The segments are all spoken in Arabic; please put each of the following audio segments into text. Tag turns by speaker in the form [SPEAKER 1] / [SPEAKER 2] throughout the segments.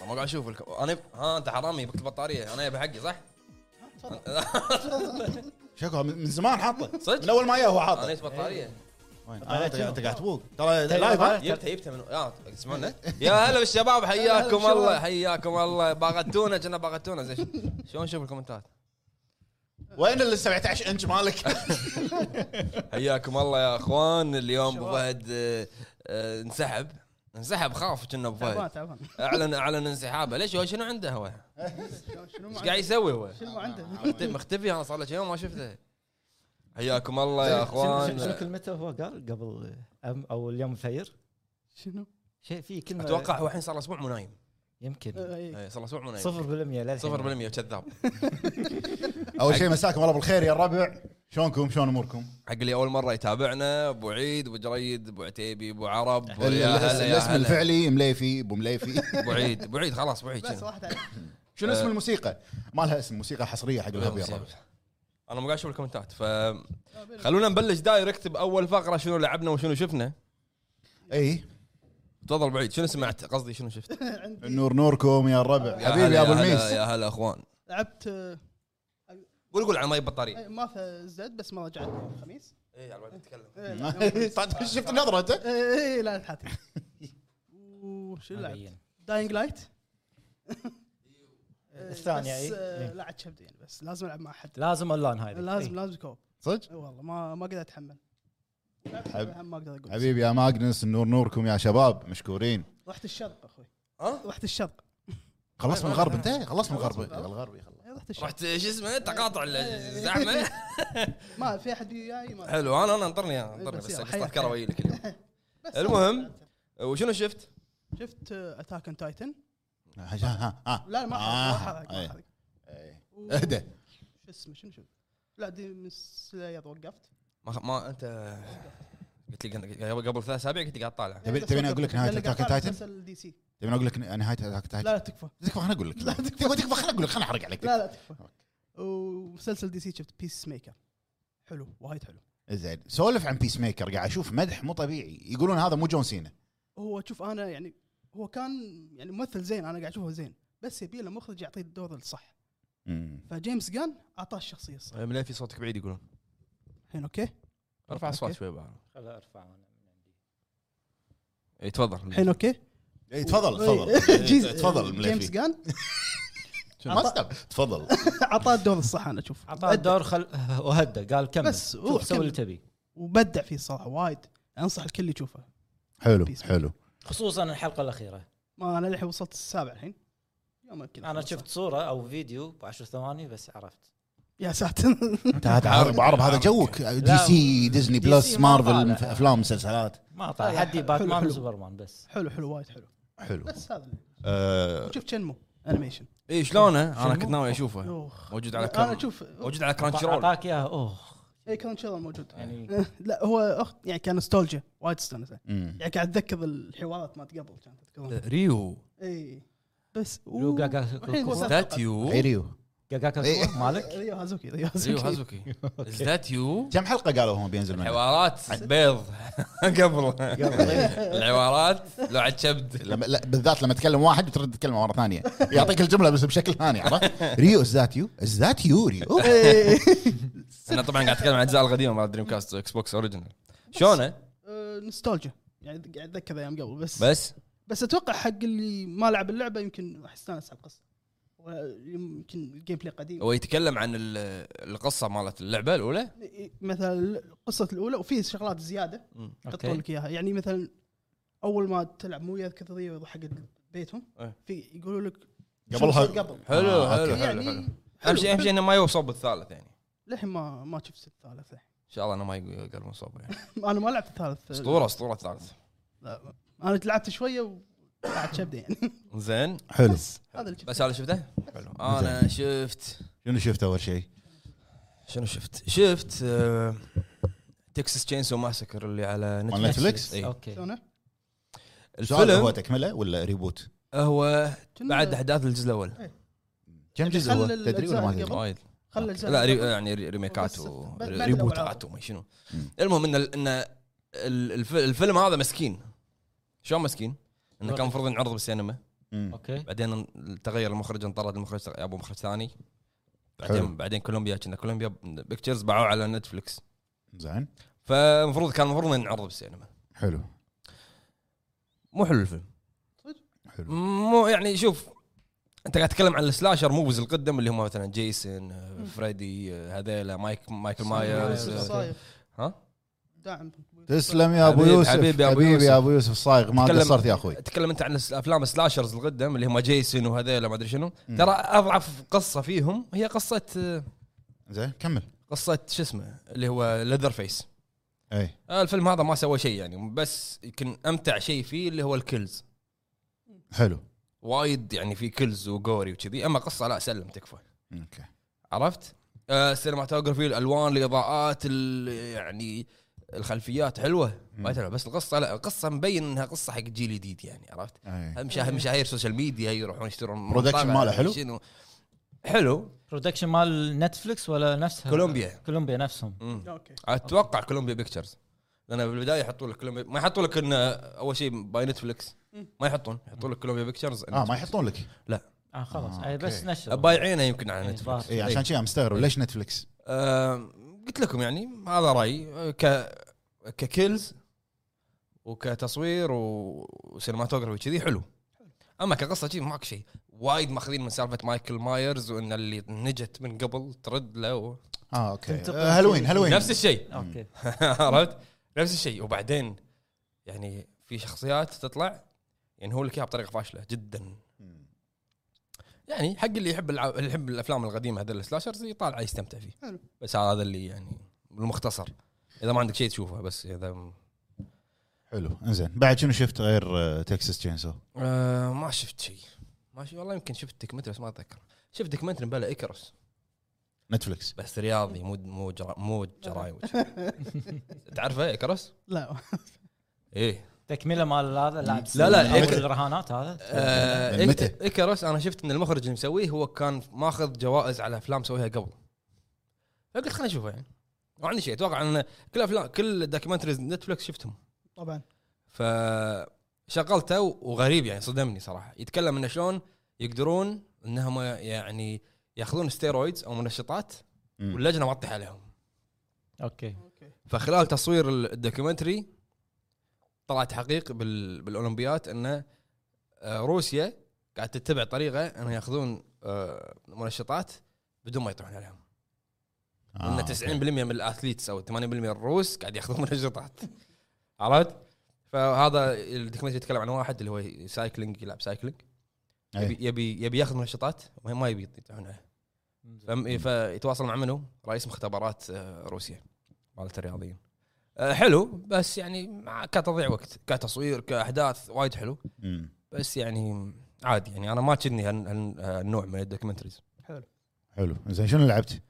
[SPEAKER 1] اسمع شوف الك... انا ها انت حرامي بك البطاريه انا بحقي صح؟
[SPEAKER 2] شكوى من من زمان حاطه
[SPEAKER 1] صدق؟
[SPEAKER 2] من اول ما جاء هو
[SPEAKER 1] انا
[SPEAKER 2] حاطه
[SPEAKER 1] جبت بطاريه
[SPEAKER 2] وين؟ آه، انت
[SPEAKER 3] شنو؟
[SPEAKER 2] أنت قاعد تبوق ترى
[SPEAKER 3] تدري
[SPEAKER 2] لايف ها؟
[SPEAKER 3] أنا-
[SPEAKER 1] جبتها جبتها من اه تسمعنا يا هلا بالشباب حياكم الله حياكم الله باغتونا كنا باغتونا زين شلون نشوف الكومنتات
[SPEAKER 2] وين ال 17 انش مالك؟
[SPEAKER 1] حياكم الله يا اخوان اليوم ابو فهد آه، آه، انسحب انسحب خاف كنا ابو
[SPEAKER 3] طيب.
[SPEAKER 4] تعبان
[SPEAKER 1] فهد
[SPEAKER 4] تعبان
[SPEAKER 1] اعلن اعلن انسحابه ليش هو شنو عنده هو؟
[SPEAKER 4] شنو
[SPEAKER 1] ايش
[SPEAKER 4] ما
[SPEAKER 1] قاعد يسوي هو؟
[SPEAKER 4] شنو ما عنده
[SPEAKER 1] مخت- مختفي انا صار له كم يوم ما شفته حياكم الله يا
[SPEAKER 3] شنو- شنو
[SPEAKER 1] اخوان
[SPEAKER 3] كلمته هو قال قبل أم او اليوم الفير
[SPEAKER 4] شنو
[SPEAKER 3] شيء في كلمه
[SPEAKER 1] اتوقع هو الحين صار له اسبوع مو نايم
[SPEAKER 3] يمكن
[SPEAKER 4] إيه.
[SPEAKER 1] إيه، صار له اسبوع مو نايم
[SPEAKER 3] 0% للحين
[SPEAKER 1] 0% كذاب
[SPEAKER 2] اول شيء مساكم الله بالخير يا الربع شلونكم شلون اموركم؟
[SPEAKER 1] حق اللي اول مره يتابعنا ابو عيد ابو جريد ابو عتيبي ابو عرب
[SPEAKER 2] ال- ال-
[SPEAKER 1] يا هلا يا
[SPEAKER 2] الاسم
[SPEAKER 1] هلا
[SPEAKER 2] الفعلي مليفي ابو مليفي
[SPEAKER 1] ابو عيد ابو عيد خلاص ابو عيد
[SPEAKER 4] بس
[SPEAKER 1] شنو؟
[SPEAKER 4] واحد عليه.
[SPEAKER 2] شنو اسم الموسيقى؟ ما لها اسم موسيقى حصريه حق الهب يا الربع
[SPEAKER 1] انا مو قاعد اشوف الكومنتات فخلونا
[SPEAKER 4] آه،
[SPEAKER 1] نبلش دايركت باول فقره شنو لعبنا وشنو شفنا
[SPEAKER 2] اي
[SPEAKER 1] تفضل ابو عيد شنو سمعت قصدي شنو شفت
[SPEAKER 4] عندي
[SPEAKER 2] النور نوركم يا الربع
[SPEAKER 1] يا
[SPEAKER 2] حبيبي
[SPEAKER 1] هلا-
[SPEAKER 2] يا ابو
[SPEAKER 1] هلا-
[SPEAKER 2] الميس
[SPEAKER 1] يا هلا اخوان
[SPEAKER 4] لعبت آه،
[SPEAKER 1] قول طيب قول على ماي البطاريه
[SPEAKER 4] إيه، ما في زد بس ما رجعت الخميس
[SPEAKER 1] اي على ما تتكلم
[SPEAKER 4] إيه، لا، يوم الخميس.
[SPEAKER 2] طيب، شفت النظره انت؟
[SPEAKER 4] اي إيه، لا تحاتي وشو لعبت؟ داينج لايت
[SPEAKER 3] الثانية، إيه.
[SPEAKER 4] بس، آه،
[SPEAKER 3] إيه.
[SPEAKER 4] لا عاد شبدي يعني بس لازم العب مع حد
[SPEAKER 3] لازم إيه. اونلاين هاي
[SPEAKER 4] لازم لازم كوب
[SPEAKER 2] صدق؟
[SPEAKER 4] إي والله ما ما اقدر اتحمل
[SPEAKER 2] حب-
[SPEAKER 4] ما اقدر اقول
[SPEAKER 2] حبيبي يا ماجنس النور نوركم يا شباب مشكورين
[SPEAKER 4] رحت الشرق اخوي
[SPEAKER 1] ها
[SPEAKER 4] رحت الشرق
[SPEAKER 2] خلص من الغرب انت خلص من الغرب
[SPEAKER 4] خلص من الغرب.
[SPEAKER 2] الغربي خلص
[SPEAKER 4] إي، إيه، رحت الشرق
[SPEAKER 1] رحت شو اسمه تقاطع الزعمه
[SPEAKER 4] ما في احد وياي ما
[SPEAKER 1] حلو انا انا انطرني انطرني
[SPEAKER 4] بس
[SPEAKER 1] بس
[SPEAKER 4] يلا،
[SPEAKER 1] قصه
[SPEAKER 4] حياك.
[SPEAKER 1] كروي لك اليوم
[SPEAKER 4] بس
[SPEAKER 1] المهم. وشنو شفت؟
[SPEAKER 4] شفت آه، اتاك اون تايتن
[SPEAKER 2] ها ها ها
[SPEAKER 4] لا ما
[SPEAKER 2] آه،
[SPEAKER 4] حرق ما
[SPEAKER 2] إيه.
[SPEAKER 4] حرق
[SPEAKER 2] إيه. اهدى
[SPEAKER 4] شو اسمه شنو شنو لا دي من إيه، السلايد وقفت
[SPEAKER 1] ما, ما انت قلت لي قبل قبل ثلاث اسابيع قلت لي قاعد طالع
[SPEAKER 2] تبي- تبيني أقول لك نهاية Attack on Titan؟
[SPEAKER 4] دي سي
[SPEAKER 2] تبي اقول لك نهايه هذاك
[SPEAKER 4] لا
[SPEAKER 2] تايتن
[SPEAKER 4] لا تكفى
[SPEAKER 2] تكفى خليني اقول لك لا تكفى تكفى خليني اقول لك خليني احرق عليك
[SPEAKER 4] لا لا تكفى ومسلسل دي سي شفت بيس ميكر حلو وايد حلو
[SPEAKER 2] زين سولف عن بيس ميكر قاعد اشوف مدح مو طبيعي يقولون هذا مو جون سينا
[SPEAKER 4] هو شوف انا يعني هو كان يعني ممثل زين انا قاعد اشوفه زين بس يبي له مخرج يعطيه الدور الصح فجيمس جان اعطاه الشخصيه الصح
[SPEAKER 1] مليفي إيه، صوتك بعيد يقولون
[SPEAKER 4] الحين اوكي
[SPEAKER 1] ارفع
[SPEAKER 4] أوكي.
[SPEAKER 1] الصوت شوي بعد
[SPEAKER 3] خل ارفع انا
[SPEAKER 1] اي إيه، تفضل
[SPEAKER 4] الحين اوكي
[SPEAKER 2] اي تفضل
[SPEAKER 4] إيه.
[SPEAKER 2] تفضل
[SPEAKER 4] جيز-
[SPEAKER 2] تفضل
[SPEAKER 4] جيمس
[SPEAKER 2] مليفي
[SPEAKER 4] جان
[SPEAKER 2] ما استب تفضل
[SPEAKER 4] اعطاه الدور الصح انا اشوف
[SPEAKER 3] اعطاه الدور خل وهدى قال كمل
[SPEAKER 4] بس
[SPEAKER 3] بس
[SPEAKER 4] روح
[SPEAKER 3] سوي اللي
[SPEAKER 4] كمل.
[SPEAKER 3] تبي
[SPEAKER 4] وبدع فيه الصراحه وايد انصح الكل يشوفه
[SPEAKER 2] حلو
[SPEAKER 4] Peacemaker.
[SPEAKER 2] حلو
[SPEAKER 3] خصوصا الحلقه الاخيره
[SPEAKER 4] ما انا للحين وصلت السابع الحين يوم يمكن
[SPEAKER 3] انا
[SPEAKER 4] أخلصها.
[SPEAKER 3] شفت صوره او فيديو ب 10 ثواني بس عرفت
[SPEAKER 4] يا ساتر
[SPEAKER 2] تعال عرب عرب هذا جوك دي
[SPEAKER 3] لا،
[SPEAKER 2] سي ديزني
[SPEAKER 3] دي
[SPEAKER 2] بلس
[SPEAKER 3] سي ما
[SPEAKER 2] مارفل
[SPEAKER 3] طالع.
[SPEAKER 2] افلام مسلسلات
[SPEAKER 3] ما طلع
[SPEAKER 4] لا،
[SPEAKER 3] حدي
[SPEAKER 4] طيب، حلو،
[SPEAKER 3] باتمان
[SPEAKER 4] حلو.
[SPEAKER 3] وسوبرمان بس
[SPEAKER 4] حلو حلو وايد حلو
[SPEAKER 2] حلو
[SPEAKER 4] بس هذا اللي-
[SPEAKER 2] آه،
[SPEAKER 4] شفت شنمو انيميشن
[SPEAKER 1] اي شلونه؟ انا
[SPEAKER 3] شنو؟
[SPEAKER 1] إيه، كنت ناوي اشوفه
[SPEAKER 4] اوخ
[SPEAKER 1] موجود على
[SPEAKER 4] انا
[SPEAKER 1] كرم
[SPEAKER 4] اشوف
[SPEAKER 1] موجود على كرانشي رول
[SPEAKER 3] اعطاك اياه اوه
[SPEAKER 4] اي كان شغل موجود
[SPEAKER 3] يعني
[SPEAKER 4] لا هو اخت يعني كان نوستالجيا وايد استانس
[SPEAKER 2] أمم.
[SPEAKER 4] يعني قاعد اتذكر الحوارات ما قبل كانت تذكرون
[SPEAKER 1] ريو
[SPEAKER 4] اي بس
[SPEAKER 3] لو
[SPEAKER 4] أوه.
[SPEAKER 3] قاقا-
[SPEAKER 4] والحين وصلت-
[SPEAKER 1] ذاتيو
[SPEAKER 2] عيريو
[SPEAKER 3] قاقاك
[SPEAKER 2] إيه.
[SPEAKER 3] الصورة مالك
[SPEAKER 4] ريو هازوكي ريو
[SPEAKER 1] ريو
[SPEAKER 4] هازوكي
[SPEAKER 1] هازوكي ذاتيو
[SPEAKER 2] كم حلقه قالوا هم بينزل منها؟
[SPEAKER 1] حوارات بيض قبل الحوارات لو عاد شبد
[SPEAKER 2] لما لا بالذات لما تكلم واحد وترد تكلمه مره ثانيه يعطيك الجمله بس بشكل ثاني عرفت؟ ريو از ذات يو از ذات يو ريو
[SPEAKER 4] إيه.
[SPEAKER 1] انا طبعا قاعد اتكلم عن الاجزاء القديمه مال دريم كاست اكس بوكس اوريجنال شلونه؟
[SPEAKER 4] آه، نوستالجيا يعني قاعد اتذكر ايام قبل بس
[SPEAKER 1] بس
[SPEAKER 4] بس اتوقع حق اللي ما لعب اللعبه يمكن راح يستانس على القصه ويمكن الجيم بلاي قديم
[SPEAKER 1] هو يتكلم عن ال- القصه مالت اللعبه الاولى
[SPEAKER 4] يعني مثلا القصه الاولى وفي شغلات زياده يحطون
[SPEAKER 3] اوكي
[SPEAKER 4] لك اياها يعني مثلا اول ما تلعب مو وياك كثريه ويروح حق بيتهم
[SPEAKER 1] إيه.
[SPEAKER 4] في يقولوا لك
[SPEAKER 2] قبلها-
[SPEAKER 4] شو قبل
[SPEAKER 1] حلو
[SPEAKER 2] آه،
[SPEAKER 1] حلو
[SPEAKER 2] أوكي.
[SPEAKER 1] حلو
[SPEAKER 4] يعني
[SPEAKER 1] حلو
[SPEAKER 4] حلو.
[SPEAKER 1] اهم شيء اهم شيء انه ما يوصل بالثالث يعني ان
[SPEAKER 4] للحين ما ما شفت الثالث للحين.
[SPEAKER 1] شاء الله انه ما يقرب مصاب يعني
[SPEAKER 4] انا ما لعبت الثالث
[SPEAKER 1] اسطوره اسطوره الثالث
[SPEAKER 4] لا، انا لعبت شويه وقعدت شبده يعني
[SPEAKER 1] زين
[SPEAKER 2] حلو
[SPEAKER 4] هذا اللي شفته
[SPEAKER 1] بس هذا شفته حلو انا شفت
[SPEAKER 2] شنو شفت اول شيء؟
[SPEAKER 1] شنو شفت شفت آه، تكساس تشينسو ماسكر اللي على
[SPEAKER 2] مال نتفلكس؟
[SPEAKER 1] إي.
[SPEAKER 3] اوكي
[SPEAKER 4] شلونه؟
[SPEAKER 2] السؤال هو
[SPEAKER 1] الفيلم
[SPEAKER 2] تكمله ولا ريبوت؟
[SPEAKER 1] هو
[SPEAKER 4] كنا-
[SPEAKER 1] بعد احداث الجزء الاول
[SPEAKER 2] كم جزء هو؟
[SPEAKER 4] خل
[SPEAKER 2] تدري ولا ما
[SPEAKER 4] الأجزاء
[SPEAKER 2] تدري؟
[SPEAKER 4] اللي
[SPEAKER 1] وايد
[SPEAKER 4] خلى الجزء
[SPEAKER 1] لا ري...
[SPEAKER 4] الأول.
[SPEAKER 1] يعني ري- ريميكات
[SPEAKER 4] بس
[SPEAKER 1] و-
[SPEAKER 4] بعد- بعد
[SPEAKER 1] ريبوتات
[SPEAKER 4] الأول.
[SPEAKER 1] وما شنو
[SPEAKER 2] مم.
[SPEAKER 1] المهم ان ال- ان ال- الف- الفيلم هذا مسكين شلون مسكين؟ انه كان المفروض ينعرض بالسينما
[SPEAKER 2] مم.
[SPEAKER 3] اوكي
[SPEAKER 1] بعدين تغير المخرج انطرد المخرج ابو مخرج ثاني بعدين
[SPEAKER 2] حلو.
[SPEAKER 1] بعدين كولومبيا كنا كولومبيا بيكتشرز باعوه على نتفلكس
[SPEAKER 2] زين
[SPEAKER 1] فالمفروض كان المفروض انه ينعرض بالسينما
[SPEAKER 2] حلو
[SPEAKER 1] مو حلو الفيلم
[SPEAKER 2] حلو
[SPEAKER 1] مو يعني شوف انت قاعد تتكلم عن السلاشر موفز القدم اللي هم مثلا جيسون آه، فريدي آه، هذيلا مايك مايكل مايرز
[SPEAKER 4] يوسف
[SPEAKER 1] آه،
[SPEAKER 4] صايغ
[SPEAKER 1] ها
[SPEAKER 4] داعم
[SPEAKER 2] تسلم يا ابو
[SPEAKER 1] حبيب-
[SPEAKER 2] يوسف
[SPEAKER 1] حبيب يا أبو
[SPEAKER 2] حبيبي
[SPEAKER 1] يوسف.
[SPEAKER 2] يا ابو يوسف الصايغ ما
[SPEAKER 1] تكلم-
[SPEAKER 2] قصرت يا اخوي
[SPEAKER 1] تتكلم انت عن الس- افلام السلاشرز القدم اللي هم جيسون وهذيلا ما ادري شنو
[SPEAKER 2] مم.
[SPEAKER 1] ترى اضعف قصه فيهم هي قصه آه،
[SPEAKER 2] زين كمل
[SPEAKER 1] قصه شو اسمه اللي هو ليذر فيس
[SPEAKER 2] اي
[SPEAKER 1] آه، الفيلم هذا ما سوى شيء يعني بس يمكن امتع شيء فيه اللي هو الكلز
[SPEAKER 2] حلو
[SPEAKER 1] وايد يعني في كلز وجوري وكذي اما قصه لا سلم تكفى
[SPEAKER 2] اوكي
[SPEAKER 1] عرفت؟ آه، السينماتوجرافي الالوان الاضاءات ال- يعني الخلفيات حلوه ما
[SPEAKER 2] مم.
[SPEAKER 1] تلعب بس القصه لا القصه مبين انها قصه حق جيل جديد يعني عرفت؟
[SPEAKER 2] أي.
[SPEAKER 1] مشا- مشاهير السوشيال ميديا يروحون يشترون
[SPEAKER 2] Production
[SPEAKER 1] منطقة،
[SPEAKER 2] ماله حلو؟
[SPEAKER 1] شنو حلو
[SPEAKER 3] برودكشن مال نتفلكس ولا نفسها
[SPEAKER 1] كولومبيا.
[SPEAKER 3] كولومبيا نفسهم
[SPEAKER 1] مم.
[SPEAKER 4] اوكي
[SPEAKER 1] اتوقع كولومبيا بيكتشرز لان بالبدايه يحطوا لك كولومبيا ما يحطوا لك انه اول شيء باي نتفلكس
[SPEAKER 4] مم.
[SPEAKER 1] ما يحطون يحطوا لك كولومبيا بيكتشرز
[SPEAKER 2] اه ما يحطون لك
[SPEAKER 3] اه خلاص
[SPEAKER 2] آه،
[SPEAKER 3] آه بس
[SPEAKER 2] أوكي.
[SPEAKER 3] نشر
[SPEAKER 1] بايعينه يمكن على
[SPEAKER 3] إيه،
[SPEAKER 1] نتفلكس
[SPEAKER 2] اي عشان كذا مستغرب ليش نتفلكس
[SPEAKER 1] آه، قلت لكم يعني هذا رايي آه، ك ككيلز وكتصوير و- وسينماتوجرافي كذي حلو اما كقصه كذي ماك شيء وايد ماخذين من سالفه مايكل مايرز وان اللي نجت من قبل ترد له و...
[SPEAKER 2] اه اوكي
[SPEAKER 3] تنتقل
[SPEAKER 2] آه، هالوين هالوين
[SPEAKER 1] نفس الشيء
[SPEAKER 3] اوكي
[SPEAKER 1] عرفت نفس الشيء وبعدين يعني في شخصيات تطلع يعني هو لك اياها بطريقه فاشله جدا
[SPEAKER 2] مم.
[SPEAKER 1] يعني حق اللي يحب الع... اللي يحب الافلام القديمه هذول السلاشرز يطالع يستمتع فيه
[SPEAKER 4] حلو.
[SPEAKER 1] بس هذا اللي يعني المختصر اذا ما عندك شيء تشوفه بس اذا م-
[SPEAKER 2] حلو انزين بعد شنو شفت غير تكساس تشينسو
[SPEAKER 1] آه ما شفت شيء ما شفت والله يمكن شفت دوكيومنتري بس ما اتذكر شفت دوكيومنتري بلا اكرس
[SPEAKER 2] نتفلكس
[SPEAKER 1] بس رياضي مو مو جرا... مو جرايم تعرفه اكرس؟
[SPEAKER 4] لا
[SPEAKER 1] ايه
[SPEAKER 3] تكمله مال هذا لاعب
[SPEAKER 1] لا، لا،
[SPEAKER 3] سلة،
[SPEAKER 1] إيك-
[SPEAKER 3] أول الرهانات هذا
[SPEAKER 1] آه
[SPEAKER 2] من متى؟
[SPEAKER 1] إيك- اكرس انا شفت ان المخرج اللي مسويه هو كان ماخذ جوائز على افلام سويها قبل فقلت خليني اشوفه يعني ما عندي شيء اتوقع ان كل افلام كل دوكيومنتريز نتفلكس شفتهم
[SPEAKER 4] طبعا
[SPEAKER 1] فشغلته وغريب يعني صدمني صراحه يتكلم انه شلون يقدرون انهم يعني ياخذون ستيرويدز او منشطات
[SPEAKER 2] مم.
[SPEAKER 1] واللجنه ما تطيح عليهم
[SPEAKER 3] اوكي
[SPEAKER 4] اوكي
[SPEAKER 1] فخلال تصوير الدوكيومنتري طلعت حقيق بال... بالاولمبياد انه آه، روسيا قاعد تتبع طريقه انه ياخذون آه، منشطات بدون ما يطيحون عليهم
[SPEAKER 2] آه،
[SPEAKER 1] ان
[SPEAKER 2] أوكي.
[SPEAKER 1] 90% من الاثليتس او 80% الروس قاعد ياخذون منشطات عرفت؟ فهذا الدوكيومنتري يتكلم عن واحد اللي هو سايكلينج يلعب سايكلينج
[SPEAKER 2] أي.
[SPEAKER 1] يبي يبي يبي ياخذ منشطات وهي ما يبي يطيحون عليه فم- إيه، فيتواصل مع منو؟ رئيس مختبرات آه، روسيا مالت الرياضيين آه، حلو بس يعني مع- كتضييع وقت كتصوير كاحداث وايد حلو
[SPEAKER 2] مم.
[SPEAKER 1] بس يعني عادي يعني انا ما تشدني هال- هال- هالنوع من الدوكيومنتريز
[SPEAKER 4] حلو
[SPEAKER 2] حلو انزين شنو لعبت؟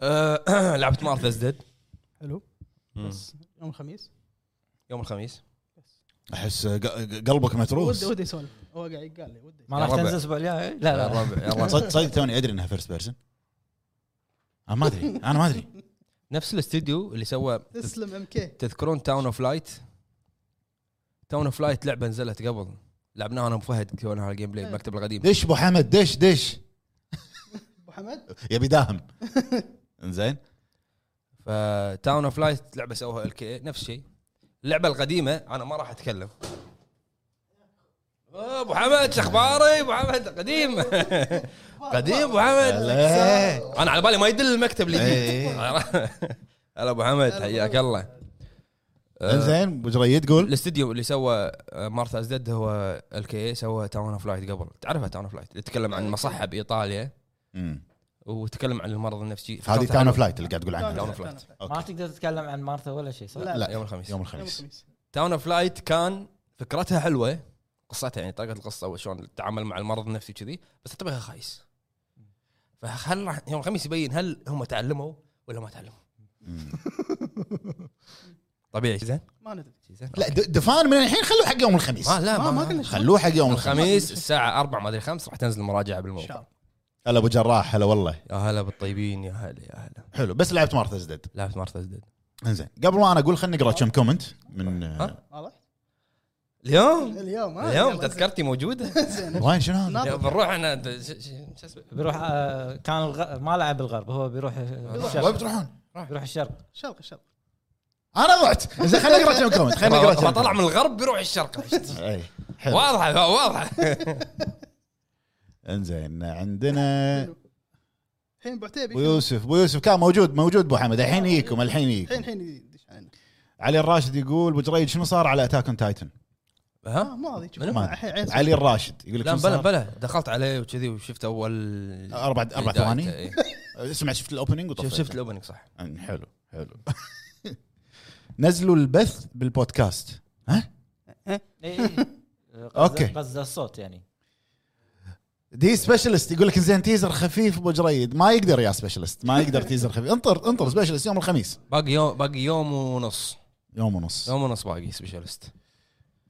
[SPEAKER 1] آه، لعبت مارثاز ديد
[SPEAKER 4] حلو بس يوم الخميس
[SPEAKER 1] يوم الخميس
[SPEAKER 2] احس آه، ق- قلبك متروس
[SPEAKER 4] ودي ودي اسولف هو قاعد يقال لي ودي
[SPEAKER 3] ما راح
[SPEAKER 1] يا ربع.
[SPEAKER 3] تنزل الاسبوع الجاي إيه، لا
[SPEAKER 1] يا
[SPEAKER 3] لا لا.
[SPEAKER 1] الربع يا الربع
[SPEAKER 2] صدق صدق توني ادري انها فيرست بيرسون انا ما ادري انا ما ادري
[SPEAKER 1] نفس الاستديو اللي سوى تذ-
[SPEAKER 4] تسلم ام كي
[SPEAKER 1] تذكرون تاون اوف لايت تاون اوف لايت لعبه نزلت قبل لعبناها انا وفهد سوينا على الجيم بلاي بمكتب القديم
[SPEAKER 2] دش ابو حمد دش دش
[SPEAKER 4] ابو حمد
[SPEAKER 2] يبي داهم انزين
[SPEAKER 1] فتاون اوف لايت لعبه سووها ال كي نفس الشيء اللعبه القديمه انا ما راح اتكلم آه، ابو حمد شو اخباري ابو حمد قديم قديم ابو حمد
[SPEAKER 2] لا.
[SPEAKER 1] انا على بالي ما يدل المكتب اللي
[SPEAKER 2] إيه.
[SPEAKER 1] جيت هلا ابو حمد حياك الله آه،
[SPEAKER 2] انزين ابو جريد قول
[SPEAKER 1] الاستديو اللي سوى مارثا ازدد هو الكي سوى تاون اوف لايت قبل تعرفها تاون اوف لايت يتكلم عن مصحه بايطاليا
[SPEAKER 2] مم.
[SPEAKER 1] وتكلم عن المرض النفسي
[SPEAKER 2] هذه تاون اوف لايت اللي قاعد تقول
[SPEAKER 1] Town
[SPEAKER 2] عنها
[SPEAKER 1] of- فلايت.
[SPEAKER 3] ما تقدر تتكلم عن مارثا ولا شيء صح؟
[SPEAKER 4] لا
[SPEAKER 2] لا
[SPEAKER 1] يوم الخميس
[SPEAKER 2] يوم
[SPEAKER 4] يوم
[SPEAKER 2] الخميس
[SPEAKER 4] الخميس
[SPEAKER 1] تاون اوف لايت كان فكرتها حلوه قصتها يعني طريقه القصه وشلون التعامل مع المرض النفسي كذي بس تبعها خايس فهل راح- يوم الخميس يبين هل هم تعلموا ولا ما تعلموا
[SPEAKER 2] مم.
[SPEAKER 1] طبيعي شي زين
[SPEAKER 4] ما ندري
[SPEAKER 1] شي زين
[SPEAKER 2] لا د- دفان من الحين خلوه حق يوم الخميس
[SPEAKER 1] ما لا
[SPEAKER 4] ما ما قلنا شيء.
[SPEAKER 2] خلوه حق يوم الخميس
[SPEAKER 1] الخميس الساعه 4 ما ادري 5 راح تنزل المراجعه
[SPEAKER 4] ان شاء
[SPEAKER 1] بالموقع
[SPEAKER 4] الله
[SPEAKER 2] هلا ابو جراح هلا والله
[SPEAKER 1] يا هلا بالطيبين يا هلا يا هلا
[SPEAKER 2] حلو بس لعبت مارثاز ديد
[SPEAKER 1] لعبت مارثا ازدد
[SPEAKER 2] انزين قبل ما انا اقول خلينا نقرا كم كومنت من
[SPEAKER 1] ها؟
[SPEAKER 4] واضح
[SPEAKER 1] اليوم
[SPEAKER 4] اليوم ها
[SPEAKER 1] اليوم
[SPEAKER 4] يلا،
[SPEAKER 1] تذكرتي موجوده
[SPEAKER 4] زين
[SPEAKER 2] وين شنو هذا؟
[SPEAKER 4] ناطر.
[SPEAKER 1] بنروح انا د- ش- ش- شو اسمه
[SPEAKER 3] بيروح آه، كان الغ... ما لعب الغرب هو بيروح
[SPEAKER 2] وين
[SPEAKER 3] الشرق
[SPEAKER 2] بتروحون؟
[SPEAKER 3] بيروح الشرق
[SPEAKER 4] شرق الشرق
[SPEAKER 2] انا ضعت زين خليني اقرا كم كومنت خليني اقرا
[SPEAKER 1] ما
[SPEAKER 2] كم
[SPEAKER 1] طلع من
[SPEAKER 2] كومنت.
[SPEAKER 1] الغرب بيروح الشرق
[SPEAKER 2] إي، حلو
[SPEAKER 1] واضحه واضحه
[SPEAKER 2] انزين عندنا
[SPEAKER 4] الحين ابو عتيبي
[SPEAKER 2] ابو يوسف ابو يوسف كان موجود موجود ابو حمد الحين يجيكم الحين
[SPEAKER 4] الحين
[SPEAKER 2] يجيكم
[SPEAKER 4] الحين يدش علينا
[SPEAKER 2] علي الراشد يقول ابو جريد شنو صار على اتاك اون تايتن؟
[SPEAKER 4] آه،
[SPEAKER 1] ها
[SPEAKER 4] ما راضي يشوف.
[SPEAKER 1] منو؟
[SPEAKER 4] ما- الحين عيل صغير.
[SPEAKER 2] علي الراشد يقول لك
[SPEAKER 1] لا
[SPEAKER 2] شنو
[SPEAKER 1] بلا
[SPEAKER 2] صار؟
[SPEAKER 1] بلا دخلت عليه وكذي وشفت اول
[SPEAKER 2] اربع اربع
[SPEAKER 1] بدايته،
[SPEAKER 2] ثواني أه،
[SPEAKER 1] إيه.
[SPEAKER 2] اسمع شفت الاوبننج
[SPEAKER 1] شفت
[SPEAKER 2] وطفيت
[SPEAKER 1] شفت الاوبننج صح
[SPEAKER 2] حلو حلو نزلوا البث بالبودكاست
[SPEAKER 3] إي، إي. قصد-
[SPEAKER 2] أوكي.
[SPEAKER 3] قصد إيه. الصوت يعني
[SPEAKER 2] دي سبيشالست يقول لك زين تيزر خفيف ابو جريد ما يقدر يا سبيشالست ما يقدر تيزر خفيف انطر انطر سبيشالست يوم الخميس
[SPEAKER 1] باقي يوم باقي يوم ونص
[SPEAKER 2] يوم ونص
[SPEAKER 1] يوم ونص باقي سبيشالست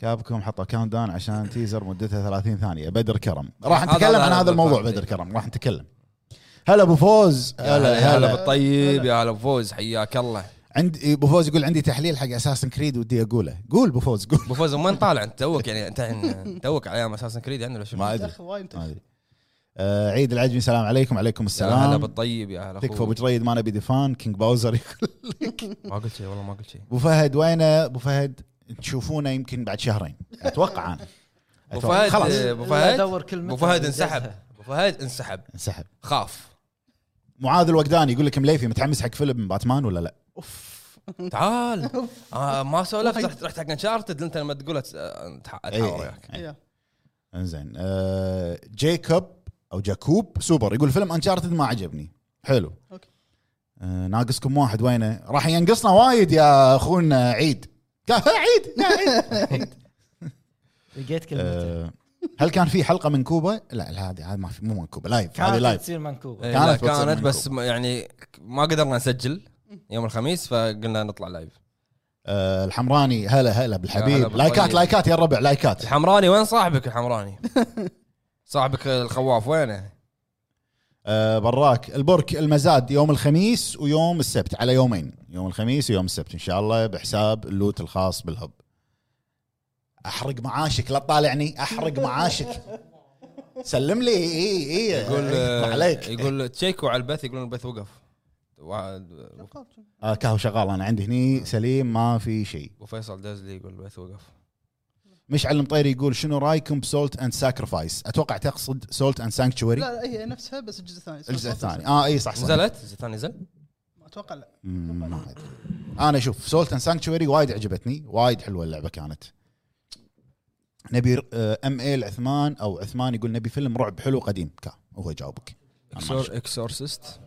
[SPEAKER 2] كابكم حطوا كاونت داون عشان تيزر مدتها 30 ثانيه بدر كرم راح
[SPEAKER 1] هذا-
[SPEAKER 2] نتكلم
[SPEAKER 1] هذا-
[SPEAKER 2] عن
[SPEAKER 1] هذا
[SPEAKER 2] هذا الموضوع
[SPEAKER 1] بالضبط.
[SPEAKER 2] بدر كرم راح نتكلم هلا ابو فوز
[SPEAKER 1] يا هلا هلا بالطيب
[SPEAKER 4] هلا.
[SPEAKER 1] يا هلا بفوز حياك الله
[SPEAKER 2] عندي ابو فوز يقول عندي تحليل حق اساسن كريد ودي اقوله قول ابو فوز قول
[SPEAKER 1] ابو فوز وين طالع انت توك يعني انت الحين توك على ايام اساسن كريد عندنا شو
[SPEAKER 2] ما ادري
[SPEAKER 4] اخ وايد متأخر.
[SPEAKER 2] ما ادري آه عيد العجمي السلام عليكم عليكم
[SPEAKER 1] يا هلا
[SPEAKER 2] السلام
[SPEAKER 1] بالطيب يا هلا
[SPEAKER 2] تكفى ابو
[SPEAKER 1] أخوي.
[SPEAKER 2] جريد ما نبي دفان كينج باوزر يقول
[SPEAKER 1] ما قلت شيء والله ما قلت شيء
[SPEAKER 2] ابو فهد وينه ابو فهد تشوفونه يمكن بعد شهرين اتوقع انا
[SPEAKER 1] ابو
[SPEAKER 2] أتوقع.
[SPEAKER 1] فهد آه،
[SPEAKER 2] خلاص
[SPEAKER 1] ابو
[SPEAKER 3] لا
[SPEAKER 1] فهد
[SPEAKER 3] ادور كلمه
[SPEAKER 1] ابو فهد
[SPEAKER 3] إنجازها.
[SPEAKER 1] انسحب ابو فهد انسحب
[SPEAKER 2] انسحب
[SPEAKER 1] خاف
[SPEAKER 2] معاذ الوجداني يقول لك مليفي متحمس حق فيلم باتمان ولا لا؟
[SPEAKER 4] اوف
[SPEAKER 1] تعال آه ما سولفت
[SPEAKER 4] وايد.
[SPEAKER 1] رحت رحت حق انشارتد انت لما تقول أت- يعني. أتح- اتحاور
[SPEAKER 2] إي.
[SPEAKER 1] وياك
[SPEAKER 4] يا.
[SPEAKER 2] انزين آه جيكوب او جاكوب سوبر يقول فيلم انشارتد ما عجبني حلو
[SPEAKER 4] أوكي.
[SPEAKER 2] آه ناقصكم واحد وينه؟ راح ينقصنا وايد يا اخونا عيد قال، عيد يا عيد
[SPEAKER 3] لقيت كلمه
[SPEAKER 2] آه، هل كان في حلقه من كوبا؟ لا لا هذه هذه ما في مو من كوبا لايف هذه
[SPEAKER 3] كانت
[SPEAKER 2] لايف
[SPEAKER 3] تصير منكوبه
[SPEAKER 1] إي،
[SPEAKER 2] كانت
[SPEAKER 1] إيه، لا،
[SPEAKER 2] بتصير
[SPEAKER 1] كانت
[SPEAKER 2] من
[SPEAKER 1] بس ما- يعني ما قدرنا نسجل يوم الخميس فقلنا نطلع لايف
[SPEAKER 2] آه الحمراني هلا هلا
[SPEAKER 1] هلا
[SPEAKER 2] بالحبيب
[SPEAKER 1] بالطيب.
[SPEAKER 2] لايكات لايكات يا الربع لايكات
[SPEAKER 1] الحمراني وين صاحبك الحمراني؟ صاحبك الخواف وينه؟
[SPEAKER 2] آه براك البرك المزاد يوم الخميس ويوم السبت على يومين يوم الخميس ويوم السبت ان شاء الله بحساب اللوت الخاص بالهب احرق معاشك لا تطالعني احرق معاشك سلم لي اي اي
[SPEAKER 1] يقول
[SPEAKER 2] إيه،
[SPEAKER 1] آه،
[SPEAKER 2] عليك يقول
[SPEAKER 1] يقول تشيكوا على البث يقولون البث وقف وعاد-
[SPEAKER 2] آه كهو شغال انا عندي هني سليم ما في شيء
[SPEAKER 1] وفيصل دازلي يقول البث وقف
[SPEAKER 2] مشعل المطيري يقول شنو رايكم بسولت اند ساكرفايس اتوقع تقصد سولت اند سانكتشوري
[SPEAKER 4] لا لا هي نفسها بس الجزء الثاني
[SPEAKER 2] الجزء الثاني اه اي صح صح
[SPEAKER 1] نزلت؟ الجزء الثاني نزل؟
[SPEAKER 4] اتوقع لا
[SPEAKER 2] مم، ما أدري. انا اشوف سولت اند سانكتشوري وايد عجبتني وايد حلوه اللعبه كانت نبي آه، ام اي العثمان او عثمان يقول نبي فيلم رعب حلو قديم كا هو جاوبك أنا ما أشوف.
[SPEAKER 1] اكسورسيست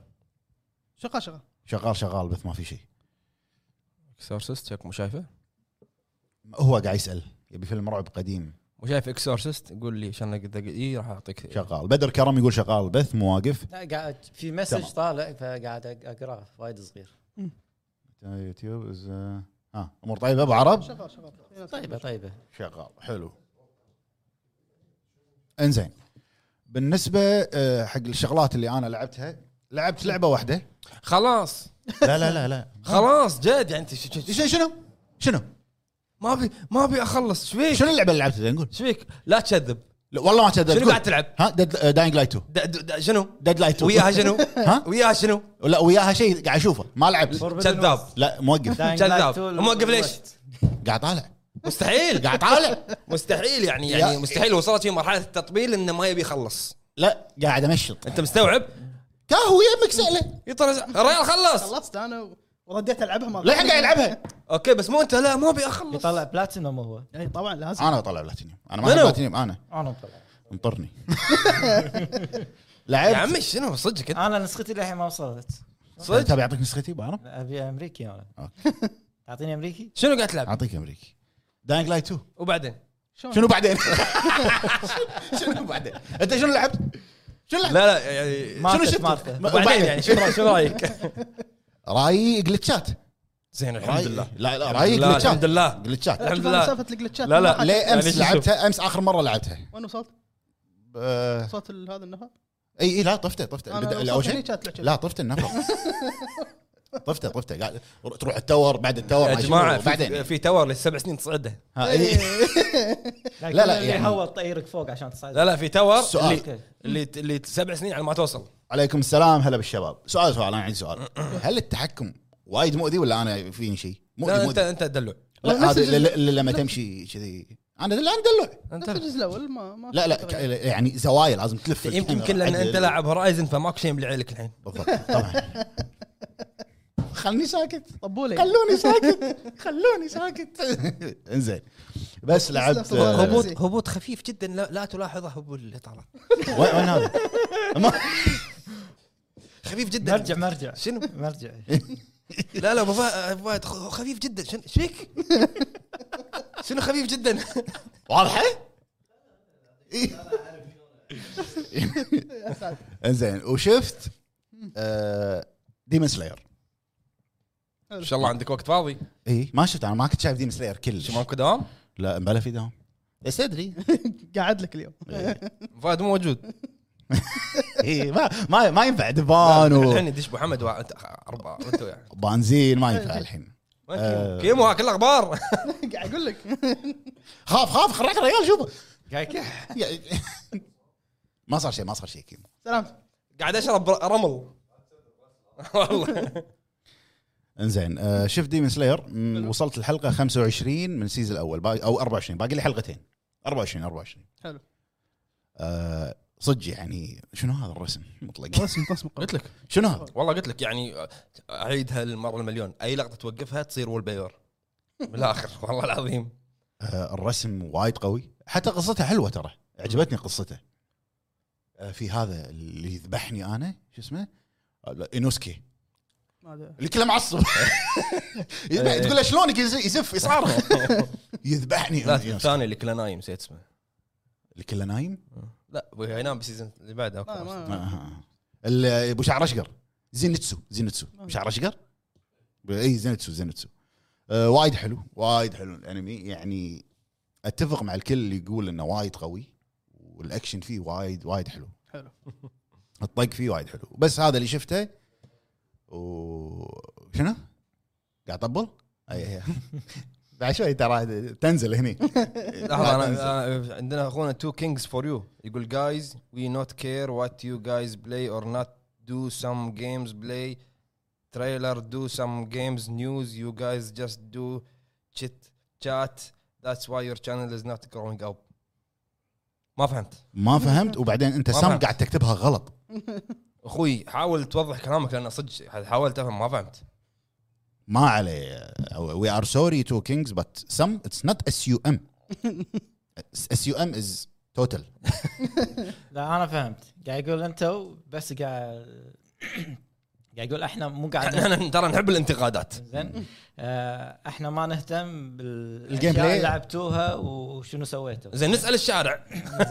[SPEAKER 4] شغال شغال
[SPEAKER 2] شغال شغال بس ما في شيء
[SPEAKER 1] اكسورسيست شكو مو شايفه؟
[SPEAKER 2] هو قاعد يسال يبي فيلم رعب قديم
[SPEAKER 1] مو شايف اكسورسيست يقول لي عشان اقدر اي راح اعطيك
[SPEAKER 2] شغال بدر كرم يقول شغال بث مو واقف
[SPEAKER 3] لا قاعد في
[SPEAKER 2] تمام.
[SPEAKER 3] مسج طالع فقاعد أق- اقراه وايد صغير
[SPEAKER 2] يوتيوب is- اه امور طيبه ابو عرب
[SPEAKER 4] شغال شغال
[SPEAKER 3] طيبه طيبه
[SPEAKER 2] شغال حلو انزين بالنسبه آه، حق الشغلات اللي انا لعبتها لعبت لعبه واحده
[SPEAKER 1] خلاص
[SPEAKER 2] لا لا لا لا
[SPEAKER 1] خلاص جد يعني انت ش- ش-
[SPEAKER 2] شنو شنو شنو
[SPEAKER 1] ما ابي ما ابي اخلص ايش فيك؟
[SPEAKER 2] شنو اللعبه اللي لعبتها نقول
[SPEAKER 1] ايش فيك؟ لا تكذب
[SPEAKER 2] لا والله ما تقدر
[SPEAKER 1] شنو
[SPEAKER 2] تقول.
[SPEAKER 1] قاعد تلعب؟
[SPEAKER 2] ها آه، داينج لايت 2
[SPEAKER 1] د- د- د- شنو؟
[SPEAKER 2] ديد لايت 2
[SPEAKER 1] وياها شنو؟
[SPEAKER 2] ها
[SPEAKER 1] وياها شنو؟
[SPEAKER 2] لا وياها شيء قاعد اشوفه ما لعبت
[SPEAKER 1] كذاب
[SPEAKER 2] لا موقف
[SPEAKER 3] Dying Light
[SPEAKER 1] كذاب.
[SPEAKER 3] 2
[SPEAKER 1] موقف ليش؟
[SPEAKER 2] قاعد طالع
[SPEAKER 1] مستحيل
[SPEAKER 2] قاعد طالع
[SPEAKER 1] مستحيل يعني
[SPEAKER 2] يا-
[SPEAKER 1] يعني مستحيل وصلت في مرحله التطبيل انه ما يبي يخلص
[SPEAKER 2] لا قاعد امشط
[SPEAKER 1] انت مستوعب
[SPEAKER 2] كاهو يمك ساله
[SPEAKER 1] يطلع الرجال خلص
[SPEAKER 4] خلصت انا و- ورديت العبها ما
[SPEAKER 2] للحين قاعد يلعبها
[SPEAKER 1] اوكي بس مو انت لا ما ابي اخلص
[SPEAKER 3] يطلع بلاتينوم هو
[SPEAKER 4] اي طبعا إيه، لازم
[SPEAKER 2] انا بطلع بلاتينيوم انا ما
[SPEAKER 1] منو؟
[SPEAKER 2] أحب بلاتينيوم انا
[SPEAKER 3] انا مطلع
[SPEAKER 2] انطرني
[SPEAKER 1] يا
[SPEAKER 2] لعبت
[SPEAKER 1] عمي شنو صدق انت
[SPEAKER 3] انا نسختي للحين ما وصلت
[SPEAKER 1] صدق
[SPEAKER 2] تبي اعطيك طيب، نسختي بعرف
[SPEAKER 3] ابي امريكي انا
[SPEAKER 2] أوكي.
[SPEAKER 3] تعطيني امريكي
[SPEAKER 1] شنو قاعد تلعب
[SPEAKER 2] اعطيك امريكي داينج لايت 2
[SPEAKER 1] وبعدين
[SPEAKER 2] شنو بعدين شنو بعدين انت شنو لعبت شنو لعبت
[SPEAKER 1] لا لا يعني
[SPEAKER 3] مارثا
[SPEAKER 2] شفت؟
[SPEAKER 3] مارثا
[SPEAKER 2] ما-
[SPEAKER 1] وبعدين يعني شنو شنو رايك؟
[SPEAKER 2] رايي جلتشات
[SPEAKER 1] زين الحمد
[SPEAKER 2] رأيي-
[SPEAKER 1] لله
[SPEAKER 2] لا لا رايي
[SPEAKER 1] لا،
[SPEAKER 2] جلتشات
[SPEAKER 1] الحمد لله.
[SPEAKER 2] جلتشات
[SPEAKER 1] الحمد
[SPEAKER 4] شوف أنا
[SPEAKER 1] لله.
[SPEAKER 4] سالفه الجلتشات
[SPEAKER 1] لا، لا،
[SPEAKER 4] ما-
[SPEAKER 2] ليه
[SPEAKER 1] يعني
[SPEAKER 2] امس
[SPEAKER 1] شوف.
[SPEAKER 2] لعبتها امس اخر مره لعبتها
[SPEAKER 4] وين وصلت؟
[SPEAKER 2] آه،
[SPEAKER 4] صوت ال- هذا النفر؟
[SPEAKER 2] اي اي لا طفته طفته
[SPEAKER 4] أنا
[SPEAKER 2] البدا-
[SPEAKER 4] وصلت
[SPEAKER 2] اول
[SPEAKER 4] هني
[SPEAKER 2] شيء
[SPEAKER 4] كانت لعبة.
[SPEAKER 2] لا طفت النفر طفته طفته قاعد تروح التور بعد التور
[SPEAKER 1] يا
[SPEAKER 2] ما
[SPEAKER 1] جماعه
[SPEAKER 2] يشوفه.
[SPEAKER 1] في,
[SPEAKER 2] بعدين
[SPEAKER 1] في تور للسبع سنين تصعده
[SPEAKER 2] ها، إيه. لا، لا، يعني-
[SPEAKER 3] يعني هو طيرك فوق عشان تصعد
[SPEAKER 1] لا لا في تور
[SPEAKER 2] سؤال.
[SPEAKER 1] اللي
[SPEAKER 3] اوكي
[SPEAKER 1] اللي اللي سبع سنين على ما توصل
[SPEAKER 2] عليكم السلام هلا بالشباب سؤال سؤال انا عندي سؤال هل التحكم وايد مؤذي ولا انا فيني شيء؟
[SPEAKER 1] لا
[SPEAKER 2] مؤذي
[SPEAKER 1] انت
[SPEAKER 2] مؤذي
[SPEAKER 1] انت تدلع
[SPEAKER 2] لا
[SPEAKER 4] نفس
[SPEAKER 2] هذا
[SPEAKER 4] الجزء-
[SPEAKER 2] ل- ل- لما تمشي كذي انا لا دلع
[SPEAKER 4] نفس
[SPEAKER 1] انت
[SPEAKER 4] الجزء الاول ما ما
[SPEAKER 2] لا لا
[SPEAKER 4] في
[SPEAKER 2] ك-
[SPEAKER 4] تغيير.
[SPEAKER 2] يعني زوايا لازم تلف
[SPEAKER 1] يمكن
[SPEAKER 2] الكاميرا
[SPEAKER 1] يمكن لان
[SPEAKER 2] عدل.
[SPEAKER 1] انت لاعب هورايزن فماكو شيء ملي عليك الحين
[SPEAKER 2] بالضبط طبعا خلني ساكت
[SPEAKER 4] طبولي
[SPEAKER 2] خلوني ساكت خلوني ساكت انزين بس لعبت آه،
[SPEAKER 1] هبوط هبوط خفيف جدا لا, لا تلاحظه هبوط الاطارات
[SPEAKER 2] وين وين هذا؟ ما-
[SPEAKER 1] خفيف جدا
[SPEAKER 3] مرجع مرجع
[SPEAKER 1] شنو
[SPEAKER 3] مرجع
[SPEAKER 1] لا لا ابو فا- أبو فهد خ- خفيف جدا شنو ايش فيك؟ شنو خفيف جدا؟
[SPEAKER 2] واضحه؟ انزين وشفت آه، ديمن سلاير
[SPEAKER 1] ما شاء الله عندك وقت فاضي
[SPEAKER 2] اي ما شفت انا ما كنت شايف ديمن سلاير كلش
[SPEAKER 1] شو ماكو دوام؟
[SPEAKER 2] لا بلا في دوام بس ادري
[SPEAKER 4] قاعد لك اليوم
[SPEAKER 2] إيه.
[SPEAKER 1] أبو فهد مو موجود
[SPEAKER 2] إي، إيه، ما ما ما ينفع دبان
[SPEAKER 1] الحين
[SPEAKER 2] و-
[SPEAKER 1] يدش ابو حمد وانت اربعه وانت وياه
[SPEAKER 2] بنزين ما ينفع الحين
[SPEAKER 1] وين
[SPEAKER 2] آه.
[SPEAKER 1] كيمو؟ كيمو هاك الاخبار
[SPEAKER 4] قاعد اقول لك
[SPEAKER 2] خاف خاف خرعت الرجال شوفه
[SPEAKER 3] قاعد كح.
[SPEAKER 2] يا- ما صار شيء ما صار شيء كيمو
[SPEAKER 4] سلام
[SPEAKER 1] قاعد اشرب رمل والله
[SPEAKER 2] انزين آه، شفت ديمن سلاير م، وصلت الحلقه 25 من السيزون الاول باقي- او 24 باقي لي حلقتين 24 24
[SPEAKER 4] حلو
[SPEAKER 2] آه، صدق يعني شنو هذا الرسم مطلق
[SPEAKER 4] رسم رسم
[SPEAKER 1] قلت لك
[SPEAKER 2] شنو هذا
[SPEAKER 1] والله قلت لك يعني اعيدها المره المليون اي لقطه توقفها تصير وول بيور بالاخر والله العظيم
[SPEAKER 2] آه، الرسم وايد قوي حتى قصتها حلوه ترى عجبتني قصته آه، في هذا اللي يذبحني انا شو اسمه آه، لا، انوسكي
[SPEAKER 4] ما أدري.
[SPEAKER 2] اللي كله معصب
[SPEAKER 1] إيه.
[SPEAKER 2] يذبح- تقول له شلونك يز- يزف يصارخ يذبحني
[SPEAKER 1] لا
[SPEAKER 2] إنوسكي.
[SPEAKER 1] الثاني اللي كله نايم نسيت اسمه
[SPEAKER 2] اللي كله نايم
[SPEAKER 1] لا ينام بالسيزون اللي بعده
[SPEAKER 4] ما-
[SPEAKER 1] اوكي
[SPEAKER 2] آه،
[SPEAKER 4] ما-
[SPEAKER 2] آه، آه. اللي ابو شعر اشقر زينتسو زينتسو
[SPEAKER 1] آه.
[SPEAKER 2] ابو شعر اشقر اي زينتسو زينتسو آه، وايد حلو وايد حلو الانمي يعني اتفق مع الكل اللي يقول انه وايد قوي والاكشن فيه وايد وايد حلو
[SPEAKER 4] حلو
[SPEAKER 2] الطق فيه وايد حلو بس هذا اللي شفته و شنو؟ قاعد اطبل؟ اي أي. بعد شوي ترى تنزل هني
[SPEAKER 1] لحظه أنا- انا عندنا اخونا تو كينجز فور يو يقول جايز وي نوت كير وات يو جايز بلاي اور نوت دو سم جيمز بلاي تريلر دو سم جيمز نيوز يو جايز جاست دو تشيت شات ذاتس واي يور شانل از نوت جروينج اب ما فهمت
[SPEAKER 2] ما فهمت وبعدين انت
[SPEAKER 1] ما
[SPEAKER 2] سام
[SPEAKER 1] فهمت.
[SPEAKER 2] قاعد تكتبها غلط
[SPEAKER 1] اخوي حاول توضح كلامك لان صدق حاولت افهم ما فهمت
[SPEAKER 2] ما عليه Oh, وي ار سوري تو كينجز بت سم اتس نوت اس يو ام اس يو ام از توتال
[SPEAKER 3] لا انا فهمت قاعد يقول انتو بس قاعد قاعد يقول احنا مو قاعد
[SPEAKER 1] احنا ترى نحب الانتقادات
[SPEAKER 3] زين آه، احنا ما نهتم بالاشياء
[SPEAKER 2] الجيم بلاي.
[SPEAKER 3] اللي لعبتوها وشنو سويتوا
[SPEAKER 1] زين نسال الشارع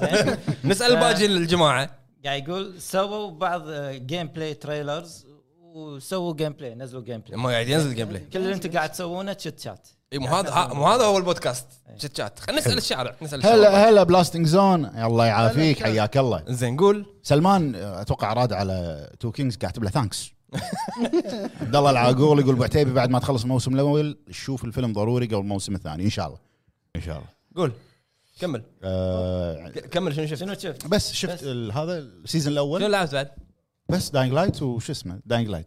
[SPEAKER 3] زين
[SPEAKER 1] نسال باقي الجماعه
[SPEAKER 3] قاعد يقول سووا بعض جيم بلاي تريلرز وسووا جيم بلاي نزلوا جيم بلاي
[SPEAKER 1] ما قاعد ينزل جيم بلاي
[SPEAKER 3] كل اللي انت قاعد تسوونه تشت شات
[SPEAKER 1] اي إيه، مو يعني هذا ها- مو هذا هو البودكاست شات شات خلينا نسال الشارع نسال الشارع
[SPEAKER 2] هلا هلا بلاستنج زون الله يعافيك
[SPEAKER 4] هلا.
[SPEAKER 2] حياك الله
[SPEAKER 1] زين قول
[SPEAKER 2] سلمان آه، اتوقع راد على تو كينجز قاعد تكتب له ثانكس عبد الله العاقول يقول ابو عتيبي بعد ما تخلص الموسم الاول شوف الفيلم ضروري قبل الموسم الثاني ان شاء الله ان شاء الله
[SPEAKER 1] قول كمل
[SPEAKER 2] آه،
[SPEAKER 1] ك- كمل شنو شفت شنو
[SPEAKER 3] شنو شفت؟
[SPEAKER 2] بس
[SPEAKER 3] بس.
[SPEAKER 2] شفت ال- هذا السيزون الاول
[SPEAKER 1] لعبت بعد
[SPEAKER 2] بس داينج لايت وشو اسمه داينج لايت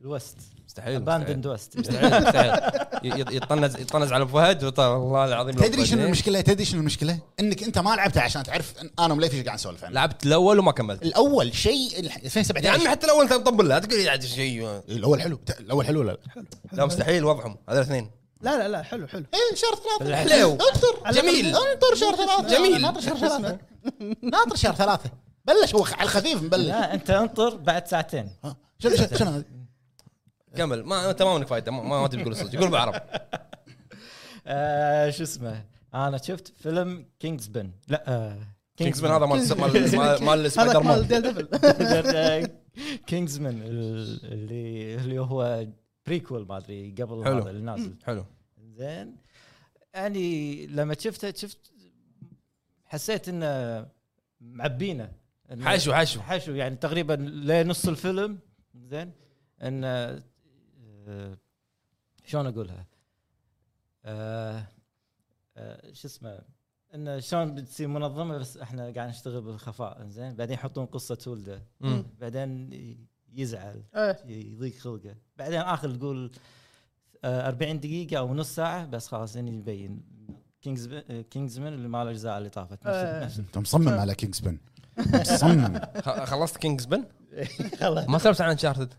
[SPEAKER 3] الوست
[SPEAKER 1] مستحيل
[SPEAKER 3] اباندند
[SPEAKER 1] مستحيل
[SPEAKER 3] وست
[SPEAKER 1] مستحيل مستحيل. ي- ي- يطنز يطنز على ابو فهد وط- والله العظيم لو
[SPEAKER 2] تدري شنو
[SPEAKER 1] فهد-
[SPEAKER 2] المشكله تدري شنو المشكله انك انت ما لعبتها عشان تعرف إن انا وليفي ايش قاعد نسولف عنه
[SPEAKER 1] لعبت الاول وما كملت
[SPEAKER 2] الاول شيء ال-
[SPEAKER 1] يا عمي
[SPEAKER 2] 2017
[SPEAKER 1] حتى الاول انت مطبل لا تقول قاعد شيء
[SPEAKER 2] الاول حلو ت- الاول حلو ولا لا
[SPEAKER 1] لا مستحيل وضعهم هذول الاثنين
[SPEAKER 4] لا لا لا حلو حلو
[SPEAKER 2] ايه شهر ثلاثة
[SPEAKER 1] حلو.
[SPEAKER 2] انطر
[SPEAKER 1] جميل.
[SPEAKER 2] انطر شهر ثلاثة
[SPEAKER 1] جميل.
[SPEAKER 2] ناطر شهر ثلاثة ناطر شهر ثلاثة بلش هو على الخفيف مبلش
[SPEAKER 3] لا انت انطر بعد ساعتين
[SPEAKER 2] ها، شنو شنو شنو هذا؟
[SPEAKER 1] كمل ما انت ما منك فايده ما- ما ما تبي تقول صدق قول بالعرب
[SPEAKER 3] آه، شو اسمه انا شفت فيلم كينجز بن لا آه،
[SPEAKER 1] كينجز من هذا مال مال- مال مال
[SPEAKER 4] هذا
[SPEAKER 1] سبايدر
[SPEAKER 4] مال
[SPEAKER 1] مان
[SPEAKER 4] ديل ديفل
[SPEAKER 3] كينجزمان ال- اللي اللي هو بريكول ما ادري قبل
[SPEAKER 1] حلو.
[SPEAKER 3] هذا اللي نازل
[SPEAKER 1] حلو
[SPEAKER 3] زين يعني لما شفته شفت حسيت انه معبينه إنه
[SPEAKER 1] حشو حشو
[SPEAKER 3] حشو يعني تقريبا لنص الفيلم زين ان آه، شلون اقولها؟ آه، آه، شو اسمه؟ ان شلون بتصير منظمه بس احنا قاعد نشتغل بالخفاء زين بعدين يحطون قصه ولده
[SPEAKER 1] مم.
[SPEAKER 3] بعدين يزعل
[SPEAKER 4] ايه
[SPEAKER 3] يضيق خلقه بعدين اخر تقول آه، 40 دقيقه او نص ساعه بس خلاص هني يبين كينجز آه، كينجزمان اللي مال الاجزاء اللي طافت
[SPEAKER 4] آه.
[SPEAKER 3] نفس-
[SPEAKER 2] انت مصمم على كينجز بن مصمم
[SPEAKER 1] خ- خلصت كينجز بن؟
[SPEAKER 3] خلاص
[SPEAKER 1] ما سولفت عن انشارتد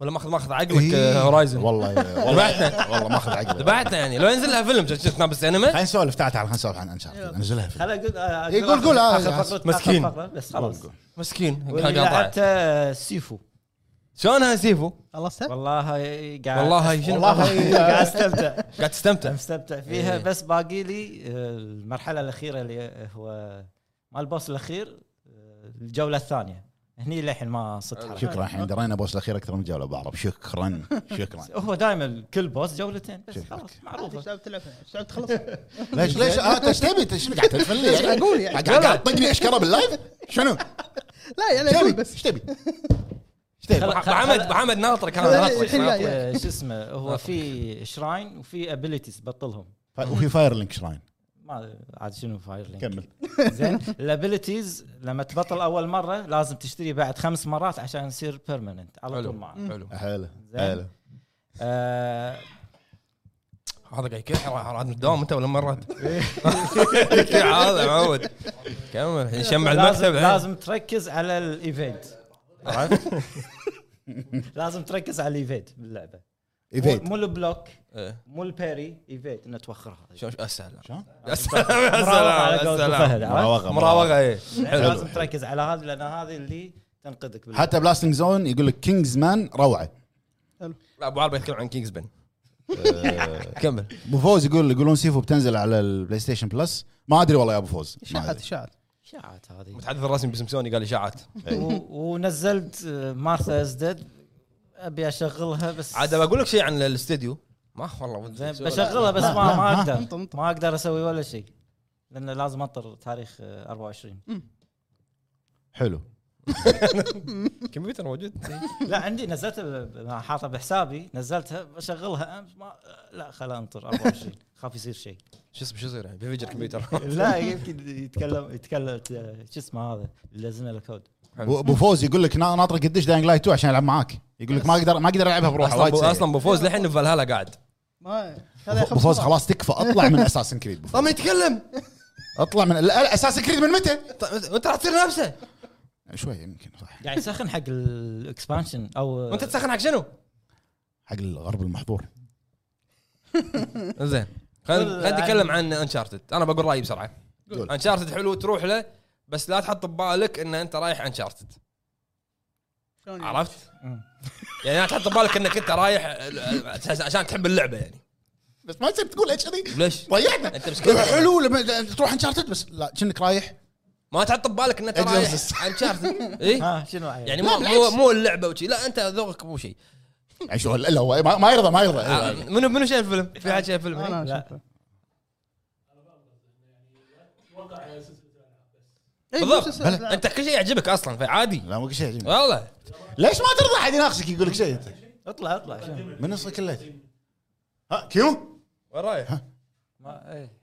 [SPEAKER 1] ولا ماخذ ماخذ عقلك
[SPEAKER 2] إيه.
[SPEAKER 1] آه، هورايزن
[SPEAKER 2] والله والله
[SPEAKER 1] ذبحته.
[SPEAKER 2] والله ماخذ عقلي خلينا
[SPEAKER 1] ذبحته يعني لو ينزل لها فيلم شفت ناب السينما
[SPEAKER 2] نسولف تعال تعال خلينا نسولف عن انشارتد انزلها في
[SPEAKER 3] خل اقول آه،
[SPEAKER 2] إيه، قول- قول، آه،
[SPEAKER 3] آخر
[SPEAKER 2] آه،
[SPEAKER 3] فقرة- آخر
[SPEAKER 1] مسكين.
[SPEAKER 3] فقرة، بس خلاص
[SPEAKER 1] مسكين
[SPEAKER 3] واللي
[SPEAKER 1] قاطعه.
[SPEAKER 3] لعبته آه، سيفو
[SPEAKER 1] شلونها سيفو؟
[SPEAKER 4] خلصتها؟
[SPEAKER 3] والله قاعد
[SPEAKER 1] والله شنو؟
[SPEAKER 2] والله
[SPEAKER 3] قاعد استمتع
[SPEAKER 1] قاعد تستمتع
[SPEAKER 3] مستمتع فيها
[SPEAKER 1] إيه.
[SPEAKER 3] بس باقي لي آه، المرحله الاخيره اللي هو مال البوس الاخير آه، الجوله الثانيه هني للحين ما صرت حركة.
[SPEAKER 2] شكرا الحين درينا بوس الاخير اكثر من جوله بعرف شكرا شكرا
[SPEAKER 3] هو دائما كل بوس جولتين بس خلاص
[SPEAKER 4] عادي، ايش
[SPEAKER 3] معروفه
[SPEAKER 4] تعب تلعبها؟ ايش تعب تخلصها؟
[SPEAKER 2] ليش ليش آه، انت ايش تبي أنت شنو قاعد تتفلي إيه، يعني؟
[SPEAKER 4] أقول يعني.
[SPEAKER 2] قاعد قاعد تطقني اشكره باللايف شنو؟
[SPEAKER 4] لا يعني
[SPEAKER 2] ايش
[SPEAKER 4] اقول
[SPEAKER 2] تبي؟
[SPEAKER 4] بس
[SPEAKER 2] ايش تبي؟
[SPEAKER 3] خل- خل-
[SPEAKER 1] محمد
[SPEAKER 3] خل-
[SPEAKER 1] محمد ناطرك انا
[SPEAKER 4] لا، لا،
[SPEAKER 1] ناطرك
[SPEAKER 4] الحين لا،
[SPEAKER 1] ناطرك.
[SPEAKER 3] آه، شو اسمه هو في شراين وفي ابيلتيز بطلهم
[SPEAKER 2] ف- وفي فاير لينك شراين
[SPEAKER 3] ما عاد شنو فاير لينك
[SPEAKER 2] كمل
[SPEAKER 3] زين الابيلتيز لما تبطل اول مره لازم تشتري بعد خمس مرات عشان يصير بيرمننت على
[SPEAKER 1] حلو
[SPEAKER 3] طول معك
[SPEAKER 1] حلو
[SPEAKER 2] حلو
[SPEAKER 3] زين.
[SPEAKER 2] حلو
[SPEAKER 3] آه،
[SPEAKER 1] هذا قاعد يكح عاد من الدوام انت ولا من رد؟ هذا معود كمل الحين يشمع
[SPEAKER 3] لازم
[SPEAKER 1] المكتب الحين.
[SPEAKER 3] لازم تركز على الايفنت عرفت؟ لازم تركز على الايفنت باللعبه
[SPEAKER 2] ايفيت
[SPEAKER 3] مو- مو البلوك
[SPEAKER 1] إيه.
[SPEAKER 3] مو البيري ايفنت انه توخرها
[SPEAKER 1] شو شو- اسهل
[SPEAKER 2] شلون؟
[SPEAKER 1] اسهل
[SPEAKER 3] مراوغة على قولة أبو فهد،
[SPEAKER 1] اسهل
[SPEAKER 3] عرفت؟
[SPEAKER 2] مراوغة
[SPEAKER 1] مراوغه ايه
[SPEAKER 3] يعني
[SPEAKER 1] حلو.
[SPEAKER 3] لازم تركز على هذه لان هذه اللي تنقذك باللعبة.
[SPEAKER 2] حتى بلاستنج زون يقول لك كينجز مان روعه
[SPEAKER 1] لا ابو عربي يتكلم عن كينجز بن كمل
[SPEAKER 2] ابو فوز يقول يقولون سيفو بتنزل على البلاي ستيشن بلس ما ادري والله يا ابو فوز ما
[SPEAKER 4] اشاعات
[SPEAKER 2] أدري.
[SPEAKER 4] اشاعات
[SPEAKER 3] اشاعات هذه
[SPEAKER 1] متحدث الرسمي بسمسوني قال اشاعات
[SPEAKER 3] و- ونزلت آه، مارثا از ديد ابي اشغلها بس
[SPEAKER 1] عاد بقول لك شيء عن الاستديو ما والله
[SPEAKER 3] زين بشغلها بس
[SPEAKER 2] لا، لا،
[SPEAKER 3] ما ما
[SPEAKER 2] ها.
[SPEAKER 4] انطر-
[SPEAKER 3] اقدر
[SPEAKER 4] انطر.
[SPEAKER 3] ما اقدر اسوي ولا شيء لان لازم انطر تاريخ آه، 24
[SPEAKER 2] حلو
[SPEAKER 1] كمبيوتر موجود
[SPEAKER 3] لا عندي نزلتها ب- ب- حاطها بحسابي نزلتها بشغلها امس ما لا خلا انطر 24 خاف يصير شيء
[SPEAKER 1] شو اسمه شو يصير يعني بيفجر كمبيوتر
[SPEAKER 3] لا يمكن يتكلم يتكلم آه، شو اسمه هذا اللي لزمه الكود
[SPEAKER 2] ابو أبو فوز يقول لك نا- ناطر قديش داينج لايت 2 عشان العب معاك يقول لك ما اقدر ما اقدر العبها بروحها
[SPEAKER 1] اصلا
[SPEAKER 2] وايد
[SPEAKER 1] بو
[SPEAKER 2] سيء.
[SPEAKER 1] اصلا بوفوز للحين في فالهالا قاعد
[SPEAKER 4] ما
[SPEAKER 2] أبو- ابو فوز خلاص تكفى اطلع من اساسن كريد
[SPEAKER 1] طب ما يتكلم
[SPEAKER 2] اطلع من لا، لا، اساسن كريد من متى؟
[SPEAKER 1] طب وانت راح تصير نفسه
[SPEAKER 2] شوي يمكن صح
[SPEAKER 3] قاعد يسخن حق الاكسبانشن او
[SPEAKER 1] وانت تسخن حق شنو؟
[SPEAKER 2] حق الغرب المحظور
[SPEAKER 1] زين خلينا خلينا نتكلم عن انشارتد انا بقول رايي بسرعه
[SPEAKER 2] قول.
[SPEAKER 1] انشارتد حلو تروح له بس لا تحط ببالك ان انت رايح انشارتد عرفت؟
[SPEAKER 3] مم.
[SPEAKER 1] يعني لا تحط ببالك انك انت رايح عشان تحب اللعبه يعني
[SPEAKER 2] بس ما يصير تقول ايش كذي
[SPEAKER 1] ليش؟
[SPEAKER 2] ضيعنا
[SPEAKER 1] أنت مسكين.
[SPEAKER 2] حلو لما تروح انشارتد بس لا كأنك رايح
[SPEAKER 1] ما تحط ببالك ان انت رايح
[SPEAKER 2] Exorcist.
[SPEAKER 1] انشارتد اي
[SPEAKER 3] ها شنو يعني
[SPEAKER 1] يعني مو مو مو اللعبه وشي لا انت ذوقك مو شيء
[SPEAKER 2] يعني شو لا هو ما- ما يرضى ما
[SPEAKER 1] آه،
[SPEAKER 2] يرضى
[SPEAKER 1] منو منو شايف الفيلم؟ في حد شايف إيه. الفيلم؟
[SPEAKER 4] انا
[SPEAKER 3] لا.
[SPEAKER 4] أشوفه.
[SPEAKER 1] بالضبط.
[SPEAKER 4] إيه، نفس
[SPEAKER 1] انت كل شيء يعجبك اصلا فعادي
[SPEAKER 2] لا مو شيء
[SPEAKER 3] آه.
[SPEAKER 2] عجيب.
[SPEAKER 1] والله
[SPEAKER 2] ليش ما ترضى حد يناقشك يقول لك شيء انت
[SPEAKER 3] اطلع اطلع شنو
[SPEAKER 2] من نصك الليل ها كيمو
[SPEAKER 1] وين رايح؟
[SPEAKER 3] ما إيه.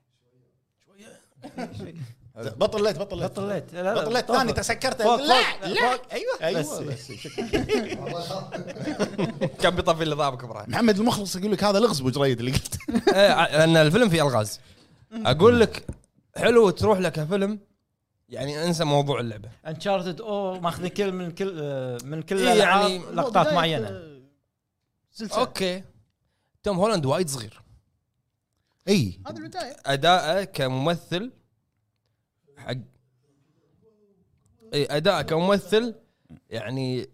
[SPEAKER 2] بطل الليت بطل الليت
[SPEAKER 3] بطل ليت لا، لا،
[SPEAKER 2] بطل ليت ثاني
[SPEAKER 3] فوق.
[SPEAKER 2] تسكرت
[SPEAKER 3] فوق،
[SPEAKER 2] لا
[SPEAKER 3] فوق،
[SPEAKER 2] لا
[SPEAKER 3] فوق. ايوه
[SPEAKER 2] ايوه
[SPEAKER 3] بس.
[SPEAKER 2] بس شكراً.
[SPEAKER 1] كان بيطفي اللي ضابك ابراهيم
[SPEAKER 2] محمد المخلص يقول لك هذا لغز بجريد اللي قلت
[SPEAKER 1] إيه، ع- لان الفيلم فيه الغاز اقول لك حلو تروح لك كفيلم يعني انسى موضوع اللعبه
[SPEAKER 3] انشارتد او ماخذين كل من كل آه، من كل
[SPEAKER 1] إيه،
[SPEAKER 3] الالعاب
[SPEAKER 1] يعني
[SPEAKER 4] لا.
[SPEAKER 3] لقطات
[SPEAKER 4] بداية،
[SPEAKER 3] معينه
[SPEAKER 4] آه، سلسله
[SPEAKER 1] اوكي توم هولاند وايد صغير
[SPEAKER 2] اي
[SPEAKER 4] هذه البدايه
[SPEAKER 1] اداءه كممثل حق اي اداءه كممثل يعني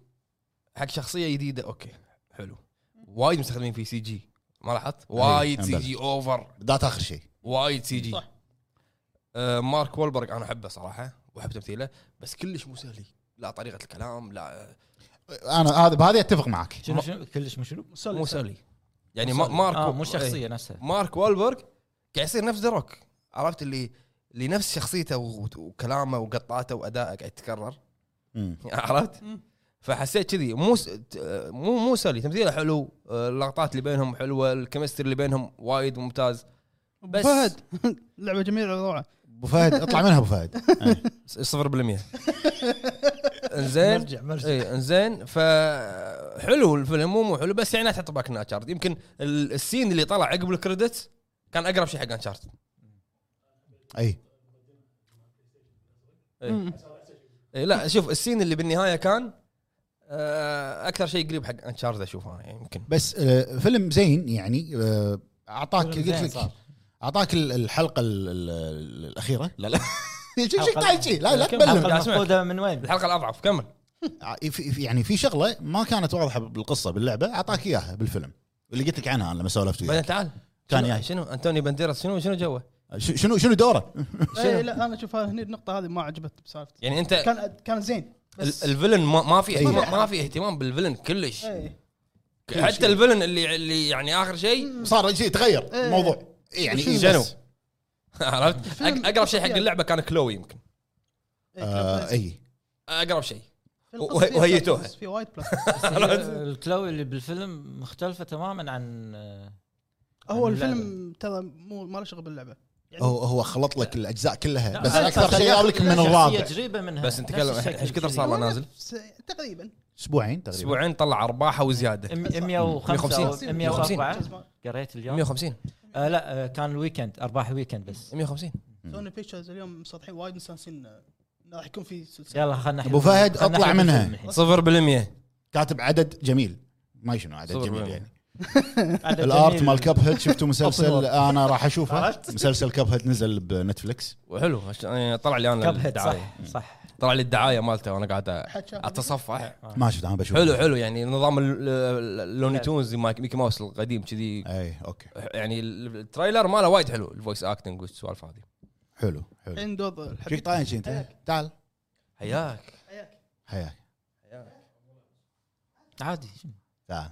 [SPEAKER 1] حق شخصيه جديده اوكي حلو وايد مستخدمين في سي جي ما لاحظت
[SPEAKER 3] إيه،
[SPEAKER 1] وايد سي
[SPEAKER 2] أمبل.
[SPEAKER 1] جي اوفر
[SPEAKER 2] بدات اخر شيء
[SPEAKER 1] وايد سي جي
[SPEAKER 4] صح.
[SPEAKER 1] آه مارك وولبرغ انا احبه صراحه واحب تمثيله بس كلش مو سهل لا طريقه الكلام لا
[SPEAKER 2] انا هذا بهذه اتفق معك
[SPEAKER 3] شنو شنو كلش مو شنو
[SPEAKER 1] مو سهل يعني ما-
[SPEAKER 3] مصلي.
[SPEAKER 1] مارك
[SPEAKER 3] آه مو
[SPEAKER 1] إيه.
[SPEAKER 3] الشخصيه نفسها
[SPEAKER 1] مارك والبرغ قاعد يصير نفس دروك عرفت اللي اللي نفس شخصيته و- وكلامه وقطاته وادائه قاعد يتكرر
[SPEAKER 2] مم.
[SPEAKER 1] عرفت؟
[SPEAKER 4] مم.
[SPEAKER 1] فحسيت كذي مو س- ت- آه، مو مو سلي تمثيله حلو آه، اللقطات اللي بينهم حلوه الكيمستري اللي بينهم وايد ممتاز بس-
[SPEAKER 4] بس فهد لعبه جميله روعه
[SPEAKER 2] ابو فهد اطلع منها ابو فهد إيه.
[SPEAKER 1] ص- 0% انزين
[SPEAKER 5] مرجع مرجع
[SPEAKER 2] إيه.
[SPEAKER 1] اي انزين فحلو الفيلم مو مو إيه، حلو بس يعني لا تحط باك انشارت يمكن ال- السين اللي طلع عقب الكريدت كان اقرب شيء حق انشارت
[SPEAKER 2] اي
[SPEAKER 1] إيه. إيه لا شوف السين اللي بالنهايه كان آه، اكثر شيء قريب حق انشارد اشوفه يعني يمكن
[SPEAKER 2] بس آه، فيلم زين يعني آه، اعطاك
[SPEAKER 5] فيلم
[SPEAKER 2] قلت
[SPEAKER 5] زين
[SPEAKER 2] لك
[SPEAKER 5] صار.
[SPEAKER 2] اعطاك ال- الحلقه ال- ال- الاخيره لا لا شو- شو
[SPEAKER 3] حلقة-
[SPEAKER 2] قاعد شي؟ لا لا
[SPEAKER 3] كم
[SPEAKER 1] تبلم.
[SPEAKER 2] تبلم
[SPEAKER 3] حلقة مفقودة من وين؟
[SPEAKER 1] الحلقه الاضعف كمل
[SPEAKER 2] ع- في- في- يعني في شغله ما كانت واضحه بالقصه باللعبه اعطاك اياها بالفيلم اللي قلت لك عنها انا لما سولفت وياك
[SPEAKER 1] بعدين تعال
[SPEAKER 2] كان
[SPEAKER 1] شنو-
[SPEAKER 2] يعني.
[SPEAKER 1] شنو انتوني بانديراس شنو شنو جوه؟
[SPEAKER 2] ش- شنو شنو دوره؟
[SPEAKER 4] اي إيه، لا انا اشوف هني النقطه هذه ما عجبت بسالفتي
[SPEAKER 1] يعني انت ال-
[SPEAKER 4] كان كان زين بس
[SPEAKER 1] الفيلن ما, ما في
[SPEAKER 2] إيه.
[SPEAKER 1] ما, ما في اهتمام بالفيلن كلش
[SPEAKER 4] إيه.
[SPEAKER 1] حتى الفيلن اللي اللي يعني اخر شيء
[SPEAKER 2] صار شيء تغير
[SPEAKER 4] إيه.
[SPEAKER 2] الموضوع يعني
[SPEAKER 1] شنو؟
[SPEAKER 2] إيه
[SPEAKER 1] شنو؟
[SPEAKER 2] بس.
[SPEAKER 1] عرفت؟ أق- اقرب شيء حق اللعبه كان كلوي يمكن
[SPEAKER 4] إيه، كان
[SPEAKER 2] آه،
[SPEAKER 4] بلاس.
[SPEAKER 2] اي
[SPEAKER 1] اقرب شيء
[SPEAKER 4] في القصة
[SPEAKER 1] وهي-
[SPEAKER 4] فيها
[SPEAKER 1] وهيتوها.
[SPEAKER 4] بلاس، في وايد بلس
[SPEAKER 3] إيه. الكلاوي اللي بالفيلم مختلفة تماما عن
[SPEAKER 4] هو
[SPEAKER 3] عن
[SPEAKER 4] الفيلم ترى مو ما له شغل باللعبه يعني
[SPEAKER 2] هو هو خلط لك الاجزاء كلها
[SPEAKER 3] لا،
[SPEAKER 2] بس
[SPEAKER 3] أنا
[SPEAKER 2] اكثر شيء جاب لك من
[SPEAKER 3] شخصية
[SPEAKER 2] الرابع
[SPEAKER 3] قريبة منها
[SPEAKER 1] بس انت كلام ايش كثر صار له نازل؟
[SPEAKER 4] س- تقريبا
[SPEAKER 2] اسبوعين تقريبا
[SPEAKER 1] اسبوعين طلع ارباحه وزياده
[SPEAKER 3] 105
[SPEAKER 1] 150.
[SPEAKER 3] 104 قريت اليوم
[SPEAKER 1] 150
[SPEAKER 3] آه لا آه كان الويكند ارباح ويكند بس
[SPEAKER 1] 150
[SPEAKER 4] سوني بيكتشرز اليوم مسطحين وايد مستانسين آه، انه راح يكون في سلسله
[SPEAKER 3] يلا خلنا
[SPEAKER 2] أبو فهد، أطلع منها.
[SPEAKER 1] 0%
[SPEAKER 2] كاتب عدد جميل ما شنو عدد
[SPEAKER 1] صفر
[SPEAKER 2] جميل
[SPEAKER 1] بالمية.
[SPEAKER 2] يعني الارت مال كب هيد شفتوا مسلسل
[SPEAKER 3] أبيض.
[SPEAKER 2] انا راح اشوفه
[SPEAKER 3] عرفت؟
[SPEAKER 2] مسلسل كب هيد نزل بنتفلكس
[SPEAKER 1] وحلو عش- يعني طلع لي انا
[SPEAKER 3] كب هيد
[SPEAKER 1] الدعايه
[SPEAKER 3] صح صح
[SPEAKER 1] طلع لي الدعايه مالته وانا قاعد أ-
[SPEAKER 4] حد شافه؟
[SPEAKER 5] إيه.
[SPEAKER 1] اتصفح
[SPEAKER 2] ما شفت انا بشوفه
[SPEAKER 1] حلو حلو يعني نظام ال- ال- اللوني تونز مايك- ميكي ماوس القديم كذي
[SPEAKER 5] إيه.
[SPEAKER 2] اي اوكي
[SPEAKER 1] يعني ال- التريلر ماله وايد حلو الفويس اكتنج والسوالف هذه
[SPEAKER 2] حلو حلو
[SPEAKER 4] الحين دور
[SPEAKER 2] فيك
[SPEAKER 4] الحبيب
[SPEAKER 2] طاين شي انت
[SPEAKER 4] حياك.
[SPEAKER 2] تعال
[SPEAKER 1] حياك
[SPEAKER 2] حياك
[SPEAKER 3] عادي
[SPEAKER 2] تعال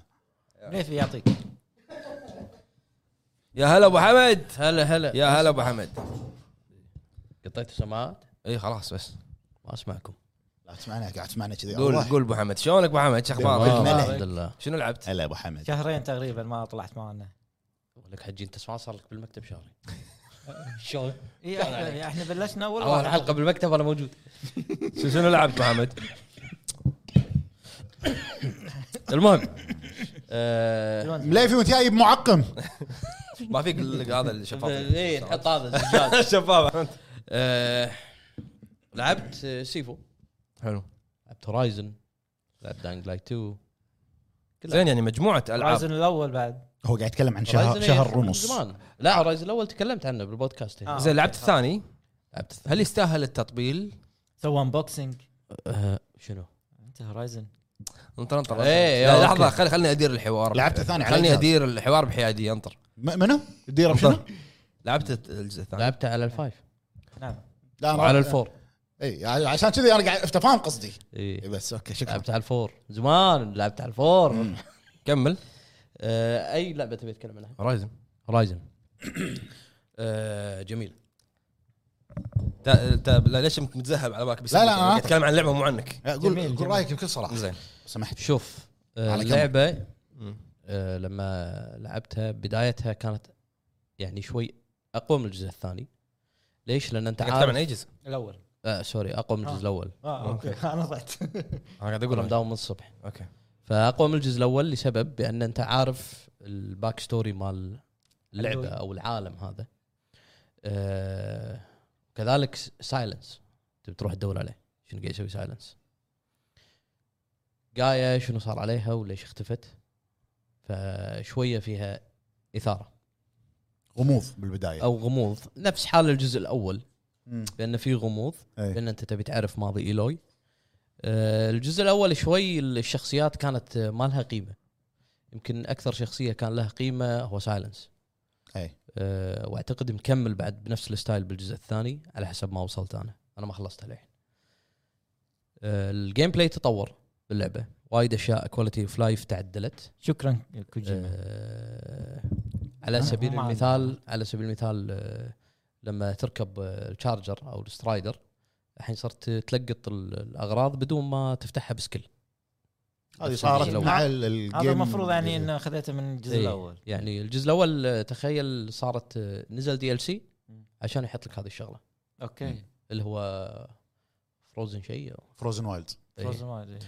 [SPEAKER 2] آه.
[SPEAKER 3] كيف يعطيك
[SPEAKER 1] يا هلا ابو حمد
[SPEAKER 5] هلا هلا
[SPEAKER 1] يا هلا ابو حمد
[SPEAKER 5] قطيت السماعات
[SPEAKER 1] اي خلاص بس
[SPEAKER 5] ما اسمعكم
[SPEAKER 2] لا تسمعنا قاعد تسمعنا كذي
[SPEAKER 1] قول
[SPEAKER 2] الله.
[SPEAKER 1] قول ابو حمد شلونك ابو حمد شو اخبارك
[SPEAKER 2] بالملك.
[SPEAKER 5] الحمد لله
[SPEAKER 1] شنو لعبت؟
[SPEAKER 2] هلا ابو حمد
[SPEAKER 3] شهرين تقريبا ما طلعت معنا
[SPEAKER 5] لك حجي انت ما صار لك بالمكتب شهري شلون؟
[SPEAKER 3] إيه احنا احنا بلشنا اول
[SPEAKER 5] اول
[SPEAKER 3] واحد.
[SPEAKER 5] حلقه بالمكتب انا موجود
[SPEAKER 1] شو- شنو لعبت ابو حمد؟ المهم
[SPEAKER 5] آه،
[SPEAKER 2] مليفي وانت جايب معقم
[SPEAKER 1] ما فيك ال- هذا الشفاف
[SPEAKER 5] ايه تحط هذا الزجاج
[SPEAKER 1] الشفاف
[SPEAKER 5] آه، لعبت آه، سيفو
[SPEAKER 1] حلو
[SPEAKER 5] لعبت هورايزن لعبت داينج لايت 2
[SPEAKER 1] زين يعني مجموعه العاب
[SPEAKER 3] الرايزن الاول بعد
[SPEAKER 2] هو قاعد يتكلم عن شهر
[SPEAKER 5] هورايزن هي
[SPEAKER 2] شهر
[SPEAKER 5] إيه، من
[SPEAKER 2] ونص
[SPEAKER 5] زمان لا هورايزن الاول تكلمت عنه بالبودكاست هنا.
[SPEAKER 3] آه.
[SPEAKER 1] زين لعبت الثاني
[SPEAKER 5] لعبت الثاني.
[SPEAKER 1] هل يستاهل التطبيل؟
[SPEAKER 3] سوى انبوكسينج
[SPEAKER 5] آه، شنو؟
[SPEAKER 3] انت هورايزن
[SPEAKER 1] انطر انطر
[SPEAKER 5] إيه،
[SPEAKER 1] لا،
[SPEAKER 5] أوكي.
[SPEAKER 1] لحظه خل خلني ادير الحوار
[SPEAKER 2] لعبت الثاني على
[SPEAKER 1] خلني
[SPEAKER 2] الجهاز.
[SPEAKER 1] ادير الحوار بحيادي انطر
[SPEAKER 2] م- منو؟ الديره شنو؟
[SPEAKER 1] لعبت الجزء الثاني
[SPEAKER 5] لعبته على الفايف
[SPEAKER 2] آه،
[SPEAKER 3] نعم
[SPEAKER 2] لا أنا-
[SPEAKER 5] وعلى الفور
[SPEAKER 2] اي عشان كذي انا قاعد أفت- فاهم قصدي
[SPEAKER 5] إيه.
[SPEAKER 2] بس اوكي شكرا
[SPEAKER 5] لعبت على الفور زمان لعبت على الفور
[SPEAKER 2] مم.
[SPEAKER 1] كمل
[SPEAKER 5] آه، اي لعبه تبي اتكلم عنها؟
[SPEAKER 1] رايزن
[SPEAKER 5] هورايزن جميل
[SPEAKER 1] آه، تا تا لا ليش مت- متذهب على بالك بس
[SPEAKER 2] لا، لا، أنا
[SPEAKER 1] قاعد
[SPEAKER 2] آخذ.
[SPEAKER 1] اتكلم عن لعبه مو عنك
[SPEAKER 2] لا، قول
[SPEAKER 3] جميل،
[SPEAKER 2] قول
[SPEAKER 3] جميل.
[SPEAKER 2] رايك بكل صراحه
[SPEAKER 1] زين
[SPEAKER 2] سمحت
[SPEAKER 5] شوف آه،
[SPEAKER 2] على كم؟
[SPEAKER 5] اللعبه
[SPEAKER 1] مم.
[SPEAKER 5] آه، لما لعبتها بدايتها كانت يعني شوي اقوى من الجزء الثاني ليش؟ لان انت
[SPEAKER 1] قاعد اتكلم عن
[SPEAKER 5] عارف
[SPEAKER 1] اي جزء؟
[SPEAKER 3] الاول
[SPEAKER 5] آه سوري اقوى من
[SPEAKER 3] آه.
[SPEAKER 5] الجزء الاول
[SPEAKER 3] اه اوكي انا ضعت
[SPEAKER 1] انا قاعد
[SPEAKER 5] اقول
[SPEAKER 1] اقول
[SPEAKER 5] مداوم من الصبح
[SPEAKER 1] اوكي
[SPEAKER 5] فاقوى من الجزء الاول لسبب بان انت عارف الباك ستوري مال اللعبه
[SPEAKER 3] أيوة.
[SPEAKER 5] او العالم هذا آه كذلك سايلنس تبي تروح تدور عليه شنو قاعد يسوي سايلنس قايا شنو صار عليها وليش اختفت فشويه فيها اثاره
[SPEAKER 2] غموض بالبدايه
[SPEAKER 5] او غموض نفس حال الجزء الاول
[SPEAKER 2] مم.
[SPEAKER 5] بان في غموض
[SPEAKER 2] إي.
[SPEAKER 5] لان انت تبي تعرف ماضي ايلوي آه، الجزء الاول شوي الشخصيات كانت آه، ما لها قيمه يمكن اكثر شخصيه كان لها قيمه هو سايلنس
[SPEAKER 2] أي.
[SPEAKER 5] أه واعتقد مكمل بعد بنفس الستايل بالجزء الثاني على حسب ما وصلت انا انا ما خلصتها للحين أه الجيم بلاي تطور باللعبه وايد اشياء كواليتي اوف لايف تعدلت
[SPEAKER 3] شكرا كوجيما
[SPEAKER 5] آه،
[SPEAKER 3] آه،
[SPEAKER 5] على سبيل
[SPEAKER 3] ما
[SPEAKER 5] المثال
[SPEAKER 3] عندنا.
[SPEAKER 5] على سبيل المثال آه، لما تركب آه، الشارجر او السترايدر الحين صرت تلقط ال- الاغراض بدون ما تفتحها بسكيل
[SPEAKER 2] هذه صارت
[SPEAKER 5] الجزء
[SPEAKER 2] مع ال-
[SPEAKER 3] الأول.
[SPEAKER 2] الجيم
[SPEAKER 3] هذا المفروض يعني انه خذيته من الجزء
[SPEAKER 5] إيه.
[SPEAKER 3] الاول
[SPEAKER 5] يعني الجزء الاول آه، تخيل صارت آه، نزل دي ال سي
[SPEAKER 3] مم.
[SPEAKER 5] عشان يحط لك هذه الشغله
[SPEAKER 3] اوكي
[SPEAKER 5] اللي هو فروزن شيء أو-
[SPEAKER 2] فروزن وايلد
[SPEAKER 5] إيه.
[SPEAKER 3] فروزن وايد، إيه.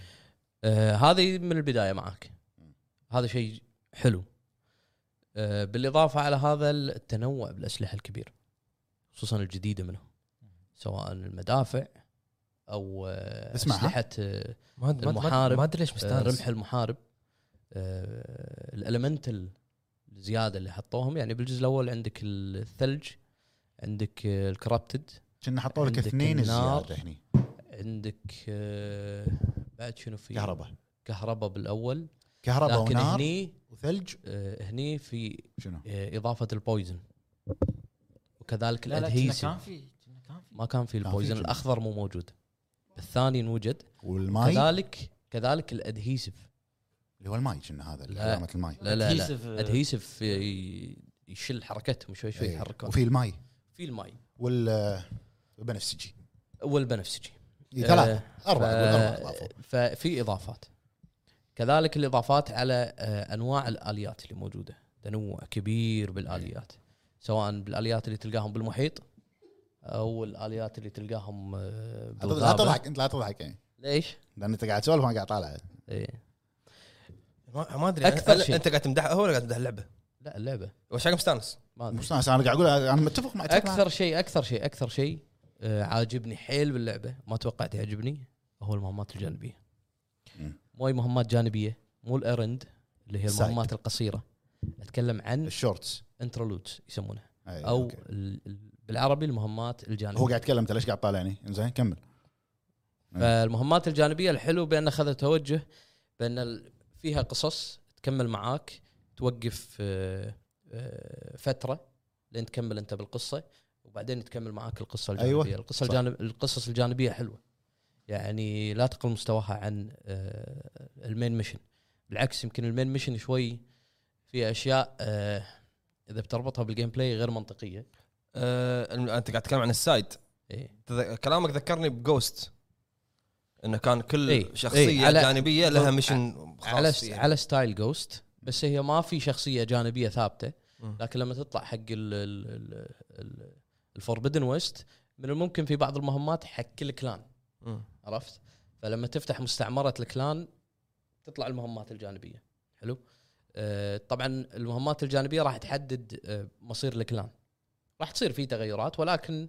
[SPEAKER 5] آه، هذه من البدايه معك
[SPEAKER 2] مم.
[SPEAKER 5] هذا شيء حلو آه، بالاضافه على هذا التنوع بالاسلحه الكبير خصوصا الجديده منهم سواء المدافع او آه،
[SPEAKER 2] اسمعها.
[SPEAKER 5] اسلحه آه،
[SPEAKER 1] ما أد- ما أد- ما أد-
[SPEAKER 5] المحارب،
[SPEAKER 1] ما ادري ليش
[SPEAKER 5] آه،
[SPEAKER 1] مستانس
[SPEAKER 5] رمح المحارب آه، الالمنتال الزياده اللي حطوهم يعني بالجزء الاول عندك الثلج عندك آه، الكرابتد
[SPEAKER 2] كنا حطوا لك
[SPEAKER 5] عندك
[SPEAKER 2] اثنين
[SPEAKER 5] النار.
[SPEAKER 2] زياده هني
[SPEAKER 5] عندك آه، بعد شنو في
[SPEAKER 2] كهرباء
[SPEAKER 5] كهرباء بالاول
[SPEAKER 2] كهرباء
[SPEAKER 5] إيه. لكن
[SPEAKER 2] ونار
[SPEAKER 5] هني
[SPEAKER 2] وثلج
[SPEAKER 5] آه، هني في
[SPEAKER 2] شنو؟
[SPEAKER 5] آه، اضافه البويزن وكذلك
[SPEAKER 3] لا لا كنا كان
[SPEAKER 5] الادهيسيف
[SPEAKER 3] في كنا كان في
[SPEAKER 5] ما كان في
[SPEAKER 2] كان في
[SPEAKER 5] البويزن
[SPEAKER 2] كنا.
[SPEAKER 5] الاخضر مو موجود الثاني انوجد
[SPEAKER 2] والماي اللي
[SPEAKER 5] كذلك كذلك الادهيسيف
[SPEAKER 2] هو الماي كنا هذا اللي
[SPEAKER 5] لا.
[SPEAKER 2] علامه الماي
[SPEAKER 5] لا لا لا
[SPEAKER 3] Adhesive، آه،
[SPEAKER 5] ادهيسيف ي- يشل حركتهم شوي شوي
[SPEAKER 2] إيه.
[SPEAKER 5] يتحركون
[SPEAKER 2] وفي الماي
[SPEAKER 5] في الماي
[SPEAKER 2] والبنفسجي
[SPEAKER 5] والبنفسجي
[SPEAKER 2] إيه، ثلاثة
[SPEAKER 5] آه،
[SPEAKER 2] أربعة أربعة
[SPEAKER 5] ف-
[SPEAKER 2] أضافوا.
[SPEAKER 5] ففي اضافات كذلك الاضافات على آه، انواع الاليات اللي موجوده تنوع كبير بالاليات سواء بالاليات اللي تلقاهم بالمحيط او الاليات اللي تلقاهم آه،
[SPEAKER 2] لا
[SPEAKER 5] بالغابه
[SPEAKER 2] تضحك أنت لا تضحك يعني
[SPEAKER 5] ليش؟
[SPEAKER 2] لأن أنت قاعد تسولف وأنا قاعد طالع
[SPEAKER 5] إيه.
[SPEAKER 1] ما ما ادري
[SPEAKER 5] أكثر
[SPEAKER 1] أنا- أنا-
[SPEAKER 5] شيء.
[SPEAKER 1] انت قاعد تمدح هو ولا قاعد تمدح اللعبه
[SPEAKER 5] لا اللعبه
[SPEAKER 1] وش حق مستانس
[SPEAKER 5] ما أدري.
[SPEAKER 2] مش ناس أنا قاعد أقول أنا متفق مع
[SPEAKER 5] اكثر شيء اكثر شيء اكثر شيء آه، عاجبني حيل باللعبه ما توقعت يعجبني هو المهمات الجانبيه
[SPEAKER 2] مم.
[SPEAKER 5] مو اي مهمات جانبيه مو الايرند اللي هي
[SPEAKER 2] Side.
[SPEAKER 5] المهمات القصيره اتكلم عن
[SPEAKER 2] الشورتس
[SPEAKER 5] انترلودز يسمونها
[SPEAKER 2] أي،
[SPEAKER 5] او
[SPEAKER 2] إيه، أوكي.
[SPEAKER 5] ال- ال- بالعربي المهمات الجانبيه
[SPEAKER 2] هو قاعد يتكلم أنت ليش قاعد طالعني؟ زين كمل إيه،
[SPEAKER 5] فالمهمات الجانبيه الحلو بان اخذت توجه بان ال- فيها قصص تكمل معاك توقف آه، آه، فتره لين تكمل انت بالقصه وبعدين تكمل معاك القصه الجانبيه
[SPEAKER 2] أيوة، صح.
[SPEAKER 5] القصه الجانب القصص الجانبيه حلوه يعني لا تقل مستواها عن آه، المين ميشن بالعكس يمكن المين ميشن شوي في اشياء آه، اذا بتربطها بالجيم بلاي غير منطقيه
[SPEAKER 1] آه، الم- انت قاعد تتكلم عن السايد
[SPEAKER 5] إيه.
[SPEAKER 1] تذ- كلامك ذكرني بجوست انه كان كل
[SPEAKER 5] إيه،
[SPEAKER 1] شخصيه
[SPEAKER 5] إيه، على-
[SPEAKER 1] جانبيه لها ميشن خاص
[SPEAKER 5] على
[SPEAKER 1] فيها.
[SPEAKER 5] على ستايل جوست بس هي ما في شخصيه جانبيه ثابته
[SPEAKER 1] مم.
[SPEAKER 5] لكن لما تطلع حق ال- ال- ال- ال- الفوربدن ويست من الممكن في بعض المهمات حق الكلان
[SPEAKER 1] مم.
[SPEAKER 5] عرفت فلما تفتح مستعمره الكلان تطلع المهمات الجانبيه حلو آه، طبعا المهمات الجانبيه راح تحدد آه، مصير الكلان راح تصير في تغيرات ولكن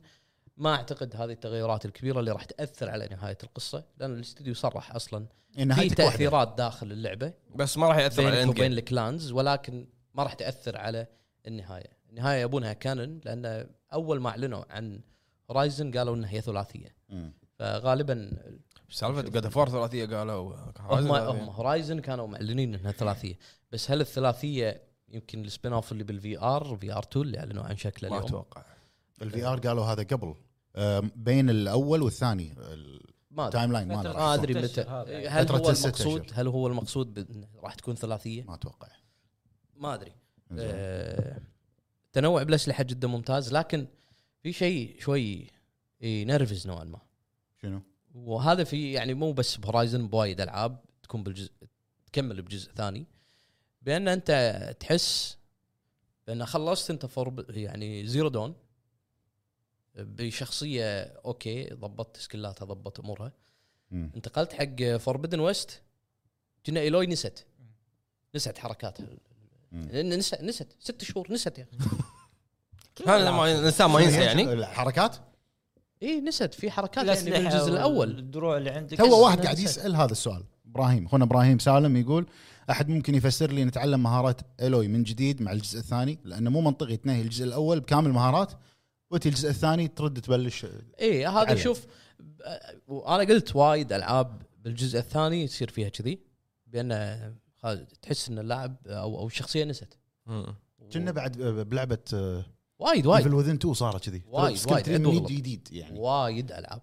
[SPEAKER 5] ما اعتقد هذه التغيرات الكبيره اللي راح تاثر على نهايه القصه لان الاستوديو صرح اصلا
[SPEAKER 2] إن
[SPEAKER 5] في
[SPEAKER 2] نهايتك واحدة.
[SPEAKER 5] تاثيرات داخل اللعبه
[SPEAKER 1] بس ما راح ياثر على
[SPEAKER 5] بينك
[SPEAKER 1] الاند
[SPEAKER 5] وبين
[SPEAKER 1] جيم
[SPEAKER 5] الكلانز ولكن ما راح تاثر على النهايه، النهايه يبونها كانن لان اول ما اعلنوا عن هورايزن قالوا انها هي ثلاثيه
[SPEAKER 2] مم.
[SPEAKER 5] فغالبا
[SPEAKER 1] إيش سالفه جاد اوف وار ثلاثيه قالوا
[SPEAKER 5] هم هم هورايزن كانوا معلنين انها ثلاثيه بس هل الثلاثيه يمكن السبين اوف اللي بالفي ار في ار 2 اللي اعلنوا عن شكله
[SPEAKER 1] ما
[SPEAKER 5] اليوم
[SPEAKER 1] اتوقع
[SPEAKER 2] الفي ار قالوا هذا قبل آم، بين الاول والثاني
[SPEAKER 5] ما ادري
[SPEAKER 2] التايم لاين ما
[SPEAKER 5] ما
[SPEAKER 2] أدري.
[SPEAKER 5] ادري
[SPEAKER 3] ستة
[SPEAKER 5] متى
[SPEAKER 3] أشهر هذا.
[SPEAKER 5] هل
[SPEAKER 2] فترة
[SPEAKER 5] هو
[SPEAKER 2] الستة
[SPEAKER 5] المقصود
[SPEAKER 2] أشهر.
[SPEAKER 5] هل هو المقصود بأن راح تكون ثلاثيه؟
[SPEAKER 2] ما اتوقع
[SPEAKER 5] ما ادري
[SPEAKER 2] زين.
[SPEAKER 5] آه، تنوع بالاسلحه جدا ممتاز لكن في شيء شوي ينرفز نوعا ما
[SPEAKER 2] شنو؟
[SPEAKER 5] وهذا في يعني مو بس بهورايزن بوايد العاب تكون بالجزء تكمل بجزء ثاني بان انت تحس بان خلصت انت فور يعني زيرو دون بشخصيه اوكي ضبطت سكلاتها ضبطت امورها
[SPEAKER 2] مم.
[SPEAKER 5] انتقلت حق فوربدن ويست كنا ايلوي نست نست حركاتها
[SPEAKER 2] مم.
[SPEAKER 5] لأن نست نست ست شهور نست يا اخي
[SPEAKER 1] هذا ما- الانسان ما ينسى يعني
[SPEAKER 2] الحركات
[SPEAKER 5] اي نست إيه، في حركات يعني
[SPEAKER 3] الأسلحة
[SPEAKER 5] بالجزء الاول
[SPEAKER 3] الدروع اللي عندك
[SPEAKER 2] تو واحد
[SPEAKER 3] أنا
[SPEAKER 2] قاعد
[SPEAKER 3] نسيت.
[SPEAKER 2] يسال هذا السؤال ابراهيم اخونا ابراهيم سالم يقول احد ممكن يفسر لي نتعلم مهارات الوي من جديد مع الجزء الثاني لانه مو منطقي تنهي الجزء الاول بكامل مهارات وتي الجزء الثاني ترد تبلش
[SPEAKER 5] اي إيه، هذا
[SPEAKER 2] تعلم.
[SPEAKER 5] شوف آه، وانا قلت وايد العاب بالجزء الثاني تصير فيها كذي بان خلاص تحس ان اللاعب او او الشخصيه نست
[SPEAKER 1] مم.
[SPEAKER 2] كنا بعد آه، بلعبه
[SPEAKER 5] وايد
[SPEAKER 2] ايفل
[SPEAKER 5] وايد
[SPEAKER 2] وذن 2 صارت كذي
[SPEAKER 5] وايد،
[SPEAKER 2] Skill
[SPEAKER 5] وايد،
[SPEAKER 2] Tree
[SPEAKER 5] عد
[SPEAKER 2] من
[SPEAKER 5] وغلط.
[SPEAKER 2] جديد يعني
[SPEAKER 5] وايد العاب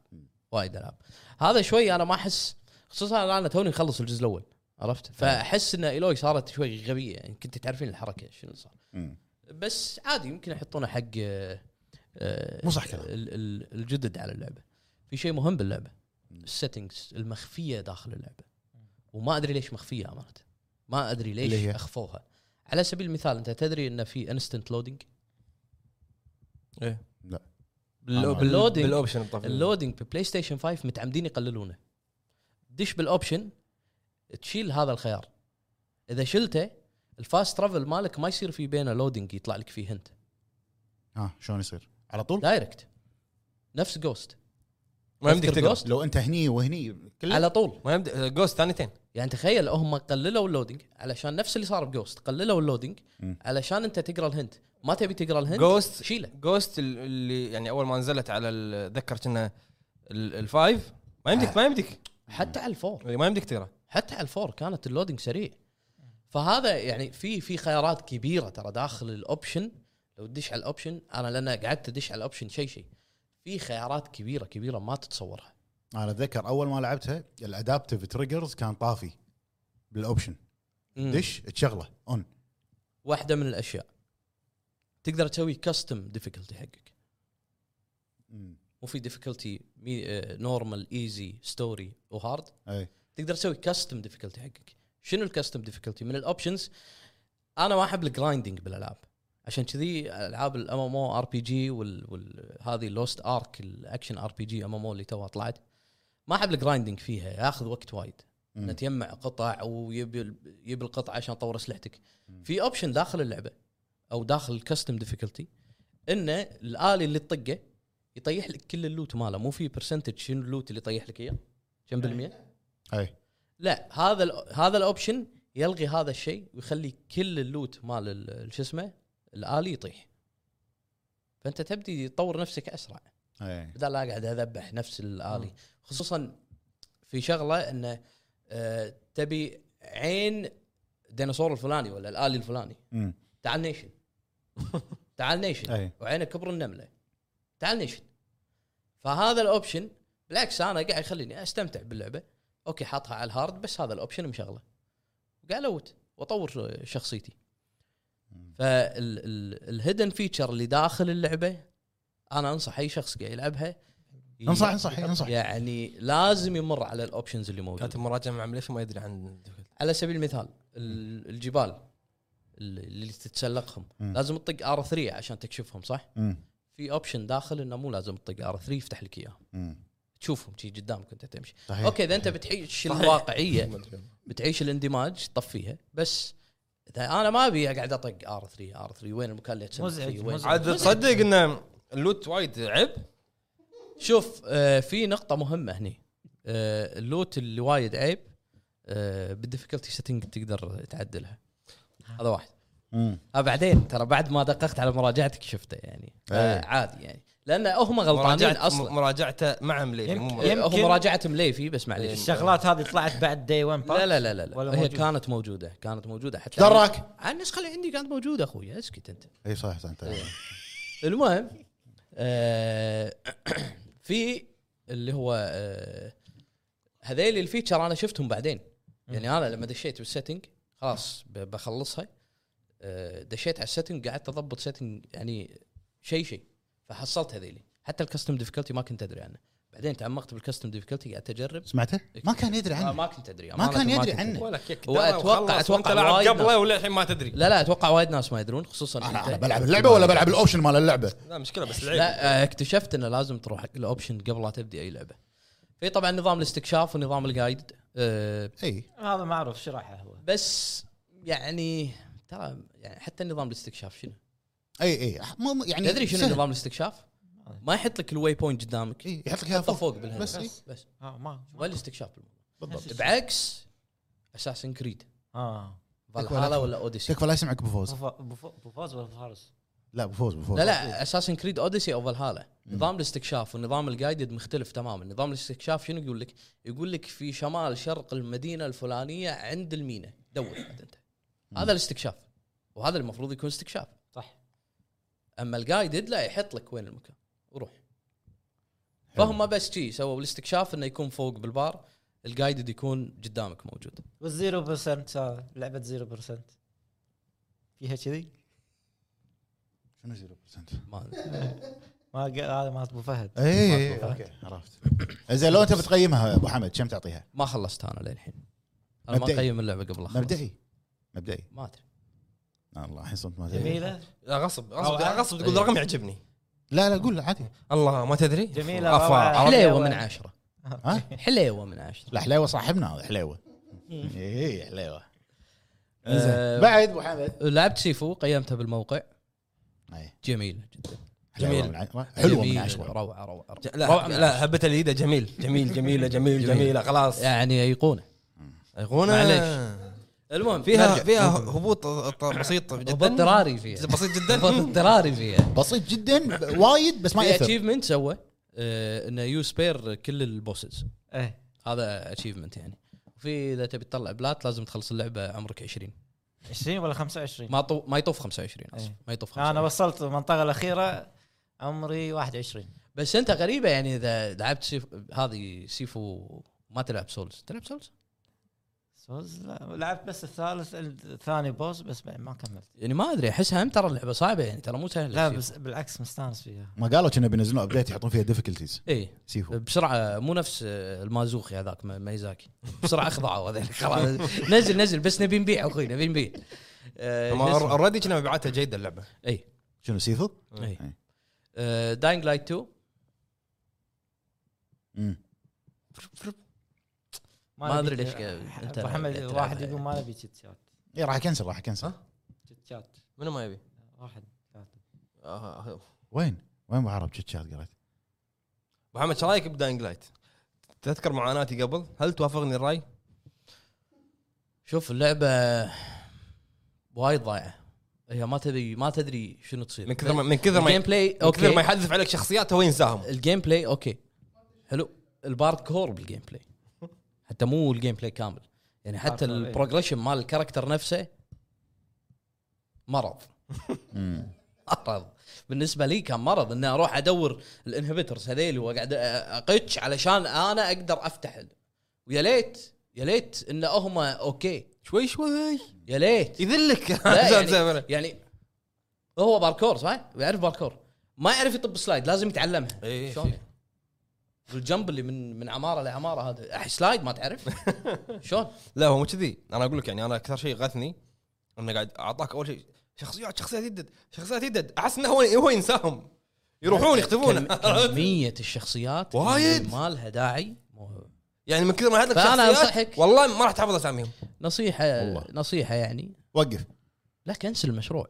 [SPEAKER 5] وايد العاب هذا شوي انا ما احس خصوصا أنا- انا توني مخلص الجزء الاول عرفت فاحس ان ايلوي صارت شوي غبيه يعني كنت تعرفين الحركه شنو صار
[SPEAKER 2] مم.
[SPEAKER 5] بس عادي يمكن يحطونه حق آه، آه،
[SPEAKER 2] مو صح كلام.
[SPEAKER 5] ال- ال- الجدد على اللعبه في شيء مهم باللعبه
[SPEAKER 2] مم.
[SPEAKER 5] السيتنجز المخفيه داخل اللعبه وما ادري ليش مخفيه امانه ما ادري ليش
[SPEAKER 2] اللي هي؟
[SPEAKER 5] اخفوها على سبيل المثال انت تدري ان في انستنت لودنج
[SPEAKER 1] باللو-
[SPEAKER 2] آه.
[SPEAKER 1] باللو-
[SPEAKER 5] Loading.
[SPEAKER 1] بالاوبشن الطفل
[SPEAKER 5] اللودنج ببلاي ستيشن 5 متعمدين يقللونه دش بالاوبشن تشيل هذا الخيار اذا شلته الفاست ترافل مالك ما يصير في بينه لودنج يطلع لك فيه انت
[SPEAKER 2] ها شلون يصير؟ على طول؟
[SPEAKER 5] دايركت نفس جوست
[SPEAKER 1] ما يمديك
[SPEAKER 5] تذكر
[SPEAKER 1] تقرا
[SPEAKER 5] Ghost؟
[SPEAKER 2] لو انت هني وهني كله
[SPEAKER 5] على طول
[SPEAKER 1] ما يمديك آه، جوست ثانيتين
[SPEAKER 5] يعني تخيل هم قللوا اللودنج علشان نفس اللي صار بجوست قللوا اللودنج
[SPEAKER 2] مم.
[SPEAKER 5] علشان انت تقرا الهنت ما تبي تقرا الهنت
[SPEAKER 1] Ghost.
[SPEAKER 5] شيله
[SPEAKER 1] جوست اللي يعني اول ما نزلت على ال- اتذكر كنا ال- الفايف ما
[SPEAKER 5] آه.
[SPEAKER 1] يمديك ما يمديك
[SPEAKER 5] حتى على الفور
[SPEAKER 1] ما يمديك تقرا
[SPEAKER 5] حتى على الفور كانت اللودنج سريع فهذا يعني في في خيارات كبيره ترى داخل الاوبشن لو تدش على الاوبشن انا لان قعدت ادش على الاوبشن شيء شيء في خيارات كبيره كبيره ما تتصورها
[SPEAKER 2] انا اتذكر اول ما لعبتها الادابتيف تريجرز كان طافي بالاوبشن
[SPEAKER 5] مم.
[SPEAKER 2] دش تشغله اون
[SPEAKER 5] واحده من الاشياء تقدر تسوي كاستم ديفيكولتي حقك مو في آه، ديفيكولتي نورمال ايزي ستوري وهارد
[SPEAKER 2] اي
[SPEAKER 5] تقدر تسوي كاستم ديفيكولتي حقك شنو الكاستم ديفيكولتي من الاوبشنز انا ما احب الجرايندنج بالالعاب عشان كذي العاب الام ام او ار بي جي وهذه لوست ارك الاكشن ار بي جي ام ام او اللي توها طلعت ما احب الجرايندنج فيها ياخذ وقت وايد
[SPEAKER 2] مم.
[SPEAKER 5] إنه تجمع قطع ويبي ال- يبي القطع عشان تطور اسلحتك في اوبشن داخل اللعبه او داخل الكاستم ديفيكولتي انه الالي اللي تطقه يطيح لك كل اللوت ماله مو في برسنتج شنو اللوت اللي يطيح لك اياه كم بالميه
[SPEAKER 2] اي
[SPEAKER 5] لا هذا ال هذا الاوبشن يلغي هذا الشيء ويخلي كل اللوت مال ال- ال- شو اسمه الالي يطيح فانت تبدي تطور نفسك اسرع
[SPEAKER 2] اي
[SPEAKER 5] بدل لا اقعد اذبح نفس الالي خصوصا في شغله انه آه، تبي عين الديناصور الفلاني ولا الالي الفلاني
[SPEAKER 2] مم.
[SPEAKER 5] تعال نيشن تعال نيشن
[SPEAKER 2] اي
[SPEAKER 5] وعينه كبر النمله تعال نيشن فهذا الاوبشن بالعكس انا قاعد يخليني استمتع باللعبه اوكي حاطها على الهارد بس هذا الاوبشن مشغله قاعد اوت واطور شخصيتي فالهيدن فيتشر اللي داخل اللعبه انا انصح اي شخص قاعد يلعبها ي-
[SPEAKER 2] انصح انصح انصح
[SPEAKER 5] يعني لازم يمر على الاوبشنز اللي موجوده
[SPEAKER 1] كاتب مراجعه مع ليش ما يدري عن
[SPEAKER 5] على سبيل المثال ال- الجبال اللي اللي تتسلقهم
[SPEAKER 2] مم.
[SPEAKER 5] لازم تطق ار 3 عشان تكشفهم صح؟
[SPEAKER 2] مم.
[SPEAKER 5] في اوبشن داخل انه مو لازم تطق ار 3 يفتح لك اياه
[SPEAKER 2] مم.
[SPEAKER 5] تشوفهم شي قدامك وانت تمشي
[SPEAKER 2] صحيح
[SPEAKER 5] اوكي اذا انت بتعيش الواقعيه بتعيش الاندماج طفيها بس اذا انا ما ابي اقعد اطق ار 3 ار 3 وين المكان اللي اتسلق
[SPEAKER 3] مزعج،
[SPEAKER 5] فيه؟ وين-
[SPEAKER 3] مزعج.
[SPEAKER 1] عاد تصدق انه اللوت وايد عيب
[SPEAKER 5] شوف آه في نقطة مهمة هني آه اللوت اللي وايد عيب آه بالديفيكولتي سيتنج تقدر تعدلها
[SPEAKER 3] نعم.
[SPEAKER 5] هذا واحد
[SPEAKER 2] مم.
[SPEAKER 5] آه بعدين ترى بعد ما دققت على مراجعتك شفته يعني آه
[SPEAKER 2] إيه.
[SPEAKER 5] عادي يعني لان هم غلطانين
[SPEAKER 1] مراجعة
[SPEAKER 5] اصلا
[SPEAKER 1] مراجعته مع مليفي
[SPEAKER 3] يمكن-
[SPEAKER 1] مو
[SPEAKER 5] إيه، هم
[SPEAKER 3] يمكن-
[SPEAKER 5] مراجعة مليفي بس معليش
[SPEAKER 3] الشغلات هذه طلعت بعد دي 1
[SPEAKER 5] لا لا لا لا, لا.
[SPEAKER 3] ولا
[SPEAKER 5] هي
[SPEAKER 3] موجودة؟
[SPEAKER 5] كانت موجودة كانت موجودة حتى
[SPEAKER 2] دراك
[SPEAKER 5] على النسخة اللي عندي كانت موجودة اخوي اسكت انت
[SPEAKER 2] اي صح صح انت
[SPEAKER 5] المهم آه، في اللي هو آه، هذيل الفيتشر انا شفتهم بعدين يعني انا لما دشيت بالسيتنج خلاص ب- بخلصها آه، دشيت على السيتنج قعدت اضبط سيتنج يعني شيء شيء فحصلت هذيلي حتى الكاستم ديفيكولتي ما كنت ادري عنه بعدين تعمقت بالكاستم ديفيكولتي قعدت اجرب
[SPEAKER 2] سمعته؟ ما كان يدري
[SPEAKER 5] آه،
[SPEAKER 2] عنه
[SPEAKER 5] ما كنت ادري
[SPEAKER 2] ما
[SPEAKER 5] أمانة
[SPEAKER 2] كان يدري
[SPEAKER 5] كنت
[SPEAKER 2] عنه.
[SPEAKER 5] أدري.
[SPEAKER 1] ولا كيك
[SPEAKER 5] وأتوقع- أتوقع
[SPEAKER 1] انت لاعب
[SPEAKER 5] وايد
[SPEAKER 1] قبله وللحين ما تدري
[SPEAKER 5] لا لا اتوقع وايد ناس ما يدرون خصوصا
[SPEAKER 2] انا
[SPEAKER 5] أنت-
[SPEAKER 2] انا بلعب اللعبه ولا بلعب الاوبشن مال اللعبه؟
[SPEAKER 1] لا مشكله بس لعيب
[SPEAKER 5] لا آه، اكتشفت انه لازم تروح حق الاوبشن قبل لا تبدي اي لعبه. في طبعا نظام الاستكشاف ونظام الجايد آه،
[SPEAKER 2] اي
[SPEAKER 3] هذا ما اعرف شرحه هو
[SPEAKER 5] بس يعني ترى يعني حتى نظام الاستكشاف شنو؟
[SPEAKER 2] اي اي مو- مو- يعني
[SPEAKER 5] تدري شنو
[SPEAKER 2] سهل.
[SPEAKER 5] نظام الاستكشاف؟ ما يحط لك الواي بوينت قدامك
[SPEAKER 2] اي يحط لك اياها
[SPEAKER 5] يحطه
[SPEAKER 2] فوق
[SPEAKER 5] فوق بالهدف
[SPEAKER 2] بس إي.
[SPEAKER 5] بس بس
[SPEAKER 3] اه ما
[SPEAKER 5] ولا الاستكشاف بالموضوع.
[SPEAKER 2] بالضبط
[SPEAKER 5] بعكس اساسن كريد
[SPEAKER 3] اه
[SPEAKER 5] فالهالا ولا اوديسي
[SPEAKER 2] تكفى لا يسمعك ابو فوز
[SPEAKER 3] بوفا- بوفا- بوفاز ولا فارس
[SPEAKER 2] لا ابو فوز ابو فوز
[SPEAKER 5] لا لا اساسن كريد اوديسي او فالهالا نظام الاستكشاف ونظام الجايدد مختلف تماما نظام الاستكشاف شنو يقول لك يقول لك في شمال شرق المدينه الفلانيه عند المينا دور عاد انت هذا الاستكشاف وهذا المفروض يكون استكشاف
[SPEAKER 3] صح
[SPEAKER 5] اما الجايدد لا يحط لك وين المكان وروح
[SPEAKER 2] حلو.
[SPEAKER 5] فهم بس شي سووا الاستكشاف انه يكون فوق بالبار الجايدد يكون قدامك موجود
[SPEAKER 3] والزيرو برسنت آه، لعبه زيرو برسنت فيها كذي
[SPEAKER 2] شنو 0%؟
[SPEAKER 5] ما أدري.
[SPEAKER 3] ما قا- هذا مالت ابو فهد
[SPEAKER 2] اي اي اوكي عرفت زين لو انت بتقيمها يا ابو حمد كم تعطيها؟
[SPEAKER 5] ما خلصت انا للحين انا ما
[SPEAKER 2] مبدئي.
[SPEAKER 5] اقيم اللعبه قبل أخلص.
[SPEAKER 2] مبدئي مبدئي
[SPEAKER 5] ما ادري
[SPEAKER 2] آه، الله الحين صمت ما تدري
[SPEAKER 3] جميله
[SPEAKER 1] لا غصب غصب
[SPEAKER 3] روعة.
[SPEAKER 1] غصب تقول
[SPEAKER 5] إيه.
[SPEAKER 1] رقم يعجبني
[SPEAKER 2] لا لا قول عادي
[SPEAKER 1] الله ما تدري
[SPEAKER 3] جميلة،
[SPEAKER 1] أفا،
[SPEAKER 3] روعة.
[SPEAKER 1] عرفت؟
[SPEAKER 5] حليوه من عشره
[SPEAKER 2] ها
[SPEAKER 5] حليوه من عشره
[SPEAKER 2] لا حليوه صاحبنا إيه، هذا حليوه اي حليوه
[SPEAKER 5] آه،
[SPEAKER 2] زين. بعد ابو حمد
[SPEAKER 5] لعبت سيفو قيمتها بالموقع
[SPEAKER 2] أي.
[SPEAKER 5] جميله جدا
[SPEAKER 1] جميل.
[SPEAKER 2] حلوة إيه، من ع- حلوه من
[SPEAKER 5] جميلة،
[SPEAKER 2] عشرة
[SPEAKER 5] روعه روعه, روعة.
[SPEAKER 1] ج-
[SPEAKER 5] روعة
[SPEAKER 1] لا
[SPEAKER 5] من
[SPEAKER 1] لا هبت اليده جميل جميل جميله جميل جميله خلاص
[SPEAKER 5] يعني ايقونه
[SPEAKER 1] ايقونه
[SPEAKER 5] معليش. المهم
[SPEAKER 1] فيها
[SPEAKER 5] نرجع.
[SPEAKER 1] فيها هبوط بسيط جدا
[SPEAKER 5] هبوط اضطراري فيها
[SPEAKER 1] بسيط جدا
[SPEAKER 5] هبوط اضطراري فيها
[SPEAKER 2] بسيط جدا ب- وايد بس ما
[SPEAKER 5] في
[SPEAKER 2] ياثر
[SPEAKER 5] اتشيفمنت سوى آه، انه يو سبير كل البوسز
[SPEAKER 3] ايه
[SPEAKER 5] هذا اتشيفمنت يعني وفي اذا تبي تطلع بلات لازم تخلص اللعبه عمرك 20
[SPEAKER 3] 20 ولا 25
[SPEAKER 5] ما طو... ما يطوف 25 اصلا
[SPEAKER 3] إيه.
[SPEAKER 5] ما يطوف 25
[SPEAKER 3] انا وصلت المنطقه الاخيره عمري 21
[SPEAKER 5] بس انت غريبه يعني اذا لعبت سيف... هذه سيفو ما تلعب سولز تلعب سولز
[SPEAKER 3] سولز لا لعبت بس الثالث الثاني بوس بس بعد ما كملت
[SPEAKER 5] يعني ما ادري احسها هم ترى اللعبه صعبه يعني ترى مو سهله
[SPEAKER 3] لا بس بالعكس مستانس فيها
[SPEAKER 2] ما قالوا كنا بينزلون ابديت يحطون فيها ديفيكولتيز
[SPEAKER 5] اي
[SPEAKER 2] سيفو
[SPEAKER 5] بسرعه إيه، مو نفس آه، المازوخي هذاك ما- ميزاكي بسرعه اخضعوا هذول خلاص نزل نزل بس نبي نبيع اخوي نبي نبيع آه،
[SPEAKER 1] هم
[SPEAKER 5] نزل. إيه،
[SPEAKER 1] اوريدي كنا مبيعاتها جيده اللعبه
[SPEAKER 5] اي
[SPEAKER 2] شنو سيفو؟
[SPEAKER 1] إيه.
[SPEAKER 5] اي داينج لايت 2
[SPEAKER 2] مم.
[SPEAKER 5] ما أدري
[SPEAKER 3] نبي-
[SPEAKER 5] ليش ك- أنت
[SPEAKER 3] ابو حمد
[SPEAKER 5] تلعبها
[SPEAKER 3] واحد
[SPEAKER 5] يعني.
[SPEAKER 3] يقول ما نبي تشيت شات
[SPEAKER 2] اي إيه، راح اكنسل راح اكنسل
[SPEAKER 5] أه.
[SPEAKER 1] ها؟
[SPEAKER 3] تشيت شات
[SPEAKER 1] منو ما يبي؟
[SPEAKER 3] واحد ثلاثة.
[SPEAKER 1] آه،
[SPEAKER 2] وين؟ وين ابو عرب تشات شات قريت؟
[SPEAKER 1] ابو حمد شو رايك بداينج لايت؟ تذكر معاناتي قبل هل توافقني الراي؟
[SPEAKER 5] شوف اللعبه وايد ضايعه هي ما تدري ما تدري شنو تصير
[SPEAKER 1] من كثر ما من كثر ما
[SPEAKER 5] الجيم بلاي
[SPEAKER 1] من كثر ما
[SPEAKER 5] اوكي
[SPEAKER 1] يحذف عليك شخصيات هو ينساهم
[SPEAKER 5] الجيم بلاي اوكي حلو البارد كور بالجيم بلاي حتى مو الجيم بلاي كامل يعني حتى
[SPEAKER 3] بارد كور، إيه.
[SPEAKER 5] البروجريشن مال الكاركتر نفسه مرض
[SPEAKER 2] مم.
[SPEAKER 5] مرض بالنسبه لي كان مرض اني اروح ادور الانهبيترز هذيل واقعد اقتش علشان انا اقدر افتح ال- ويا ليت يا ليت ان هم اوكي
[SPEAKER 1] شوي شوي
[SPEAKER 5] يا ليت
[SPEAKER 1] يذلك
[SPEAKER 5] لا يعني, يعني هو باركور صح؟ يعرف باركور ما يعرف يطب سلايد لازم يتعلمها
[SPEAKER 1] إيه،
[SPEAKER 5] شلون؟
[SPEAKER 1] شي.
[SPEAKER 5] الجنب اللي من من عماره لعماره هذا أح- سلايد ما تعرف شلون؟
[SPEAKER 1] لا هو مو كذي انا اقول لك يعني انا اكثر شيء غثني انه قاعد اعطاك اول شيء شخصيات شخصيات يدد شخصيات يدد احس انه هو هو ينساهم يروحون يختفون
[SPEAKER 5] كم- كميه الشخصيات اللي
[SPEAKER 1] وايد.
[SPEAKER 5] ما لها داعي مو-
[SPEAKER 1] يعني من كثر ما هذا
[SPEAKER 5] فأنا
[SPEAKER 1] شخصيات
[SPEAKER 5] أنصحك.
[SPEAKER 1] والله ما راح تحفظ اساميهم
[SPEAKER 5] نصيحه
[SPEAKER 2] والله.
[SPEAKER 5] نصيحه يعني
[SPEAKER 2] وقف
[SPEAKER 5] لا كنسل المشروع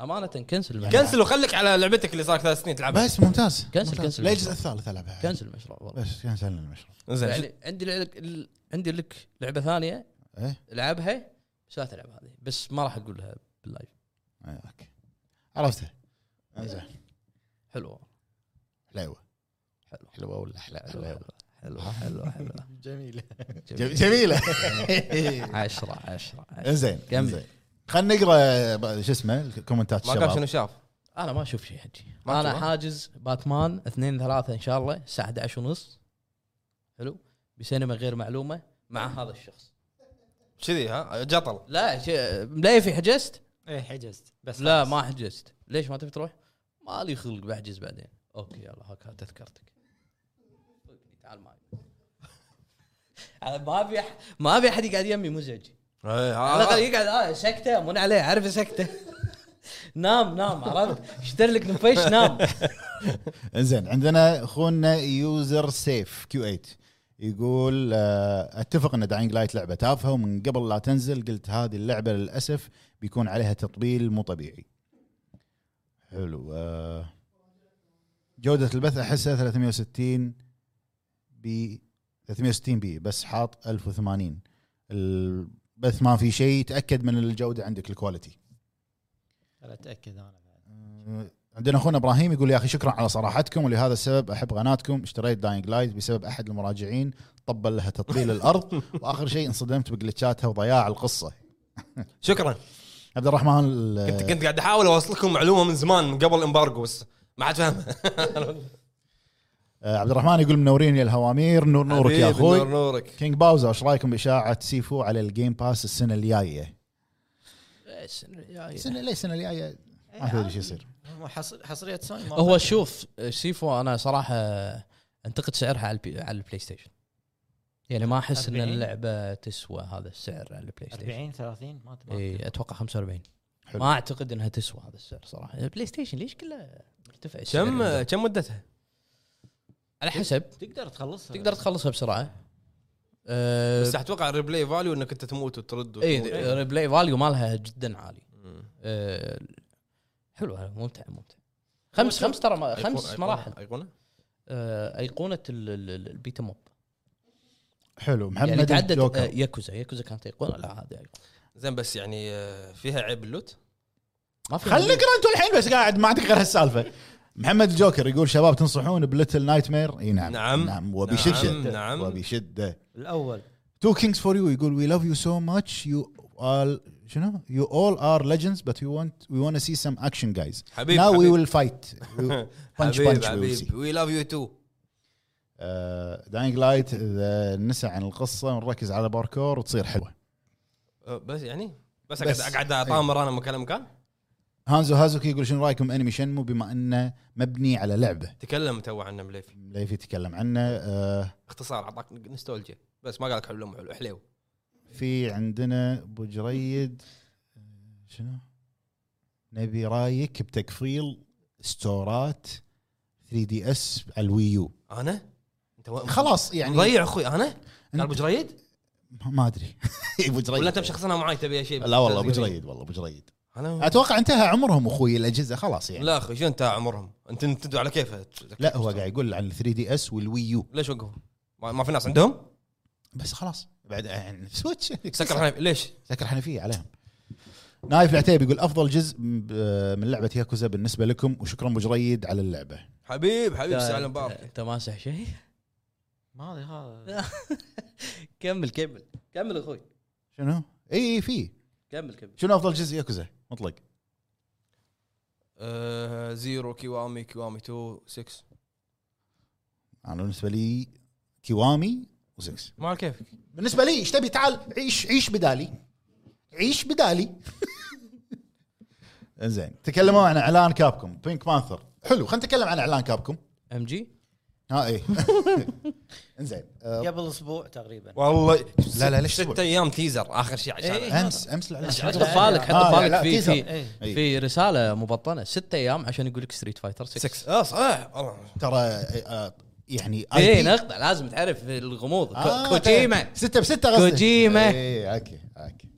[SPEAKER 5] امانه كنسل المشروع
[SPEAKER 1] كنسل وخلك على لعبتك اللي صار لك ثلاث سنين تلعبها
[SPEAKER 2] بس ممتاز
[SPEAKER 5] كنسل،
[SPEAKER 2] ممتاز.
[SPEAKER 5] كنسل.
[SPEAKER 2] لا الجزء الثالث العبها
[SPEAKER 5] كنسل المشروع والله
[SPEAKER 2] بس كنسل المشروع
[SPEAKER 1] زين
[SPEAKER 5] يعني عندي لعلك ال- عندي لك لعبه ثانيه
[SPEAKER 2] ايه
[SPEAKER 5] العبها بس لا تلعب هذه بس ما راح اقولها باللايف
[SPEAKER 2] إيه، اوكي عرفته زين
[SPEAKER 5] حلوه
[SPEAKER 2] حليوه
[SPEAKER 5] حلو.
[SPEAKER 2] حلوه ولا حلا- حليوه
[SPEAKER 5] حلوه حلوه حلوه
[SPEAKER 3] جميله
[SPEAKER 2] جم- جميله
[SPEAKER 5] عشرة عشرة عشرة.
[SPEAKER 2] انزين
[SPEAKER 5] كمل.
[SPEAKER 2] انزين خلينا نقرا ب- شو اسمه الكومنتات
[SPEAKER 1] ما قال شنو
[SPEAKER 2] الشباب
[SPEAKER 1] شاف
[SPEAKER 5] انا ما اشوف شيء حجي
[SPEAKER 1] ما
[SPEAKER 5] انا
[SPEAKER 1] تشوفه؟
[SPEAKER 5] حاجز باتمان اثنين ثلاثة ان شاء الله الساعة 11 ونص حلو بسينما غير معلومة مع هذا الشخص
[SPEAKER 1] كذي ها جطل
[SPEAKER 5] لا شيء مليفي حجزت؟
[SPEAKER 3] ايه حجزت بس
[SPEAKER 5] لا
[SPEAKER 3] خلاص.
[SPEAKER 5] ما حجزت ليش ما تبي تروح؟ ما لي خلق بحجز بعدين اوكي يلا هاك هات تذكرتك طيب، تعال معي أنا ما ابي أح- ما ابي احد يقعد يمي مزعج
[SPEAKER 1] إيه،
[SPEAKER 5] على الاقل
[SPEAKER 1] ها-
[SPEAKER 5] يقعد اه سكته من عليه عارف سكته نام نام عرفت اشتري لك نفيش نام
[SPEAKER 2] انزين عندنا اخونا يوزر سيف كيو 8 يقول آه، اتفق ان داينج لايت لعبه تافهه ومن قبل لا تنزل قلت هذه اللعبه للاسف بيكون عليها تطبيل مو طبيعي. حلو آه، جوده البث احسها 360 بي 360 بي بس حاط 1080 البث ما في شيء تاكد من الجوده عندك الكواليتي.
[SPEAKER 3] لا اتاكد انا بعد
[SPEAKER 2] عندنا اخونا ابراهيم يقول يا اخي شكرا على صراحتكم ولهذا السبب احب قناتكم اشتريت داينج لايت بسبب احد المراجعين طبل لها تطبيل الارض واخر شيء انصدمت بجلتشاتها وضياع القصه
[SPEAKER 1] شكرا
[SPEAKER 2] آه. عبد الرحمن ال-
[SPEAKER 1] كنت كنت قاعد احاول اوصلكم معلومه من زمان من قبل امبارجو بس ما حد فاهمها
[SPEAKER 2] آه، عبد الرحمن يقول منورين يا الهوامير نور نورك يا
[SPEAKER 1] حبيبي، نور
[SPEAKER 2] اخوي
[SPEAKER 1] نورك
[SPEAKER 2] كينج باوزر ايش رايكم باشاعه سيفو على الجيم باس السنه الجايه؟
[SPEAKER 5] طيب.
[SPEAKER 2] السنه ليه السنه الجايه؟ ما تدري ايش يصير
[SPEAKER 5] يعني
[SPEAKER 3] هو حص- حصريه سوني ما
[SPEAKER 5] هو
[SPEAKER 3] فاتت.
[SPEAKER 5] شوف سيفو انا صراحه انتقد سعرها على البي على البلاي ستيشن يعني ما احس ان
[SPEAKER 3] 40.
[SPEAKER 5] اللعبه تسوى هذا السعر على البلاي ستيشن
[SPEAKER 3] 40 30 ما ما
[SPEAKER 1] إيه.
[SPEAKER 5] اي اتوقع 45
[SPEAKER 2] حلو.
[SPEAKER 5] ما اعتقد انها تسوى هذا السعر صراحه البلاي ستيشن ليش كله ارتفع السعر
[SPEAKER 1] كم كم مدتها؟
[SPEAKER 5] على حسب
[SPEAKER 3] تقدر تخلصها
[SPEAKER 5] تقدر تخلصها بسرعه أه
[SPEAKER 1] طيب. بس اتوقع الريبلاي فاليو انك انت تموت وترد وتموت.
[SPEAKER 5] اي ريبلاي فاليو مالها جدا عالي
[SPEAKER 1] مم.
[SPEAKER 5] أه حلو هذا، ممتع ممتع خمس خمس ترى ما-
[SPEAKER 1] أيقونة-
[SPEAKER 5] خمس مراحل
[SPEAKER 1] ايقونه
[SPEAKER 5] أه ايقونه ال- ال- ال- البيتا موب
[SPEAKER 2] حلو محمد
[SPEAKER 5] يعني تعدد
[SPEAKER 2] الجوكر.
[SPEAKER 5] آه، ياكوزا ياكوزا كانت ايقونه لا هذه ايقونه
[SPEAKER 1] زين بس يعني آه، فيها عيب اللوت
[SPEAKER 5] ما في
[SPEAKER 2] خليك انت الحين بس قاعد ما عندك غير هالسالفه محمد الجوكر يقول شباب تنصحون بليتل نايت مير اي نعم
[SPEAKER 1] نعم.
[SPEAKER 2] نعم وبشده
[SPEAKER 1] نعم.
[SPEAKER 2] وبشده
[SPEAKER 3] الاول
[SPEAKER 2] تو كينجز فور يو يقول وي لاف يو سو ماتش يو all شنو يو اول ار ليجندز بس وي ونت وي ونت سي سم اكشن جايز
[SPEAKER 1] حبيبي
[SPEAKER 2] ناو وي
[SPEAKER 1] حبيبي.
[SPEAKER 2] ويل فايت بانش
[SPEAKER 1] حبيب
[SPEAKER 2] بانش وي سي
[SPEAKER 1] حبيب وي لاف يو تو
[SPEAKER 2] داينج لايت اذا نسى عن القصه ونركز على باركور وتصير حلوه
[SPEAKER 1] بس يعني بس
[SPEAKER 2] بس. أيوه.
[SPEAKER 1] اقعد اقعد اطامر انا مكان مكان
[SPEAKER 2] هانزو هازوكي يقول شنو رايكم انمي شنمو بما انه مبني على لعبه
[SPEAKER 1] تكلم تو عنه مليفي
[SPEAKER 2] ليفي تكلم عنه آه،
[SPEAKER 1] اختصار اعطاك نستولجيا بس ما قالك حلو مو حلو حليو
[SPEAKER 2] في عندنا ابو جريد آه، شنو نبي رايك بتكفيل ستورات 3 دي اس على الويو
[SPEAKER 1] انا انت و-
[SPEAKER 2] خلاص يعني
[SPEAKER 1] مضيع اخوي انا قال
[SPEAKER 2] أنت-
[SPEAKER 1] ابو جريد
[SPEAKER 2] ما ادري ابو جريد
[SPEAKER 1] ولا انت مشخصنها معاي تبي شيء
[SPEAKER 2] طيب. لا والله ابو جريد والله ابو جريد
[SPEAKER 1] انا
[SPEAKER 2] اتوقع انتهى عمرهم اخوي الاجهزه خلاص يعني لا,
[SPEAKER 1] لا اخوي شو انت عمرهم انت انت تدعو على كيفها
[SPEAKER 2] لا هو قاعد يقول عن 3 دي اس والويو
[SPEAKER 1] ليش وقفوا؟ ما ما في ناس عندهم؟
[SPEAKER 2] بس خلاص بعد يعني سويتش
[SPEAKER 1] سكر حنيف. ليش؟
[SPEAKER 2] سكر حنفيه عليهم نايف العتيبي يقول افضل جزء م- ب- من لعبه ياكوزا بالنسبه لكم وشكرا ابو جريد على اللعبه
[SPEAKER 1] حبيب حبيب
[SPEAKER 2] أيوة،
[SPEAKER 5] أنت-
[SPEAKER 1] سالم
[SPEAKER 5] آه، أنت-
[SPEAKER 1] بارك
[SPEAKER 5] انت ماسح شيء
[SPEAKER 3] ما ادري هذا
[SPEAKER 5] كمل كمل كمل اخوي
[SPEAKER 2] شنو؟ اي اي في
[SPEAKER 5] كمل كمل
[SPEAKER 2] شنو افضل جزء ياكوزا مطلق
[SPEAKER 1] آه، زيرو كيوامي كيوامي 2 6
[SPEAKER 2] انا بالنسبه لي كيوامي و6
[SPEAKER 1] ما على كيفك
[SPEAKER 2] بالنسبه لي ايش تبي تعال عيش عيش بدالي عيش بدالي زين تكلموا عن اعلان كابكم بينك بانثر حلو خلينا نتكلم عن اعلان كابكم
[SPEAKER 5] ام جي
[SPEAKER 2] ها اي انزين آه،
[SPEAKER 3] قبل اسبوع تقريبا
[SPEAKER 1] والله
[SPEAKER 2] لا لا ليش
[SPEAKER 1] ست ايام تيزر اخر شيء عشان
[SPEAKER 5] إيه.
[SPEAKER 2] امس امس الاعلان
[SPEAKER 5] حط ببالك
[SPEAKER 2] آه،
[SPEAKER 5] حط
[SPEAKER 2] لا، لا،
[SPEAKER 5] بالك في
[SPEAKER 2] تيزر.
[SPEAKER 5] في
[SPEAKER 3] اي
[SPEAKER 2] إيه.
[SPEAKER 5] في رساله مبطنه ستة ايام عشان يقول لك ستريت فايتر 6
[SPEAKER 1] 6 اه صح والله
[SPEAKER 2] ترى آه، يعني
[SPEAKER 5] اي
[SPEAKER 2] IP.
[SPEAKER 5] نقطه إيه، لازم تعرف الغموض
[SPEAKER 2] آه،
[SPEAKER 5] آه كوجيما
[SPEAKER 2] تمام. ستة بستة قصدي
[SPEAKER 5] كوجيما.
[SPEAKER 2] اي اوكي اوكي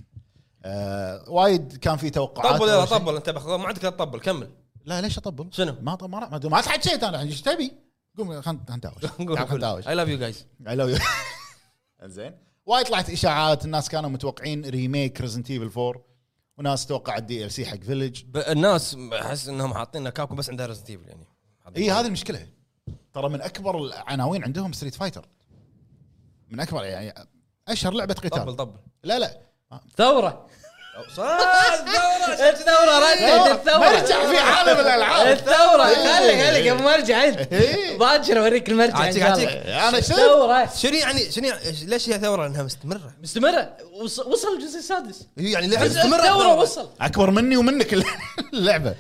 [SPEAKER 2] آه، وايد كان في توقعات
[SPEAKER 1] طبل يلا
[SPEAKER 2] أول شيء.
[SPEAKER 1] طبل انت بخ- ما عندك لا تطبل كمل
[SPEAKER 2] لا ليش اطبل؟
[SPEAKER 1] شنو؟
[SPEAKER 2] ما ما ما, ما تحكيت انا ايش تبي؟ قوم خلنا نداوش تعال خلنا نداوش
[SPEAKER 1] اي لاف يو جايز
[SPEAKER 2] علو انزين وايد طلعت اشاعات الناس كانوا متوقعين ريميك ريزنت ايفل 4 وناس توقعت دي ال سي حق فيلج
[SPEAKER 1] الناس احس انهم حاطين كابكم بس عندها ريزنت ايفل يعني
[SPEAKER 2] اي إيه، هذه المشكله ترى من اكبر العناوين عندهم ستريت فايتر من اكبر يعني اشهر لعبه
[SPEAKER 1] طبل
[SPEAKER 2] قتال
[SPEAKER 1] طبل آه.
[SPEAKER 2] لا لا
[SPEAKER 5] ثوره
[SPEAKER 1] صح
[SPEAKER 5] الثوره
[SPEAKER 3] إيه،
[SPEAKER 5] ردت الثوره
[SPEAKER 2] مرجع إيه، في عالم الالعاب
[SPEAKER 5] الثوره
[SPEAKER 2] إيه.
[SPEAKER 5] خلي خلي قبل ما ارجع انت
[SPEAKER 2] إيه.
[SPEAKER 5] باكر اوريك المرجع إن
[SPEAKER 1] عاتيك
[SPEAKER 5] شاء الله.
[SPEAKER 1] عاتيك
[SPEAKER 2] انا شفت
[SPEAKER 5] الثوره
[SPEAKER 1] شنو يعني شنو يعني- ليش هي ثوره انها مستمره؟
[SPEAKER 5] مستمره وص- وصل الجزء السادس
[SPEAKER 1] يعني ليش
[SPEAKER 5] الثوره وصل
[SPEAKER 2] اكبر مني ومنك اللعبه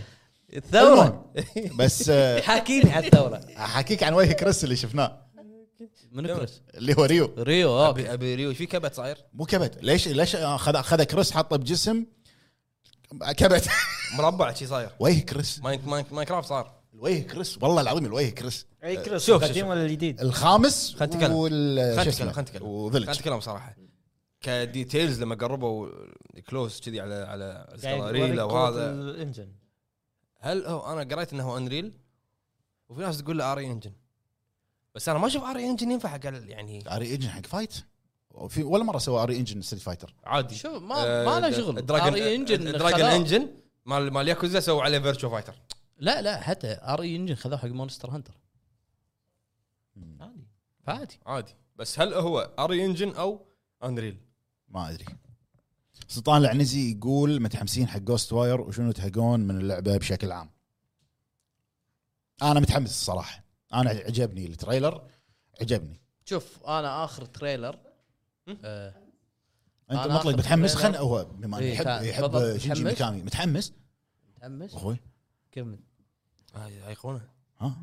[SPEAKER 5] الثوره
[SPEAKER 2] المهم، بس آه،
[SPEAKER 5] حاكي لي على الثوره
[SPEAKER 2] احكيك عن وجه كريس اللي شفناه
[SPEAKER 5] منو كريس؟
[SPEAKER 2] اللي هو ريو
[SPEAKER 5] ريو آه. اوكي
[SPEAKER 1] ابي ابي ريو ايش في كبت صاير؟
[SPEAKER 2] مو كبت ليش ليش اخذ اخذ كريس حطه بجسم كبت
[SPEAKER 1] مربع شي صاير
[SPEAKER 2] وجه كريس
[SPEAKER 1] ماين- ماين- ماينكرافت صار
[SPEAKER 2] الوجه كريس والله العظيم الوجه كريس
[SPEAKER 3] اي كريس
[SPEAKER 1] شوف،
[SPEAKER 3] إيه، القديم
[SPEAKER 1] شوف.
[SPEAKER 3] ولا الجديد؟
[SPEAKER 2] الخامس
[SPEAKER 1] خلنا نتكلم.
[SPEAKER 2] وال-
[SPEAKER 1] خلنا
[SPEAKER 2] شو
[SPEAKER 1] نتكلم
[SPEAKER 2] اسمه؟
[SPEAKER 1] خلنا نتكلم
[SPEAKER 2] وفيلج
[SPEAKER 1] كانت اتكلم صراحه كديتيلز لما قربوا كلوز كذي على على
[SPEAKER 3] يوريك
[SPEAKER 1] اسكالاريلا
[SPEAKER 3] قوة
[SPEAKER 1] وهذا
[SPEAKER 3] الانجن
[SPEAKER 1] هل هو انا قريت انه هو انريل وفي ناس تقول له اري انجن بس انا ما اشوف اري انجن ينفع حق ال- يعني
[SPEAKER 2] اري انجن حق فايت في ولا مره سوى اري انجن ستريت فايتر
[SPEAKER 1] عادي آه،
[SPEAKER 5] شو ما ما له شغل
[SPEAKER 1] دراجون
[SPEAKER 5] RE engine
[SPEAKER 1] دراجون
[SPEAKER 5] خذاه.
[SPEAKER 1] انجن آه، مال مال ياكوزا سووا عليه فيرتشو فايتر
[SPEAKER 5] لا لا حتى اري انجن خذوه حق مونستر هانتر
[SPEAKER 3] عادي
[SPEAKER 5] فعادي
[SPEAKER 1] عادي بس هل هو اري انجن او انريل
[SPEAKER 2] ما ادري سلطان العنزي يقول متحمسين حق جوست واير وشنو تهقون من اللعبه بشكل عام انا متحمس الصراحه انا عجبني التريلر عجبني
[SPEAKER 5] شوف انا اخر تريلر
[SPEAKER 1] هم؟
[SPEAKER 5] آه
[SPEAKER 2] انت
[SPEAKER 5] أنا
[SPEAKER 2] مطلق
[SPEAKER 5] آخر
[SPEAKER 2] متحمس
[SPEAKER 5] تريلر.
[SPEAKER 2] خلنا هو بما إنه
[SPEAKER 5] إيه،
[SPEAKER 2] يحب
[SPEAKER 5] تع-
[SPEAKER 2] يحب
[SPEAKER 5] تفضل،
[SPEAKER 2] جنجي
[SPEAKER 5] متحمس؟
[SPEAKER 2] ميكامي متحمس
[SPEAKER 5] متحمس
[SPEAKER 2] اخوي
[SPEAKER 5] كمل
[SPEAKER 1] ايقونه
[SPEAKER 2] ها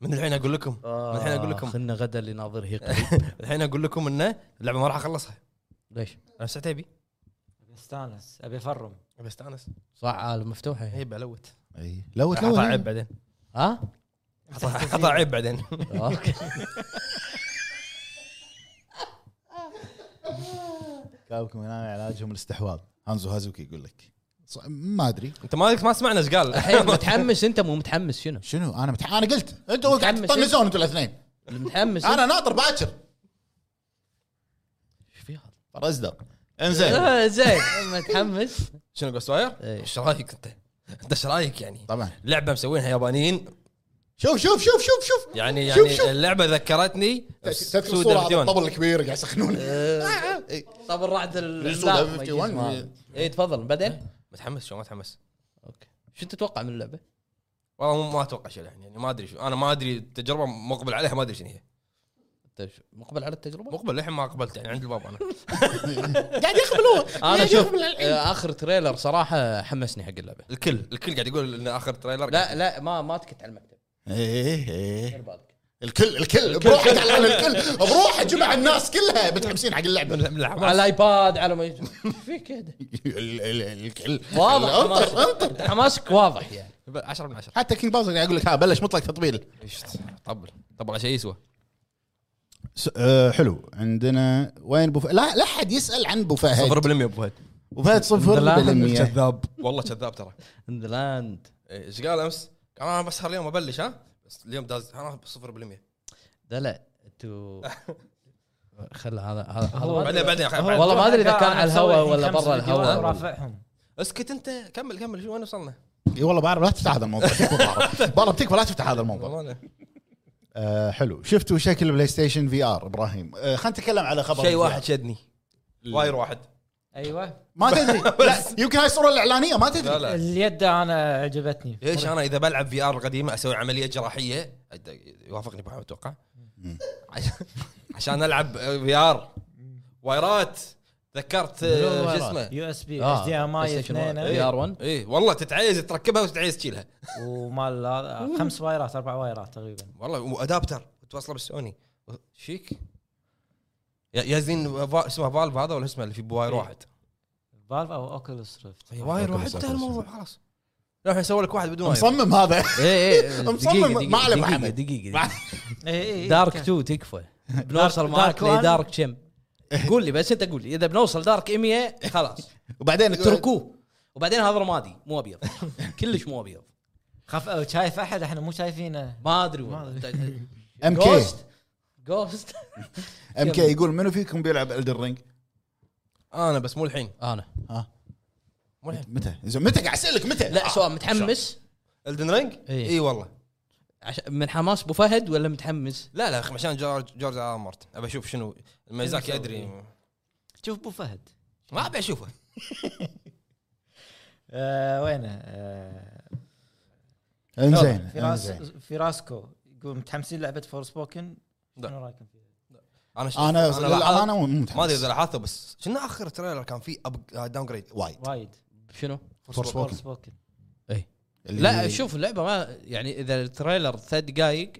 [SPEAKER 1] من الحين اقول لكم
[SPEAKER 5] آه
[SPEAKER 1] الحين أقول لكم.
[SPEAKER 5] خلنا غدا اللي ناظر هي قريب
[SPEAKER 1] الحين اقول لكم انه اللعبه ما راح اخلصها
[SPEAKER 5] ليش؟
[SPEAKER 1] انا ايش عتيبي
[SPEAKER 3] أبي استانس ابي افرم
[SPEAKER 1] ابي استانس
[SPEAKER 5] صح آه، عالم مفتوحه هي.
[SPEAKER 1] هي بلوت
[SPEAKER 2] اي إيه. لو
[SPEAKER 1] حطها عيب
[SPEAKER 2] لو
[SPEAKER 1] بعدين
[SPEAKER 5] ها؟
[SPEAKER 1] حطها- حطها عيب بعدين
[SPEAKER 5] اوكي
[SPEAKER 2] كابكم هنا علاجهم الاستحواذ هانزو هازوكي يقول لك ص- ما ادري
[SPEAKER 1] انت مالك ما سمعنا ايش قال
[SPEAKER 5] الحين متحمس انت مو متحمس شنو؟
[SPEAKER 2] شنو انا متح... انا قلت انتوا قلت
[SPEAKER 5] متحمس
[SPEAKER 2] تطنزون انتوا الاثنين
[SPEAKER 5] متحمس
[SPEAKER 2] انا ناطر باكر
[SPEAKER 5] ايش في هذا؟
[SPEAKER 2] اصدق انزين
[SPEAKER 5] آه، زين متحمس
[SPEAKER 1] شنو جوست واير؟
[SPEAKER 5] إيه.
[SPEAKER 1] ايش رايك انت؟ انت ايش رايك يعني؟
[SPEAKER 2] طبعا
[SPEAKER 1] لعبه مسوينها يابانيين
[SPEAKER 2] شوف شوف شوف شوف شوف
[SPEAKER 1] يعني
[SPEAKER 2] شوف،
[SPEAKER 1] يعني
[SPEAKER 2] شوف.
[SPEAKER 1] اللعبه ذكرتني
[SPEAKER 2] تذكر
[SPEAKER 1] بسود
[SPEAKER 2] الصوره على
[SPEAKER 1] ديفيديون.
[SPEAKER 2] الطبل الكبير قاعد
[SPEAKER 5] إيه.
[SPEAKER 2] يسخنون
[SPEAKER 5] طب الرعد
[SPEAKER 2] السوداء 51.
[SPEAKER 5] اي إيه، تفضل بعدين
[SPEAKER 1] متحمس شو ما متحمس
[SPEAKER 5] اوكي شو تتوقع من اللعبه؟
[SPEAKER 1] والله مو- ما اتوقع شيء الحين يعني ما ادري شو انا ما ادري التجربه مقبل عليها ما ادري شنو هي
[SPEAKER 5] أنت شو- مقبل على التجربه؟
[SPEAKER 1] مقبل للحين ما قبلت يعني عند الباب انا
[SPEAKER 2] قاعد يخبلون
[SPEAKER 5] انا شوف آه، اخر تريلر صراحه حمسني حق اللعبه
[SPEAKER 1] الكل الكل قاعد يقول ان اخر تريلر
[SPEAKER 5] لا لا ما ما تكت على المكتب
[SPEAKER 2] ايه ايه
[SPEAKER 5] دير بالك
[SPEAKER 2] الكل الكل بروحك على الكل بروحه جمع الناس كلها متحمسين حق اللعبه ال-
[SPEAKER 1] لا
[SPEAKER 5] على الايباد على ما يجي فيك كده
[SPEAKER 2] ال- الكل
[SPEAKER 5] واضح
[SPEAKER 2] انطر
[SPEAKER 5] حماسك
[SPEAKER 2] انطر
[SPEAKER 5] أنت حماسك واضح يعني
[SPEAKER 1] 10 من 10
[SPEAKER 2] حتى كينج باوزر قاعد يقول لك ها بلش مطلق تطبيل
[SPEAKER 1] طبل طبل شيء يسوى
[SPEAKER 2] آه، حلو عندنا وين بو لا لا احد يسال عن بو فهد
[SPEAKER 1] 0% ابو فهد
[SPEAKER 2] بو فهد صفر
[SPEAKER 5] لا،
[SPEAKER 2] بالمية
[SPEAKER 1] كذاب والله كذاب ترى
[SPEAKER 5] ان ذا لاند
[SPEAKER 1] إيه، ايش قال امس؟ قال انا بسهر اليوم ابلش ها بس اليوم داز انا 0%
[SPEAKER 5] لا لا انتوا خل هذا هذا
[SPEAKER 3] هو-
[SPEAKER 5] هذا-
[SPEAKER 1] بعدين بعدين خ- بعدين.
[SPEAKER 5] والله ما أدري إذا
[SPEAKER 3] قاعد
[SPEAKER 5] كان على الهواء
[SPEAKER 3] أسوي
[SPEAKER 5] ولا
[SPEAKER 3] الحين خمس
[SPEAKER 5] برا
[SPEAKER 3] فيديوهات
[SPEAKER 5] الهواء.
[SPEAKER 3] ورافعهم
[SPEAKER 1] اسكت انت كمل كمل شو وين وصلنا؟
[SPEAKER 2] اي والله بعرف لا تفتح هذا الموضوع تكفى بعرف. والله بتكفى لا تفتح هذا الموضوع
[SPEAKER 1] والله أنا-
[SPEAKER 2] آه، حلو شفتوا شكل بلاي ستيشن في ار ابراهيم آه، خلينا نتكلم على خبر
[SPEAKER 1] شيء
[SPEAKER 2] ال
[SPEAKER 1] واحد
[SPEAKER 2] VR.
[SPEAKER 1] شدني واير واحد
[SPEAKER 3] ايوه
[SPEAKER 1] آه.
[SPEAKER 2] ما تدري لا يمكن هاي الصوره الاعلانيه ما
[SPEAKER 1] لا
[SPEAKER 2] تدري
[SPEAKER 1] لا
[SPEAKER 3] اليد انا عجبتني
[SPEAKER 1] ليش انا اذا بلعب في ار القديمه اسوي عمليه جراحيه أد- يوافقني ابو حمد اتوقع عش- عشان العب في ار وايرات ذكرت
[SPEAKER 2] بلو
[SPEAKER 1] آه،
[SPEAKER 2] وايرات.
[SPEAKER 1] شو اسمه
[SPEAKER 3] يو اس بي اتش
[SPEAKER 5] آه،
[SPEAKER 3] دي ام اي
[SPEAKER 5] بلاي
[SPEAKER 3] اثنين
[SPEAKER 5] ار 1
[SPEAKER 1] اي والله تتعيز تركبها وتتعيز تشيلها
[SPEAKER 3] ومال هذا- خمس وايرات اربع وايرات تقريبا
[SPEAKER 1] والله وادابتر توصله بالسوني شيك يا- يا زين فا- اسمه فالف هذا ولا اسمه اللي في واير
[SPEAKER 3] إيه.
[SPEAKER 1] واحد
[SPEAKER 3] فالف او اوكلس ريفت
[SPEAKER 1] أي واير
[SPEAKER 2] أوكي،
[SPEAKER 1] واحد
[SPEAKER 2] بس
[SPEAKER 1] إيه، انتهى
[SPEAKER 2] أوكي،
[SPEAKER 1] الموضوع خلاص لا الحين سووا لك واحد بدون واير
[SPEAKER 2] مصمم هذا
[SPEAKER 5] اي اي
[SPEAKER 2] مصمم ما عليه أبو
[SPEAKER 5] دقيقه
[SPEAKER 2] حمد.
[SPEAKER 5] دقيقه
[SPEAKER 3] اي
[SPEAKER 5] دارك 2 تكفى بنوصل معاك
[SPEAKER 3] دارك وان.
[SPEAKER 5] لدارك كم إيه، قول لي بس انت قول لي اذا بنوصل دارك 100 خلاص
[SPEAKER 2] وبعدين
[SPEAKER 5] اتركوه وبعدين هذا رمادي مو ابيض كلش مو ابيض
[SPEAKER 3] خف شايف احد احنا مو شايفينه
[SPEAKER 5] ما ادري والله
[SPEAKER 2] ام كي
[SPEAKER 5] جوست جوست
[SPEAKER 2] ام كي يقول منو فيكم بيلعب الدر رينج؟
[SPEAKER 1] انا بس مو الحين
[SPEAKER 5] انا
[SPEAKER 1] مو الحين
[SPEAKER 2] متى؟ زين متى قاعد اسالك متى؟
[SPEAKER 5] لا سؤال متحمس
[SPEAKER 1] الدن رينج؟
[SPEAKER 5] إيه.
[SPEAKER 1] اي والله
[SPEAKER 5] عش- من حماس ابو فهد ولا متحمس؟
[SPEAKER 1] لا لا أخي، عشان جورج جورج ار آر مارتن ابي اشوف شنو ميزاكي
[SPEAKER 3] شنو
[SPEAKER 1] ادري
[SPEAKER 3] مسوي؟ شوف ابو فهد
[SPEAKER 1] ما ابي اشوفه
[SPEAKER 3] آه وينه آه
[SPEAKER 2] انزين
[SPEAKER 3] فراس
[SPEAKER 2] انزين
[SPEAKER 3] فراسكو يقول متحمسين لعبه فور سبوكن
[SPEAKER 1] لا.
[SPEAKER 3] شنو رايكم فيها؟
[SPEAKER 1] انا شفت-
[SPEAKER 2] انا
[SPEAKER 1] لاحظت-
[SPEAKER 2] للامانه مو متحمس
[SPEAKER 1] ما ادري اذا لاحظته بس شنو اخر تريلر كان فيه آه، اب داون جريد
[SPEAKER 2] وايد
[SPEAKER 3] وايد
[SPEAKER 5] شنو؟
[SPEAKER 2] Forspoken.
[SPEAKER 3] فور سبوكن
[SPEAKER 5] لا شوف اللعبه ما يعني اذا التريلر ثلاث دقائق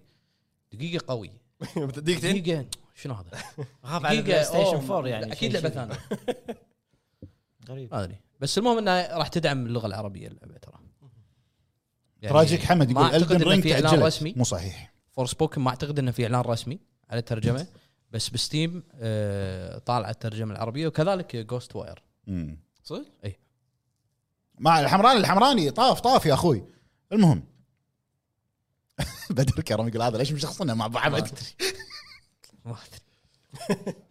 [SPEAKER 5] دقيقه قوي
[SPEAKER 1] دقيقتين
[SPEAKER 5] دقيقه شنو هذا؟
[SPEAKER 3] اخاف على البلاي ستيشن 4 يعني
[SPEAKER 5] اكيد
[SPEAKER 3] شيء-
[SPEAKER 5] لعبه
[SPEAKER 3] شيء
[SPEAKER 5] ثانيه
[SPEAKER 3] غريب
[SPEAKER 5] ما ادري بس المهم انها راح تدعم اللغه العربيه اللعبه ترى يعني
[SPEAKER 2] تراجيك حمد
[SPEAKER 5] ما
[SPEAKER 2] يقول
[SPEAKER 5] أعتقد
[SPEAKER 2] الدن
[SPEAKER 5] إنه
[SPEAKER 2] رينج
[SPEAKER 5] في إعلان
[SPEAKER 2] تاجلت
[SPEAKER 5] رسمي.
[SPEAKER 2] مو صحيح
[SPEAKER 5] فور سبوكن ما اعتقد انه في اعلان رسمي على الترجمه بس بستيم آه، طالعه الترجمه العربيه وكذلك جوست واير
[SPEAKER 2] مم.
[SPEAKER 1] صدق؟
[SPEAKER 2] مع الحمراني الحمراني طاف طاف يا اخوي المهم بدر كرم يقول هذا ليش مشخصنا مع ابو حمد
[SPEAKER 5] ما ادري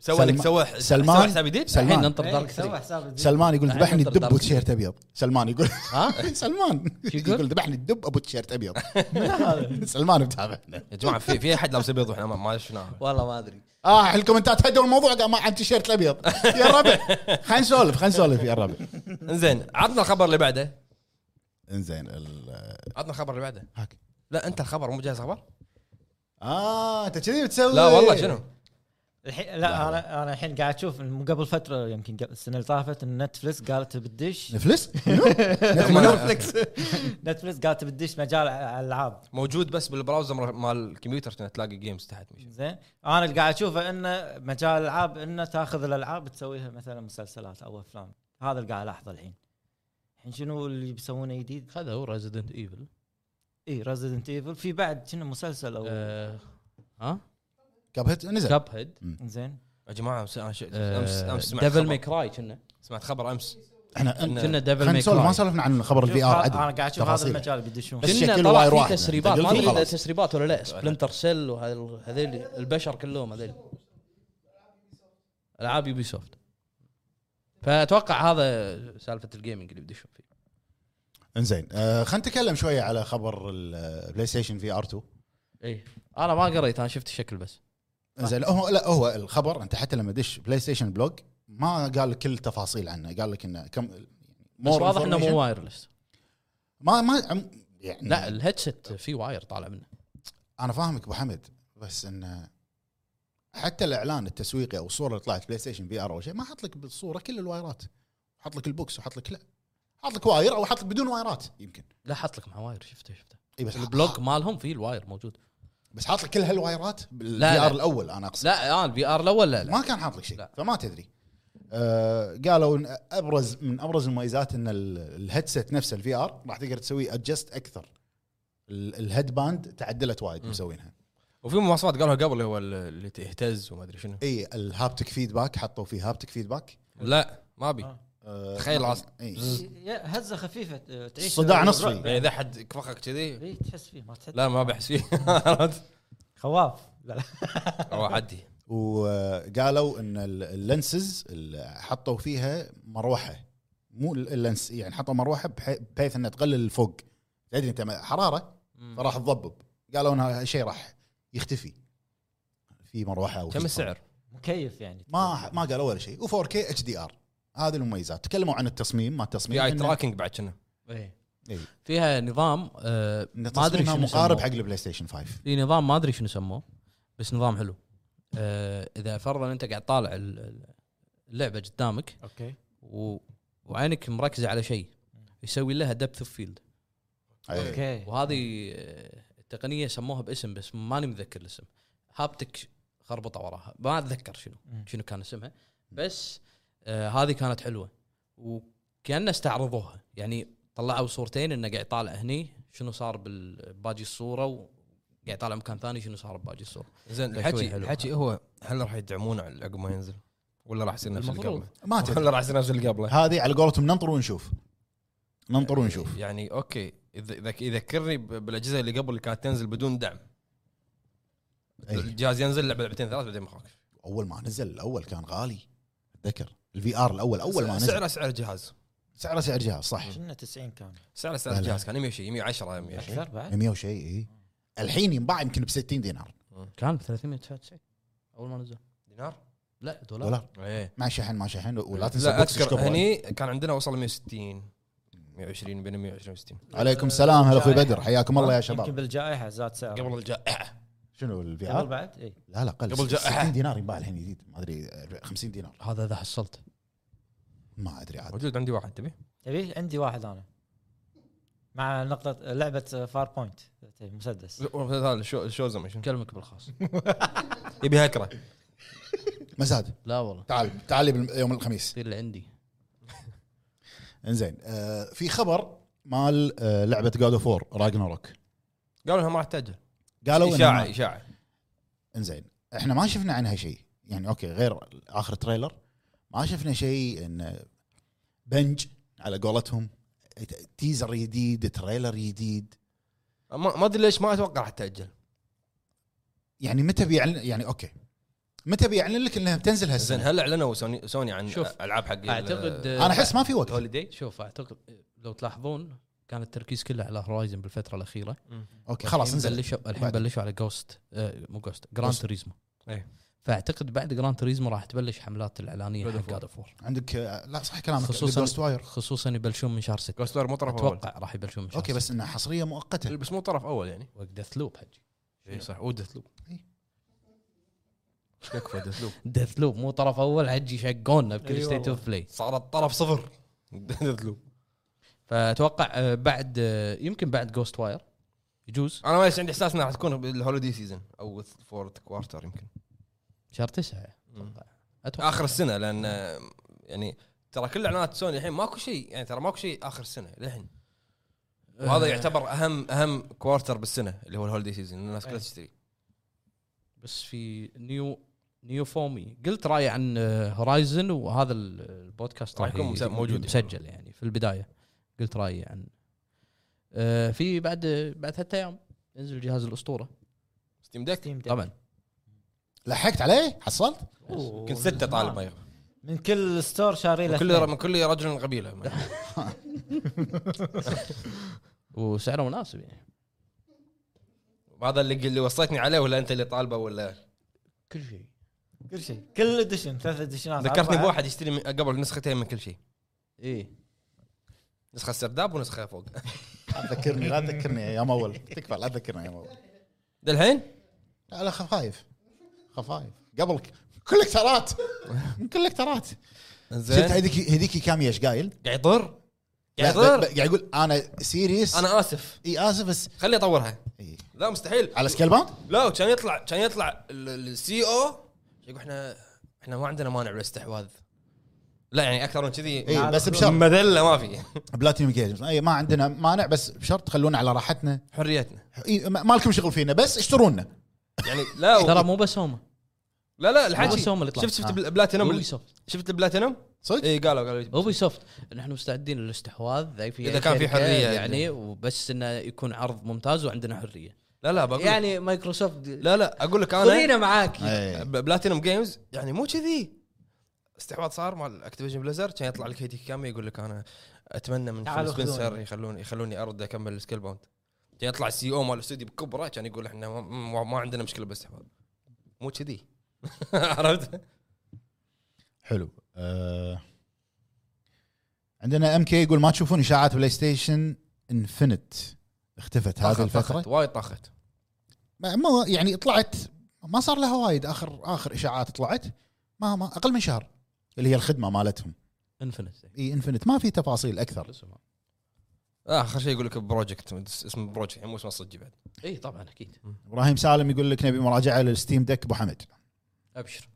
[SPEAKER 1] سوى
[SPEAKER 2] سلمان-
[SPEAKER 1] لك سوى
[SPEAKER 2] سلمان.
[SPEAKER 1] سوى حساب جديد
[SPEAKER 5] الحين
[SPEAKER 2] سلمان
[SPEAKER 5] ننطر
[SPEAKER 3] إيه،
[SPEAKER 5] دارك
[SPEAKER 3] سوى
[SPEAKER 5] 3
[SPEAKER 3] حساب جديد.
[SPEAKER 2] سلمان يقول
[SPEAKER 5] الحين
[SPEAKER 2] ذبحني
[SPEAKER 5] ننطر
[SPEAKER 2] الدب
[SPEAKER 5] دارك
[SPEAKER 2] وتيشيرت ابيض سلمان يقول
[SPEAKER 5] ها
[SPEAKER 2] آه، سلمان
[SPEAKER 5] يقول؟
[SPEAKER 2] يقول ذبحني الدب ابو تيشيرت ابيض سلمان متابعنا
[SPEAKER 1] يا جماعه في في احد لابس ابيض واحنا ما- ما شفناه
[SPEAKER 5] والله ما ادري
[SPEAKER 2] اه الكومنتات هدوا الموضوع قال ما عن تيشيرت الابيض يا الربع خلينا نسولف خلينا نسولف يا الربع
[SPEAKER 1] انزين عطنا الخبر اللي بعده
[SPEAKER 2] انزين ال-
[SPEAKER 1] عطنا الخبر اللي بعده
[SPEAKER 2] هاك
[SPEAKER 1] لا انت الخبر إيه. مو جاهز خبر
[SPEAKER 2] اه انت كذي بتسوي
[SPEAKER 1] لا والله شنو
[SPEAKER 3] الحين لا انا انا الحين قاعد اشوف إنه مو قبل فتره يمكن قبل- السنه اللي طافت إن نتفلكس قالت بتدش
[SPEAKER 2] نفلس؟
[SPEAKER 1] نتفلكس
[SPEAKER 3] نتفلكس قالت بتدش مجال ع- العاب
[SPEAKER 1] موجود بس بالبراوزر مال الكمبيوتر عشان تلاقي جيمز تحت مش
[SPEAKER 3] زين انا اللي قاعد اشوفه انه مجال الالعاب انه تاخذ الالعاب تسويها مثلا مسلسلات او افلام هذا اللي قاعد الاحظه الحين الحين شنو اللي بيسوونه جديد؟
[SPEAKER 5] هذا هو ريزيدنت ايفل
[SPEAKER 3] اي ريزدنت ايفل في بعد شنو مسلسل او
[SPEAKER 5] آه، ها
[SPEAKER 2] كاب هيت نزل
[SPEAKER 5] كاب هيد
[SPEAKER 3] زين
[SPEAKER 1] يا جماعه امس أنا ش-
[SPEAKER 5] آه،
[SPEAKER 1] امس امس
[SPEAKER 5] امس
[SPEAKER 1] سمعت
[SPEAKER 5] ديفل
[SPEAKER 1] خبر.
[SPEAKER 5] ميك راي كنا
[SPEAKER 1] سمعت خبر امس
[SPEAKER 2] احنا أنت-
[SPEAKER 5] كنا ديفل
[SPEAKER 2] خلينا
[SPEAKER 5] ميك
[SPEAKER 2] نسولف ما
[SPEAKER 5] راي
[SPEAKER 2] سولفنا عن خبر الفي ار
[SPEAKER 3] شوف،
[SPEAKER 2] عدل
[SPEAKER 3] انا قاعد اشوف هذا
[SPEAKER 2] تفاصيل.
[SPEAKER 3] المجال بيدشون
[SPEAKER 2] بس
[SPEAKER 5] كنا
[SPEAKER 2] شكل
[SPEAKER 5] طلع
[SPEAKER 2] واير
[SPEAKER 5] في
[SPEAKER 2] واحد.
[SPEAKER 5] تسريبات ما
[SPEAKER 2] دقلت
[SPEAKER 5] ادري اذا
[SPEAKER 2] وخلاص.
[SPEAKER 5] تسريبات ولا لا سبلنتر سيل وهذيل البشر كلهم هذيل العاب يوبي سوفت فاتوقع هذا سالفه الجيمنج اللي بديشون فيه
[SPEAKER 2] انزين آه خلينا نتكلم شويه على خبر البلاي ستيشن في ار 2
[SPEAKER 5] اي انا إيه. ما قريت انا شفت الشكل بس
[SPEAKER 2] انزين هو لا هو الخبر انت حتى لما دش بلاي ستيشن بلوج ما قال لك كل تفاصيل عنه قال لك انه كم
[SPEAKER 5] بس واضح انه
[SPEAKER 2] information.
[SPEAKER 5] مو وايرلس
[SPEAKER 2] ما ما عم- يعني
[SPEAKER 5] لا الهيدسيت في واير طالع منه
[SPEAKER 2] انا فاهمك ابو حمد بس انه حتى الاعلان التسويقي او الصوره اللي طلعت بلاي ستيشن في ار او شيء ما حط لك بالصوره كل الوايرات حط لك البوكس وحط لك لا حط لك واير او حط لك بدون وايرات يمكن
[SPEAKER 5] لا حط لك مع واير شفته شفته
[SPEAKER 2] اي بس
[SPEAKER 5] البلوك مالهم فيه الواير موجود
[SPEAKER 2] بس حاط لك كل هالوايرات بالفي
[SPEAKER 5] لا.
[SPEAKER 2] ار الاول انا اقصد
[SPEAKER 5] لا اه البي ار الاول لا لا
[SPEAKER 2] ما كان حاط لك شيء
[SPEAKER 5] لا.
[SPEAKER 2] فما تدري آه قالوا ان ابرز من ابرز المميزات ان ال- الهيدسيت نفسه الفي ار راح تقدر تسوي ادجست اكثر ال- الهيد باند تعدلت وايد مسوينها
[SPEAKER 1] وفي مواصفات قالها قبل اللي هو اللي تهتز وما ادري شنو
[SPEAKER 2] اي الهابتك فيدباك حطوا فيه هابتك فيدباك
[SPEAKER 1] لا ما ابي
[SPEAKER 3] آه.
[SPEAKER 2] آه،
[SPEAKER 1] تخيل العصر.
[SPEAKER 2] إيه.
[SPEAKER 3] يا هزه خفيفه ت- تعيش
[SPEAKER 2] صداع نصفي.
[SPEAKER 1] يعني اذا حد كفخك كذي
[SPEAKER 3] اي تحس فيه ما تحس
[SPEAKER 1] لا ما بحس فيه
[SPEAKER 3] خواف لا لا
[SPEAKER 1] او عدي
[SPEAKER 2] وقالوا ان آه، ال- اللنسز اللي حطوا فيها مروحه مو ال- اللنس يعني حطوا مروحه بحي- بحيث انها تقلل الفوق تدري انت ما- حراره فراح تضبب قالوا ان هالشيء راح يختفي في مروحه أو في
[SPEAKER 1] كم السعر؟
[SPEAKER 3] مكيف يعني
[SPEAKER 2] ما ما قالوا ولا شيء و4 كي اتش دي ار هذه المميزات تكلموا عن التصميم ما التصميم
[SPEAKER 1] في اي
[SPEAKER 2] إنه-
[SPEAKER 1] تراكنج بعد كنا
[SPEAKER 5] إيه.
[SPEAKER 2] إيه.
[SPEAKER 5] فيها نظام آه
[SPEAKER 2] إنه
[SPEAKER 5] ما ادري
[SPEAKER 2] تصميمها
[SPEAKER 5] شنو
[SPEAKER 2] مقارب
[SPEAKER 5] مقارب
[SPEAKER 2] حق البلاي ستيشن 5
[SPEAKER 5] في نظام ما ادري شنو سموه بس نظام حلو آه اذا فرضا انت قاعد طالع ال- ال- اللعبه قدامك
[SPEAKER 3] اوكي
[SPEAKER 5] و... وعينك مركزه على شيء يسوي لها دبث اوف فيلد
[SPEAKER 2] أي.
[SPEAKER 3] اوكي
[SPEAKER 5] وهذه آه، التقنيه سموها باسم بس ماني متذكر الاسم هابتك خربطه وراها ما اتذكر شنو
[SPEAKER 3] مم.
[SPEAKER 5] شنو كان اسمها بس آه هذه كانت حلوه وكانه استعرضوها يعني طلعوا صورتين انه قاعد يطالع هني شنو صار بال- باجي الصوره وقاعد يطالع مكان ثاني شنو صار بباجي الصوره
[SPEAKER 1] زين
[SPEAKER 5] شوي
[SPEAKER 1] الحكي
[SPEAKER 5] حلو.
[SPEAKER 1] الحكي هو هل راح يدعمونه عقب ما ينزل ولا راح يصير نفس اللي
[SPEAKER 5] المفروض.
[SPEAKER 1] قبله؟
[SPEAKER 2] ما تدري
[SPEAKER 1] ولا راح يصير نفس اللي قبله؟
[SPEAKER 2] هذه على قولتهم ننطر ونشوف ننطر ونشوف
[SPEAKER 1] يعني اوكي إذا- إذا يذكرني ب- بالاجهزه اللي قبل اللي كانت تنزل بدون دعم
[SPEAKER 2] أي.
[SPEAKER 1] الجهاز ينزل لعبه لعبتين ثلاث بعدين مخك
[SPEAKER 2] اول ما نزل الاول كان غالي اتذكر الفي ار الاول اول ما نزل
[SPEAKER 1] سعره سعر جهاز
[SPEAKER 2] سعره سعر جهاز صح
[SPEAKER 3] كنا 90 كان
[SPEAKER 1] سعره
[SPEAKER 2] لا،
[SPEAKER 1] سعر
[SPEAKER 2] لا.
[SPEAKER 1] جهاز كان 120 110 120
[SPEAKER 3] اكثر بعد
[SPEAKER 2] 100 وشيء اي الحين ينباع يمكن ب 60 دينار
[SPEAKER 5] كان ب 399 اول ما نزل
[SPEAKER 1] دينار؟
[SPEAKER 5] لا دولار,
[SPEAKER 2] دولار
[SPEAKER 1] ايه
[SPEAKER 2] مع شحن ما شحن ولا تنسى
[SPEAKER 1] لا
[SPEAKER 2] بوكس إيش
[SPEAKER 1] اذكر
[SPEAKER 2] كبره.
[SPEAKER 1] هني كان عندنا وصل 160 120 بين 120 و60
[SPEAKER 2] عليكم السلام هلا اخوي
[SPEAKER 3] بالجائحة.
[SPEAKER 2] بدر حياكم الله يا
[SPEAKER 3] يمكن
[SPEAKER 2] شباب
[SPEAKER 3] بالجائحه زاد سعر
[SPEAKER 1] قبل الجائحه
[SPEAKER 2] شنو الفي
[SPEAKER 3] قبل
[SPEAKER 2] ار؟
[SPEAKER 3] بعد اي
[SPEAKER 2] لا لا قل
[SPEAKER 1] قبل جائحة.
[SPEAKER 2] 60 دينار ينباع الحين جديد ما ادري 50 دينار
[SPEAKER 5] هذا اذا حصلت
[SPEAKER 2] ما ادري عاد
[SPEAKER 1] موجود عندي واحد تبي؟
[SPEAKER 3] تبي عندي واحد انا مع نقطة لعبة فار بوينت مسدس
[SPEAKER 1] هذا الشو- الشوزم شنو؟
[SPEAKER 5] كلمك بالخاص
[SPEAKER 1] يبي هكره
[SPEAKER 2] مزاد
[SPEAKER 5] لا والله
[SPEAKER 2] تعال تعال لي بالم- يوم الخميس
[SPEAKER 5] تصير اللي عندي
[SPEAKER 2] انزين آه في خبر مال آه لعبه جاد اوف وور راجناروك
[SPEAKER 1] قالوا انها ما راح تاجل
[SPEAKER 2] قالوا
[SPEAKER 1] اشاعه
[SPEAKER 2] إنها-
[SPEAKER 1] اشاعه
[SPEAKER 2] انزين احنا ما شفنا عنها شيء يعني اوكي غير اخر تريلر ما شفنا شيء ان بنج على قولتهم تيزر جديد تريلر جديد
[SPEAKER 1] ما ما ادري ليش ما اتوقع راح تاجل
[SPEAKER 2] يعني متى بيعلن يعني اوكي متى بيعلن لك انها بتنزل
[SPEAKER 1] زين
[SPEAKER 2] هالسنه
[SPEAKER 1] هل اعلنوا سوني سوني عن
[SPEAKER 5] شوف،
[SPEAKER 1] العاب حق
[SPEAKER 5] اعتقد
[SPEAKER 2] انا احس ما في وقت
[SPEAKER 1] هوليدي
[SPEAKER 5] شوف اعتقد لو تلاحظون كان التركيز كله على هورايزن بالفتره الاخيره
[SPEAKER 2] اوكي خلاص
[SPEAKER 5] الحين
[SPEAKER 2] انزل
[SPEAKER 5] بلشوا الحين
[SPEAKER 2] بعد.
[SPEAKER 5] بلشوا على جوست آه مو جوست جراند
[SPEAKER 2] Ghost.
[SPEAKER 5] تريزمو
[SPEAKER 1] إيه.
[SPEAKER 5] فاعتقد بعد جراند تريزمو راح تبلش حملات الاعلانيه
[SPEAKER 1] God
[SPEAKER 5] حق
[SPEAKER 1] of War.
[SPEAKER 5] جاد اوف
[SPEAKER 2] عندك آه، لا صح كلامك
[SPEAKER 5] خصوصاً-
[SPEAKER 2] خصوصا واير
[SPEAKER 5] خصوصا يبلشون من شهر 6
[SPEAKER 1] جوستر مو طرف اول
[SPEAKER 5] اتوقع راح يبلشون من شهر
[SPEAKER 2] اوكي بس انها حصريه مؤقته
[SPEAKER 1] بس مو طرف اول يعني إيه.
[SPEAKER 5] وقت ديث لوب حجي
[SPEAKER 1] اي صح ودث لوب يكفى ديث لوب
[SPEAKER 5] ديث لوب مو طرف اول حجي يشقونا بكل
[SPEAKER 3] إي
[SPEAKER 5] ستيت
[SPEAKER 3] والله.
[SPEAKER 5] اوف بلاي
[SPEAKER 1] صار الطرف صفر ديث لوب
[SPEAKER 5] فاتوقع آه، بعد آه، يمكن بعد جوست واير يجوز
[SPEAKER 1] انا ما يس- عندي احساس انها راح تكون بالهوليدي سيزون او الفورث كوارتر يمكن
[SPEAKER 5] شهر تسعه
[SPEAKER 1] مم.
[SPEAKER 5] اتوقع
[SPEAKER 1] اخر السنه لان آه، يعني ترى كل اعلانات سوني الحين ماكو شيء يعني ترى ماكو شيء اخر السنه للحين وهذا يعتبر اهم اهم كوارتر بالسنه اللي هو الهوليدي سيزون الناس كلها
[SPEAKER 5] أي.
[SPEAKER 1] تشتري
[SPEAKER 5] بس في نيو نيو فومي قلت راي عن هورايزن وهذا ال- البودكاست
[SPEAKER 1] راح يكون
[SPEAKER 5] ي-
[SPEAKER 1] مس- موجود.
[SPEAKER 5] مسجل يعني في البدايه قلت رايي عن آه، في بعد بعد ثلاث ايام ينزل جهاز الاسطوره
[SPEAKER 1] ستيم ديك
[SPEAKER 3] ستيم ديك.
[SPEAKER 5] طبعا
[SPEAKER 2] لحقت عليه حصلت
[SPEAKER 3] أوه،
[SPEAKER 1] كنت سته
[SPEAKER 3] زمان.
[SPEAKER 1] طالب ما يغفر.
[SPEAKER 3] من كل ستور شاري له
[SPEAKER 1] كل
[SPEAKER 3] اثنين.
[SPEAKER 1] من كل رجل قبيله ما-
[SPEAKER 5] وسعره مناسب يعني
[SPEAKER 1] هذا اللي اللي وصيتني عليه ولا انت اللي طالبه ولا
[SPEAKER 5] كل شيء
[SPEAKER 3] كل شيء كل اديشن ثلاث اديشنات
[SPEAKER 1] ذكرتني
[SPEAKER 3] أربعة.
[SPEAKER 1] بواحد يشتري من- قبل نسختين من كل شيء إيه.
[SPEAKER 5] ايه
[SPEAKER 1] نسخه سرداب ونسخه فوق
[SPEAKER 2] لا تذكرني لا تذكرني يا مول تكفى لا تذكرني يا مول
[SPEAKER 1] للحين
[SPEAKER 2] لا لا خفايف خفايف قبل كولكترات من كولكترات شفت
[SPEAKER 1] زين
[SPEAKER 2] هذيك هذيك كاميش قايل
[SPEAKER 1] قاعد يطر
[SPEAKER 2] لا،
[SPEAKER 1] قاعد
[SPEAKER 2] ب- ب-
[SPEAKER 1] يطر
[SPEAKER 2] قاعد يقول انا سيريس انا
[SPEAKER 1] انا اسف
[SPEAKER 2] اي اسف بس
[SPEAKER 1] خلي اطورها
[SPEAKER 2] إي.
[SPEAKER 1] لا مستحيل
[SPEAKER 2] على سكيل باوند
[SPEAKER 1] لا وكان يطلع كان يطلع السي او يقول احنا احنا ما عندنا مانع بالاستحواذ لا يعني اكثر من كذي
[SPEAKER 2] اي إيه، بس بشرط
[SPEAKER 1] مذله ما في
[SPEAKER 2] بلاتينيوم جيمز اي ما عندنا مانع بس بشرط خلونا على راحتنا
[SPEAKER 1] حريتنا
[SPEAKER 2] إي، ما ما لكم شغل فينا بس اشترونا
[SPEAKER 1] يعني لا و...
[SPEAKER 5] ترى مو بس هم
[SPEAKER 1] لا لا
[SPEAKER 5] مو
[SPEAKER 1] الحكي
[SPEAKER 5] بس هم اللي طلعوا.
[SPEAKER 1] شفت شفت
[SPEAKER 2] آه.
[SPEAKER 1] البلاتينم
[SPEAKER 5] اوبي سوفت
[SPEAKER 1] شفت البلاتينم
[SPEAKER 2] صدق
[SPEAKER 1] اي قالوا قالوا
[SPEAKER 5] اوبي سوفت نحن مستعدين للاستحواذ أي في
[SPEAKER 1] إذا
[SPEAKER 5] أي
[SPEAKER 1] كان في
[SPEAKER 5] شركة
[SPEAKER 1] حرية
[SPEAKER 5] يعني وبس انه يكون عرض ممتاز وعندنا حريه
[SPEAKER 1] لا لا بقول يعني
[SPEAKER 5] يعني مايكروسوفت
[SPEAKER 1] لا لا اقول لك انا
[SPEAKER 5] خلينا معاك
[SPEAKER 2] إي.
[SPEAKER 1] ب- بلاتينم جيمز يعني مو كذي استحواذ صار مال اكتيفيجن بليزر كان يطلع لك هيدي كامي يقول لك انا اتمنى من فيل
[SPEAKER 3] تعالوا
[SPEAKER 1] سبنسر
[SPEAKER 3] خذوني.
[SPEAKER 1] يخلوني يخلوني ارد اكمل السكيل باوند كان يطلع السي او مال الاستوديو بكبره كان يقول احنا ما- ما, ما عندنا مشكله بالاستحواذ مو كذي عرفت؟
[SPEAKER 2] حلو آه. عندنا ام كي يقول ما تشوفون اشاعات بلاي ستيشن انفنت اختفت هذه
[SPEAKER 1] طاخت-
[SPEAKER 2] الفتره
[SPEAKER 1] طاخت، وايد طاخت
[SPEAKER 2] ما ما- يعني طلعت ما صار لها وايد اخر اخر اشاعات طلعت ما, ما اقل من شهر اللي هي الخدمه مالتهم
[SPEAKER 5] انفنت
[SPEAKER 2] اي انفنت ما في تفاصيل اكثر
[SPEAKER 1] اخر آه، شيء يقول لك بروجكت اسم بروجكت يعني مو اسمه صجي بعد
[SPEAKER 5] اي طبعا اكيد
[SPEAKER 2] ابراهيم سالم يقول لك نبي مراجعه للستيم ديك ابو حمد
[SPEAKER 5] ابشر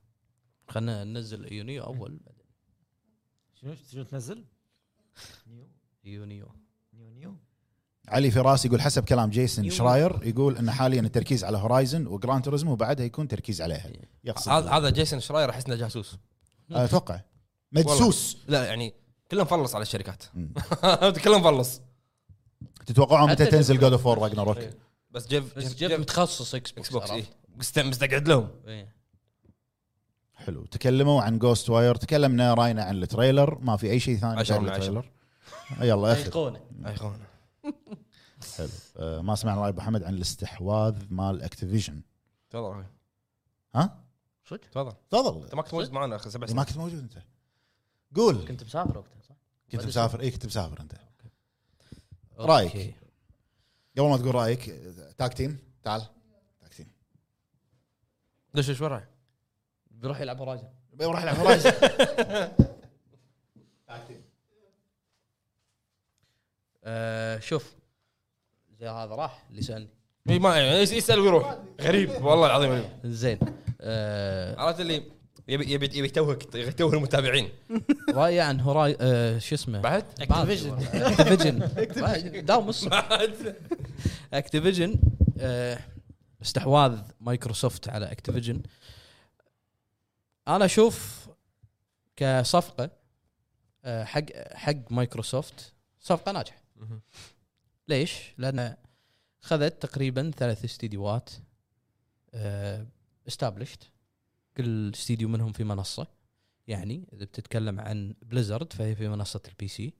[SPEAKER 5] خلينا ننزل يونيو اول بعدين
[SPEAKER 3] شنو شنو تنزل؟ نيو
[SPEAKER 5] يونيو
[SPEAKER 3] نيو نيو
[SPEAKER 2] علي فراس يقول حسب كلام جيسون
[SPEAKER 5] يو.
[SPEAKER 2] شراير يقول ان حاليا التركيز على هورايزن وجراند توريزمو وبعدها يكون تركيز عليها يقصد
[SPEAKER 1] هذا هذا جيسون شراير احس انه جاسوس
[SPEAKER 2] آه، اتوقع مدسوس
[SPEAKER 1] لا يعني كله مفلص على الشركات
[SPEAKER 2] مم.
[SPEAKER 1] كله مفلص
[SPEAKER 2] تتوقعون متى
[SPEAKER 5] حتى
[SPEAKER 2] تنزل
[SPEAKER 5] جيف-
[SPEAKER 2] جود اوف وور راجناروك
[SPEAKER 5] إيه.
[SPEAKER 1] بس جيف
[SPEAKER 5] بس جيب إيه. متخصص اكس
[SPEAKER 1] اكس
[SPEAKER 5] بوكس
[SPEAKER 1] بوكس اي
[SPEAKER 5] عرفت؟
[SPEAKER 1] إيه. مست- مستقعد لهم
[SPEAKER 5] إيه.
[SPEAKER 2] حلو تكلموا عن جوست واير تكلمنا راينا عن التريلر ما في اي شيء ثاني
[SPEAKER 1] عشرة
[SPEAKER 2] غير
[SPEAKER 1] من عشرة.
[SPEAKER 2] التريلر يلا اخر
[SPEAKER 5] ايقونه
[SPEAKER 1] ايقونه
[SPEAKER 2] حلو آه، ما سمعنا راي ابو حمد عن الاستحواذ مال اكتيفيجن
[SPEAKER 1] تفضل
[SPEAKER 2] ها
[SPEAKER 5] صدق
[SPEAKER 1] تفضل
[SPEAKER 2] تفضل
[SPEAKER 1] انت ما كنت موجود معنا اخر سبع
[SPEAKER 2] إيه، ما
[SPEAKER 1] سنين
[SPEAKER 2] كنت موجود انت قول
[SPEAKER 5] كنت مسافر وقتها صح؟
[SPEAKER 2] كنت مسافر اي كنت مسافر انت رأيك.
[SPEAKER 5] أوكي.
[SPEAKER 2] قبل ما تقول رايك آه، تاك تيم تعال تاك تيم
[SPEAKER 1] ليش ايش وراي؟
[SPEAKER 5] بيروح يلعب هورايزن
[SPEAKER 2] بي- راح العب فرايز
[SPEAKER 5] آه، شوف زي هذا راح اللي سالني
[SPEAKER 1] إي ما يعني يس- يسال ويروح غريب والله العظيم غريب
[SPEAKER 5] زين آه،
[SPEAKER 1] عرفت اللي يبي يبي يبي يتوهك يتوه المتابعين
[SPEAKER 5] رايي عن هوراي آه، شو اسمه
[SPEAKER 1] بعد
[SPEAKER 3] Activision.
[SPEAKER 5] اكتيفيجن داوم الصبح
[SPEAKER 1] بعد
[SPEAKER 5] اكتيفيجن آه، استحواذ مايكروسوفت على اكتيفيجن انا اشوف كصفقه آه، حق حق مايكروسوفت صفقه ناجحه
[SPEAKER 1] مهم.
[SPEAKER 5] ليش؟ لان خذت تقريبا ثلاث استديوهات استابلشت كل استديو منهم في منصه يعني اذا بتتكلم عن بليزرد فهي في منصه البي سي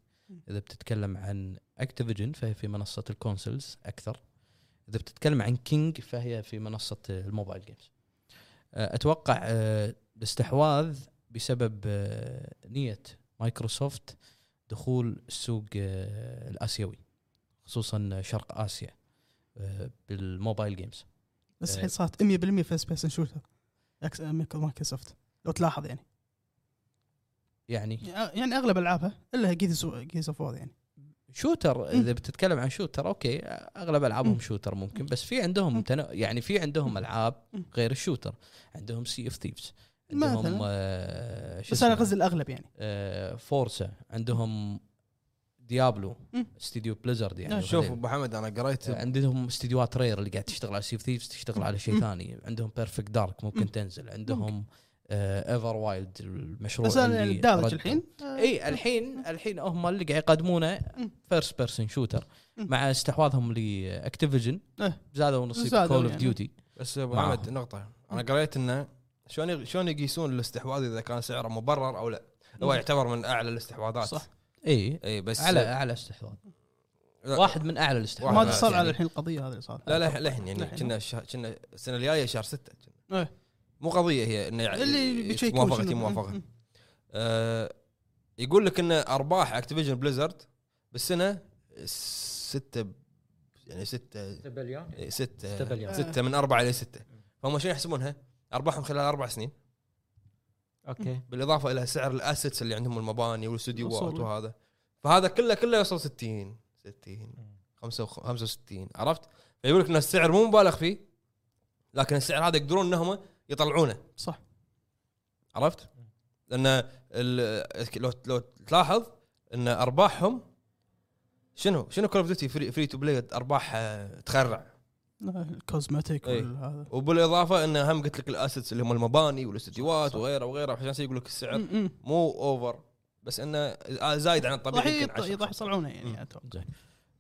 [SPEAKER 5] اذا بتتكلم عن اكتيفيجن فهي في منصه الكونسلز اكثر اذا بتتكلم عن كينج فهي في منصه الموبايل جيمز اتوقع آه، الاستحواذ بسبب آه، نيه مايكروسوفت دخول السوق آه، الاسيوي خصوصا شرق اسيا آه، بالموبايل جيمز
[SPEAKER 1] إيه.
[SPEAKER 4] بس الحين صارت 100% فيرست بيرسون شوتر أكس- مايك- آه، مايكروسوفت لو تلاحظ يعني
[SPEAKER 5] يعني
[SPEAKER 4] يعني اغلب العابها الا جيز جيز اوف وور يعني
[SPEAKER 5] شوتر
[SPEAKER 4] مم.
[SPEAKER 5] اذا بتتكلم عن شوتر اوكي اغلب العابهم
[SPEAKER 4] مم.
[SPEAKER 5] شوتر ممكن بس في عندهم
[SPEAKER 4] مم.
[SPEAKER 5] تنا... يعني في عندهم
[SPEAKER 4] مم.
[SPEAKER 5] العاب
[SPEAKER 4] مم.
[SPEAKER 5] غير الشوتر عندهم سي اف ثيفز
[SPEAKER 4] مثلاً.
[SPEAKER 5] عندهم آه شو
[SPEAKER 4] بس انا
[SPEAKER 5] اسمه؟
[SPEAKER 4] قصدي الاغلب يعني
[SPEAKER 5] آه فورسا عندهم ديابلو
[SPEAKER 4] مم.
[SPEAKER 5] استديو بليزرد يعني
[SPEAKER 1] شوف
[SPEAKER 5] وغيره.
[SPEAKER 1] ابو حمد انا قريت
[SPEAKER 5] آه، عندهم استديوهات رير اللي قاعد تشتغل على سيف ثيفز تشتغل على شيء
[SPEAKER 4] مم.
[SPEAKER 5] ثاني عندهم بيرفكت دارك ممكن
[SPEAKER 4] مم.
[SPEAKER 5] تنزل عندهم ايفر وايلد المشروع
[SPEAKER 4] بس انا
[SPEAKER 5] اللي
[SPEAKER 4] يعني دارج
[SPEAKER 5] ردوا.
[SPEAKER 4] الحين
[SPEAKER 1] إيه،
[SPEAKER 5] اي الحين الحين هم اللي قاعد يقدمونه
[SPEAKER 4] مم.
[SPEAKER 5] فيرست بيرسون شوتر
[SPEAKER 4] مم.
[SPEAKER 5] مع استحواذهم لاكتيفيجن
[SPEAKER 4] إيه.
[SPEAKER 5] زادوا نصيب
[SPEAKER 4] زادوا
[SPEAKER 5] كول اوف
[SPEAKER 4] يعني.
[SPEAKER 5] ديوتي
[SPEAKER 1] بس ابو
[SPEAKER 5] معاهم.
[SPEAKER 1] حمد نقطه انا قريت انه شلون شلون يقيسون الاستحواذ اذا كان سعره مبرر او لا هو
[SPEAKER 4] مم.
[SPEAKER 1] يعتبر من اعلى الاستحواذات
[SPEAKER 4] صح.
[SPEAKER 5] اي
[SPEAKER 1] اي إيه، بس
[SPEAKER 5] على اعلى استحواذ
[SPEAKER 1] لا-
[SPEAKER 5] واحد من اعلى الاستحواذ
[SPEAKER 4] ما
[SPEAKER 1] واحد
[SPEAKER 4] تصل على
[SPEAKER 5] يعني.
[SPEAKER 4] الحين القضيه هذه اللي صارت
[SPEAKER 1] لا لا لحن يعني
[SPEAKER 4] لحن.
[SPEAKER 1] كنا شه- كنا السنه الجايه شهر ستة كنا.
[SPEAKER 4] إيه.
[SPEAKER 1] مو قضيه هي انه يعني إيه،
[SPEAKER 4] اللي بيشيكون
[SPEAKER 1] موافقه
[SPEAKER 4] شنو.
[SPEAKER 1] تي موافقه آه، يقول لك ان ارباح اكتيفيجن بليزرد بالسنه ستة يعني ستة إيه،
[SPEAKER 5] ستة
[SPEAKER 1] ستة
[SPEAKER 5] بليون.
[SPEAKER 1] ستة من أربعة إلى ستة فهم شنو يحسبونها؟ أرباحهم خلال أربع سنين
[SPEAKER 3] اوكي
[SPEAKER 1] بالإضافة إلى سعر الأسيتس اللي عندهم المباني والاستديوهات
[SPEAKER 4] الأصول.
[SPEAKER 1] وهذا فهذا كله كله يوصل 60 60 خمسة وخ- 65 عرفت؟ فيقول لك ان السعر مو مبالغ فيه لكن السعر هذا يقدرون انهم يطلعونه
[SPEAKER 4] آه، صح.
[SPEAKER 1] عرفت؟ لان ال- لو لو تلاحظ ان ارباحهم شنو شنو كول اوف ديوتي فري, فري تو بلاي ارباح آه، تخرع
[SPEAKER 4] لا، الكوزماتيك
[SPEAKER 1] إيه.
[SPEAKER 4] والهذا
[SPEAKER 1] وبالاضافه انه هم قلت لك الاسيتس اللي هم المباني والاستديوهات
[SPEAKER 4] صح.
[SPEAKER 1] وغيره وغيره عشان كذا يقول لك السعر
[SPEAKER 4] مم.
[SPEAKER 1] مو اوفر بس انه زايد عن
[SPEAKER 4] راح
[SPEAKER 1] الطبيعي يمكن
[SPEAKER 4] يط-
[SPEAKER 1] 10.
[SPEAKER 4] راح يصلعونه يعني
[SPEAKER 1] مم.
[SPEAKER 4] اتوقع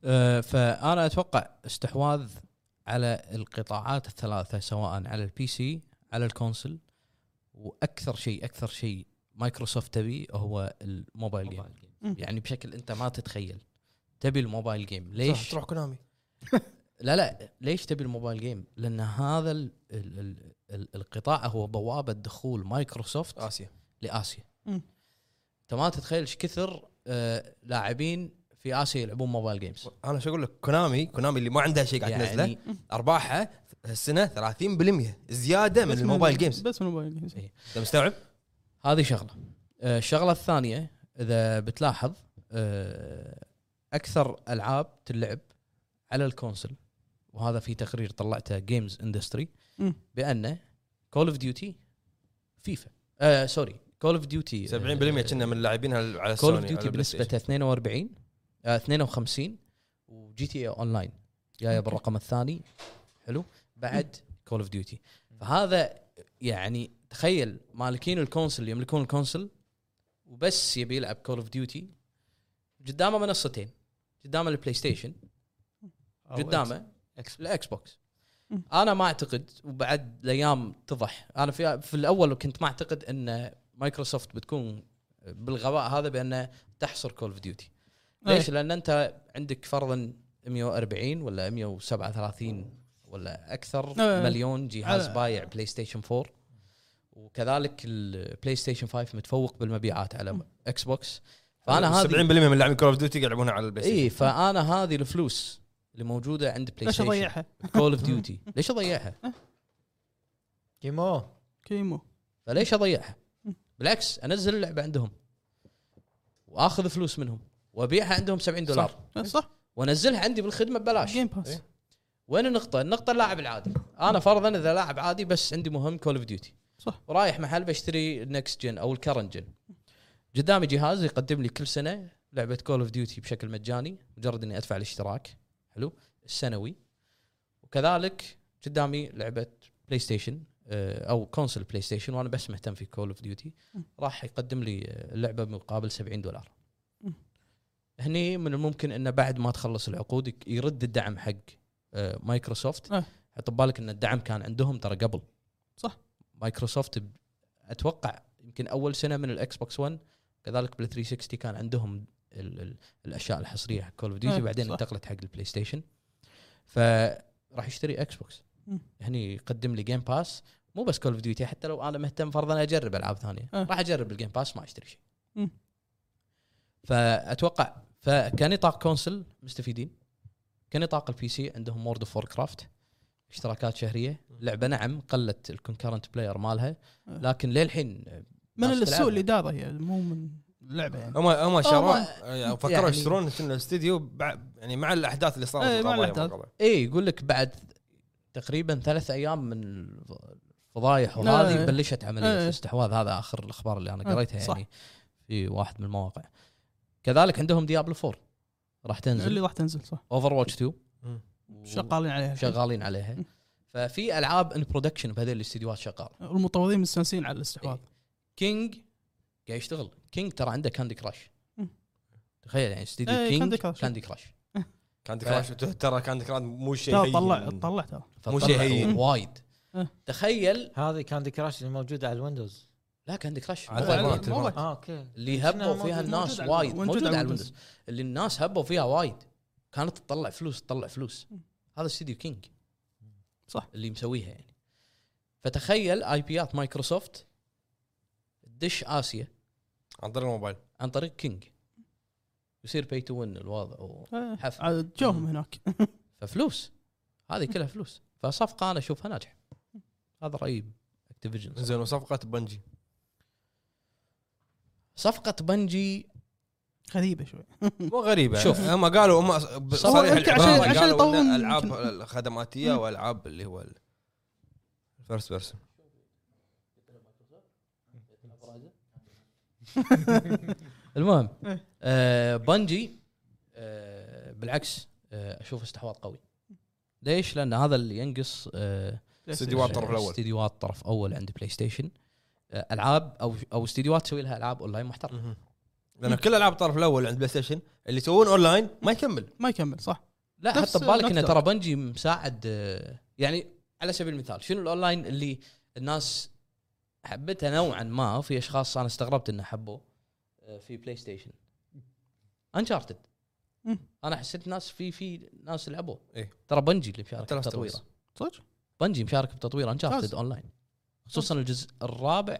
[SPEAKER 5] آه، فانا اتوقع استحواذ على القطاعات الثلاثه سواء على البي سي على الكونسل واكثر شيء اكثر شيء مايكروسوفت تبي هو الموبايل جيم
[SPEAKER 4] مم.
[SPEAKER 5] يعني بشكل انت ما تتخيل تبي الموبايل جيم ليش
[SPEAKER 1] صح، تروح كونامي
[SPEAKER 5] لا لا ليش تبي الموبايل جيم لان هذا ال ال ال ال القطاع هو بوابه دخول مايكروسوفت
[SPEAKER 1] اسيا
[SPEAKER 5] لاسيا
[SPEAKER 4] مم.
[SPEAKER 5] انت ما تتخيل ايش كثر آه لاعبين في اسيا يلعبون موبايل جيمز
[SPEAKER 1] انا شو اقول لك كونامي كونامي اللي ما عندها شيء قاعد تنزله
[SPEAKER 5] يعني
[SPEAKER 1] ارباحها السنه 30% زياده من
[SPEAKER 4] بس
[SPEAKER 1] الموبايل إيه، جيمز
[SPEAKER 4] بس من الموبايل جيمز
[SPEAKER 1] انت مستوعب؟
[SPEAKER 5] هذه شغله آه، الشغله الثانيه اذا بتلاحظ آه، اكثر العاب تلعب على الكونسل وهذا في تقرير طلعته جيمز اندستري
[SPEAKER 4] مم.
[SPEAKER 5] بان كول اوف ديوتي فيفا آه سوري كول اوف ديوتي
[SPEAKER 1] 70% كنا من لاعبينها على
[SPEAKER 5] كول
[SPEAKER 1] سوني
[SPEAKER 5] اوف ديوتي بنسبه 42 آه 52 وجي تي اون لاين جايه
[SPEAKER 4] أوكي.
[SPEAKER 5] بالرقم الثاني حلو بعد كول اوف ديوتي فهذا يعني تخيل مالكين الكونسل يملكون الكونسل وبس يبي يلعب كول اوف ديوتي قدامه منصتين قدامه البلاي ستيشن قدامه الاكس بوكس
[SPEAKER 4] مم.
[SPEAKER 5] انا ما اعتقد وبعد الايام اتضح انا في في الاول كنت ما اعتقد ان مايكروسوفت بتكون بالغباء هذا بانه تحصر كول اوف ديوتي
[SPEAKER 4] إيه.
[SPEAKER 5] ليش؟ لان انت عندك فرضا 140 ولا 137 ولا اكثر
[SPEAKER 4] إيه.
[SPEAKER 5] مليون جهاز
[SPEAKER 4] على-
[SPEAKER 5] بايع بلاي ستيشن 4 وكذلك البلاي ستيشن 5 متفوق بالمبيعات على اكس بوكس فانا هذه إيه.
[SPEAKER 1] 70% من لاعبين كول اوف ديوتي يلعبونها على البلاي ستيشن
[SPEAKER 5] اي فانا هذه الفلوس اللي موجوده عند بلاي
[SPEAKER 4] ليش
[SPEAKER 5] ستيشن
[SPEAKER 4] اضيعها؟
[SPEAKER 5] كول اوف ديوتي ليش اضيعها؟
[SPEAKER 6] كيمو
[SPEAKER 4] كيمو
[SPEAKER 5] فليش اضيعها؟ بالعكس انزل اللعبه عندهم واخذ فلوس منهم وابيعها عندهم 70 دولار
[SPEAKER 1] إيه.
[SPEAKER 4] صح
[SPEAKER 5] وانزلها عندي بالخدمه ببلاش
[SPEAKER 4] جيم باس
[SPEAKER 5] وين النقطه؟ النقطه اللاعب العادي انا فرضا اذا لاعب عادي بس عندي مهم كول اوف ديوتي
[SPEAKER 4] صح.
[SPEAKER 5] ورايح محل بشتري النكست جن او الكرنت جن قدامي جهاز يقدم لي كل سنه لعبه كول اوف ديوتي بشكل مجاني مجرد اني ادفع الاشتراك حلو السنوي وكذلك قدامي لعبه بلاي ستيشن آه، او كونسل بلاي ستيشن وانا بس مهتم في كول اوف ديوتي
[SPEAKER 4] م.
[SPEAKER 5] راح يقدم لي آه، اللعبه بمقابل 70 دولار
[SPEAKER 4] م.
[SPEAKER 5] هني من الممكن انه بعد ما تخلص العقود يك- يرد الدعم حق آه، مايكروسوفت
[SPEAKER 4] آه.
[SPEAKER 5] حط ببالك ان الدعم كان عندهم ترى قبل
[SPEAKER 4] صح.
[SPEAKER 5] مايكروسوفت ب- اتوقع يمكن اول سنه من الاكس بوكس 1 كذلك بال 360 كان عندهم ال ال الاشياء الحصريه حق كول اوف ديوتي
[SPEAKER 4] آه،
[SPEAKER 5] بعدين
[SPEAKER 4] صح.
[SPEAKER 5] انتقلت حق البلاي ستيشن فراح يشتري اكس بوكس
[SPEAKER 4] مم.
[SPEAKER 5] هني يقدم لي جيم باس مو بس كول اوف ديوتي حتى لو انا مهتم فرضا اجرب العاب ثانيه
[SPEAKER 4] آه.
[SPEAKER 5] راح اجرب الجيم باس ما اشتري شيء
[SPEAKER 4] مم.
[SPEAKER 5] فاتوقع فكنطاق كونسل مستفيدين كنطاق البي سي عندهم وورد اوف كرافت اشتراكات شهريه لعبه نعم قلت الكونكرنت بلاير مالها
[SPEAKER 4] آه.
[SPEAKER 5] لكن للحين
[SPEAKER 4] من
[SPEAKER 5] ناس
[SPEAKER 4] السوء
[SPEAKER 5] تلعبها.
[SPEAKER 4] الاداره هي يعني، مو من اللعبه يعني
[SPEAKER 1] هم هم شروه فكروا
[SPEAKER 5] يعني-
[SPEAKER 1] يشترون شنو الاستديو بع- يعني مع الاحداث اللي صارت
[SPEAKER 4] إيه، مع
[SPEAKER 1] بالقضايا
[SPEAKER 4] الأحداث.
[SPEAKER 1] بالقضايا.
[SPEAKER 5] اي إيه، يقول لك بعد تقريبا ثلاث ايام من الفضايح
[SPEAKER 4] لا،
[SPEAKER 5] وهذه
[SPEAKER 4] إيه.
[SPEAKER 5] بلشت عمليه
[SPEAKER 4] إيه.
[SPEAKER 5] الاستحواذ هذا اخر الاخبار اللي انا
[SPEAKER 4] إيه،
[SPEAKER 5] قريتها
[SPEAKER 4] صح.
[SPEAKER 5] يعني في واحد من المواقع كذلك عندهم ديابلو 4 راح
[SPEAKER 4] اللي
[SPEAKER 5] تنزل
[SPEAKER 4] راح تنزل صح
[SPEAKER 5] اوفر واتش 2
[SPEAKER 1] مم.
[SPEAKER 4] شغالين عليها
[SPEAKER 5] شغالين عليها ففي العاب ان برودكشن بهذول الاستديوهات شغال
[SPEAKER 4] المطورين مستانسين على الاستحواذ
[SPEAKER 5] كينج قاعد يشتغل كينج ترى عنده كاندي كراش
[SPEAKER 4] مم.
[SPEAKER 5] تخيل يعني استديو
[SPEAKER 4] إيه،
[SPEAKER 5] كينج
[SPEAKER 4] Candy Crush.
[SPEAKER 5] كاندي كراش
[SPEAKER 1] كانت
[SPEAKER 5] ف-
[SPEAKER 1] كراش ترى كانت كراش مو شيء يعني.
[SPEAKER 4] ترى
[SPEAKER 1] هين.
[SPEAKER 4] طلع طلع ترى
[SPEAKER 1] مو شيء
[SPEAKER 5] فطلعوا
[SPEAKER 1] هين.
[SPEAKER 5] وايد
[SPEAKER 4] إيه.
[SPEAKER 5] تخيل
[SPEAKER 6] هذه كاندي كراش اللي موجوده على الويندوز
[SPEAKER 5] لا كاندي كراش
[SPEAKER 1] على
[SPEAKER 5] موبايل
[SPEAKER 1] الويندوز.
[SPEAKER 5] جيم.
[SPEAKER 1] موبايل.
[SPEAKER 3] آه،
[SPEAKER 6] اه اوكي
[SPEAKER 5] اللي
[SPEAKER 6] شنو
[SPEAKER 5] هبوا
[SPEAKER 6] موجود-
[SPEAKER 5] فيها
[SPEAKER 6] موجود
[SPEAKER 5] الناس
[SPEAKER 4] على-
[SPEAKER 5] وايد
[SPEAKER 4] موجود
[SPEAKER 5] موجود
[SPEAKER 4] على
[SPEAKER 5] على
[SPEAKER 4] الويندوز.
[SPEAKER 5] الويندوز اللي الناس هبوا فيها وايد كانت تطلع فلوس تطلع فلوس هذا استديو كينج
[SPEAKER 4] صح.
[SPEAKER 5] اللي مسويها يعني فتخيل اي بيات مايكروسوفت تدش اسيا
[SPEAKER 1] عن طريق الموبايل
[SPEAKER 5] عن طريق كينج يصير باي تو وين الوضع و...
[SPEAKER 4] إيه،
[SPEAKER 5] حفل.
[SPEAKER 4] عاد جوهم هناك
[SPEAKER 5] ففلوس هذه كلها فلوس فصفقه انا اشوفها ناجحه هذا رايي اكتيفيجن
[SPEAKER 1] زين وصفقه بنجي
[SPEAKER 5] صفقه بنجي
[SPEAKER 4] غريبه شوي
[SPEAKER 1] مو غريبه
[SPEAKER 5] شوف.
[SPEAKER 1] هم قالوا هم ب-
[SPEAKER 5] صح.
[SPEAKER 1] صريح
[SPEAKER 4] يمكن
[SPEAKER 1] العبارة
[SPEAKER 4] عشان- عشان
[SPEAKER 1] قالوا
[SPEAKER 4] يطولون
[SPEAKER 1] إن
[SPEAKER 4] يمكن.
[SPEAKER 1] العاب الخدماتيه والعاب اللي هو الفيرست بيرسون
[SPEAKER 5] المهم
[SPEAKER 4] إيه.
[SPEAKER 5] آه بنجي آه بالعكس آه اشوف استحواذ قوي ليش؟ لان هذا اللي ينقص آه
[SPEAKER 1] استديوهات الطرف الأول.
[SPEAKER 5] استديوهات الطرف الاول عند بلاي ستيشن آه العاب او او استديوهات تسوي لها العاب اونلاين محترمه
[SPEAKER 1] لان كل العاب الطرف الاول عند بلاي ستيشن اللي يسوون اونلاين ما يكمل
[SPEAKER 4] ما يكمل صح
[SPEAKER 5] لا
[SPEAKER 4] نفس
[SPEAKER 5] حط ببالك انه
[SPEAKER 4] نكتة.
[SPEAKER 5] ترى بنجي مساعد آه، يعني على سبيل المثال شنو الاونلاين اللي الناس حبتها نوعا ما في اشخاص انا استغربت انه حبوه آه، في بلاي ستيشن انشارتد
[SPEAKER 4] مم.
[SPEAKER 5] انا حسيت ناس في في ناس لعبوه
[SPEAKER 1] إيه.
[SPEAKER 5] ترى بنجي اللي مشارك
[SPEAKER 1] The Last of Us.
[SPEAKER 5] بتطويره
[SPEAKER 4] صدق
[SPEAKER 6] يعني
[SPEAKER 5] بنجي مشارك بتطوير انشارتد
[SPEAKER 4] ممتاز.
[SPEAKER 5] اونلاين خصوصا الجزء الرابع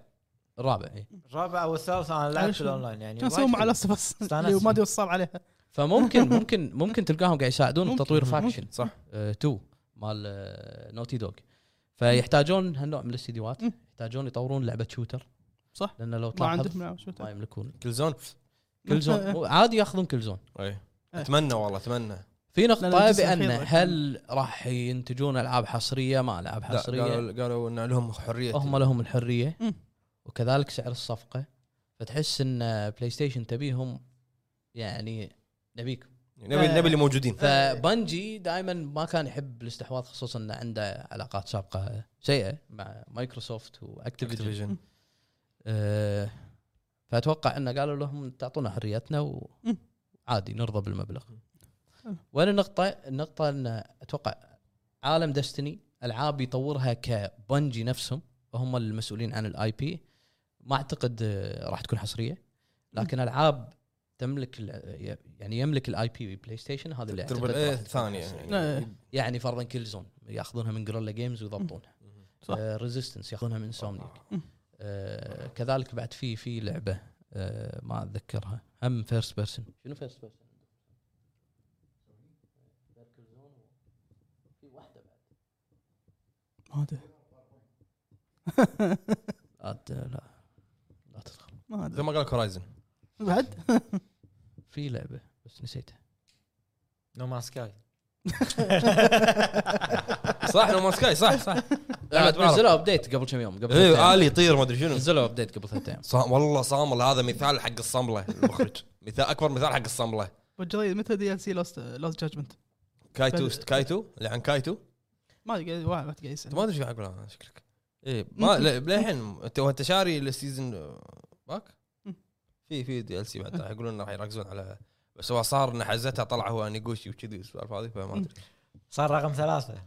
[SPEAKER 5] الرابع إيه.
[SPEAKER 6] الرابع والثالث انا لعبت
[SPEAKER 4] معلش.
[SPEAKER 6] في الاونلاين يعني
[SPEAKER 4] كان
[SPEAKER 6] وايد
[SPEAKER 4] سووا مع
[SPEAKER 6] حلو.
[SPEAKER 4] لاست بس
[SPEAKER 6] استانست.
[SPEAKER 4] اللي ما ادري وش صار عليها
[SPEAKER 5] فممكن ممكن ممكن تلقاهم قاعد يساعدون
[SPEAKER 4] ممكن،
[SPEAKER 5] تطوير
[SPEAKER 4] ممكن.
[SPEAKER 5] فاكشن
[SPEAKER 1] صح
[SPEAKER 5] 2 مال نوتي دوغ فيحتاجون هالنوع من الاستديوهات
[SPEAKER 4] مم.
[SPEAKER 5] يحتاجون يطورون لعبه شوتر
[SPEAKER 4] صح.
[SPEAKER 5] لان لو
[SPEAKER 4] ما
[SPEAKER 5] تلاحظ
[SPEAKER 4] عندهم لعبة إيه. شو
[SPEAKER 5] ما يملكون
[SPEAKER 1] كل زون
[SPEAKER 5] كل زون مو- عادي ياخذون كل زون
[SPEAKER 1] اي اتمنى والله اتمنى
[SPEAKER 5] في
[SPEAKER 4] لا،
[SPEAKER 5] نقطه
[SPEAKER 4] الجزء
[SPEAKER 5] بان
[SPEAKER 4] الأخير-
[SPEAKER 5] هل راح ينتجون العاب حصريه ما العاب
[SPEAKER 1] لا،
[SPEAKER 5] حصريه
[SPEAKER 1] قالوا قالوا ان لهم حريه
[SPEAKER 5] هم لهم الحريه
[SPEAKER 1] يعني
[SPEAKER 4] مم.
[SPEAKER 5] وكذلك سعر الصفقه فتحس ان بلاي ستيشن تبيهم يعني نبيكم
[SPEAKER 1] نبي نبي اللي موجودين
[SPEAKER 5] فبنجي دائما ما كان يحب الاستحواذ خصوصا انه عنده علاقات سابقه سيئه مع مايكروسوفت واكتيفيجن
[SPEAKER 1] Activision.
[SPEAKER 5] آه، فاتوقع انه قالوا لهم تعطونا حريتنا
[SPEAKER 4] مم.
[SPEAKER 5] وعادي نرضى بالمبلغ
[SPEAKER 4] حلو.
[SPEAKER 5] وين النقطة؟ النقطة ان اتوقع عالم دستني العاب يطورها كبنجي نفسهم وهم المسؤولين عن الاي بي ما اعتقد آه، راح تكون حصرية لكن العاب تملك ال- يعني يملك الاي بي بلاي ستيشن هذا اللي
[SPEAKER 1] تربل
[SPEAKER 5] أعتقد
[SPEAKER 1] اي
[SPEAKER 5] راح تكون
[SPEAKER 1] الثانية
[SPEAKER 5] حصرية.
[SPEAKER 1] إيه،
[SPEAKER 4] إيه.
[SPEAKER 1] يعني
[SPEAKER 5] يعني فرضا كل زون ياخذونها من جوريلا جيمز ويضبطونها
[SPEAKER 4] صح.
[SPEAKER 5] ريزيستنس آه، ياخذونها من سومنيك
[SPEAKER 4] مم.
[SPEAKER 5] آه كذلك بعد في في لعبه آه ما اتذكرها هم فيرست بيرسون شنو فيرست بيرسون؟
[SPEAKER 4] ما ادري
[SPEAKER 5] لا ت- آه، لا لا تدخل
[SPEAKER 4] ما
[SPEAKER 1] زي
[SPEAKER 4] ادري
[SPEAKER 1] ما قال هورايزن
[SPEAKER 4] بعد
[SPEAKER 5] في لعبه بس نسيتها
[SPEAKER 6] نو مان سكاي
[SPEAKER 1] صح نو سكاي صح صح
[SPEAKER 4] إيه.
[SPEAKER 5] آه،
[SPEAKER 1] بعرف.
[SPEAKER 5] نزلوا ابديت قبل كم يوم قبل ثلاث
[SPEAKER 1] ايه
[SPEAKER 5] أيام.
[SPEAKER 1] الي يطير ما ادري شنو
[SPEAKER 5] نزلوا ابديت قبل ثلاث ايام
[SPEAKER 1] صا- والله صامل هذا مثال حق الصمله المخرج مثال اكبر مثال حق الصمله
[SPEAKER 4] والجريد متى دي ال سي لاست لاست جادجمنت
[SPEAKER 1] كايتو
[SPEAKER 4] فل-
[SPEAKER 1] كايتو اللي عن كايتو
[SPEAKER 4] ما ادري قاعد- واحد قاعد
[SPEAKER 1] انت
[SPEAKER 4] يسال
[SPEAKER 1] ما ادري شو قاعد اقول أنا شكلك ايه ما لا- للحين انت وانت شاري السيزون آه، باك
[SPEAKER 4] مم.
[SPEAKER 1] في في دي ال سي بعد راح يقولون راح يركزون على بس هو صار ان حزتها طلع هو نيجوشي وكذي والسوالف هذه فما ادري
[SPEAKER 6] صار رقم ثلاثة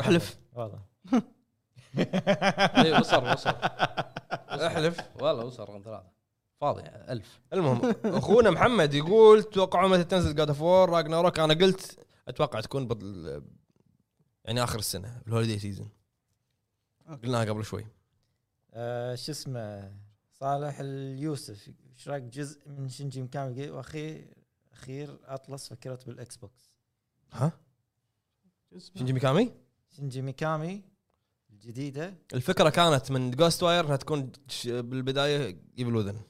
[SPEAKER 1] احلف
[SPEAKER 6] والله
[SPEAKER 5] إيه، وصل وصل احلف والله وصل رقم ثلاثه فاضي ألف
[SPEAKER 1] المهم اخونا محمد يقول توقعوا متى تنزل جاد اوف وور راجناروك انا قلت اتوقع تكون بطل يعني اخر السنه الهوليدي سيزون
[SPEAKER 4] أوكي.
[SPEAKER 1] قلناها قبل شوي
[SPEAKER 6] آه، شو اسمه صالح اليوسف ايش رايك جزء من شنجي مكامي واخير اخير اطلس فكرت بالاكس بوكس
[SPEAKER 1] ها شنجي ميكامي
[SPEAKER 6] شنجي ميكامي الجديده
[SPEAKER 1] الفكره كانت من جوست واير انها تكون ش- بالبدايه ايفل وذن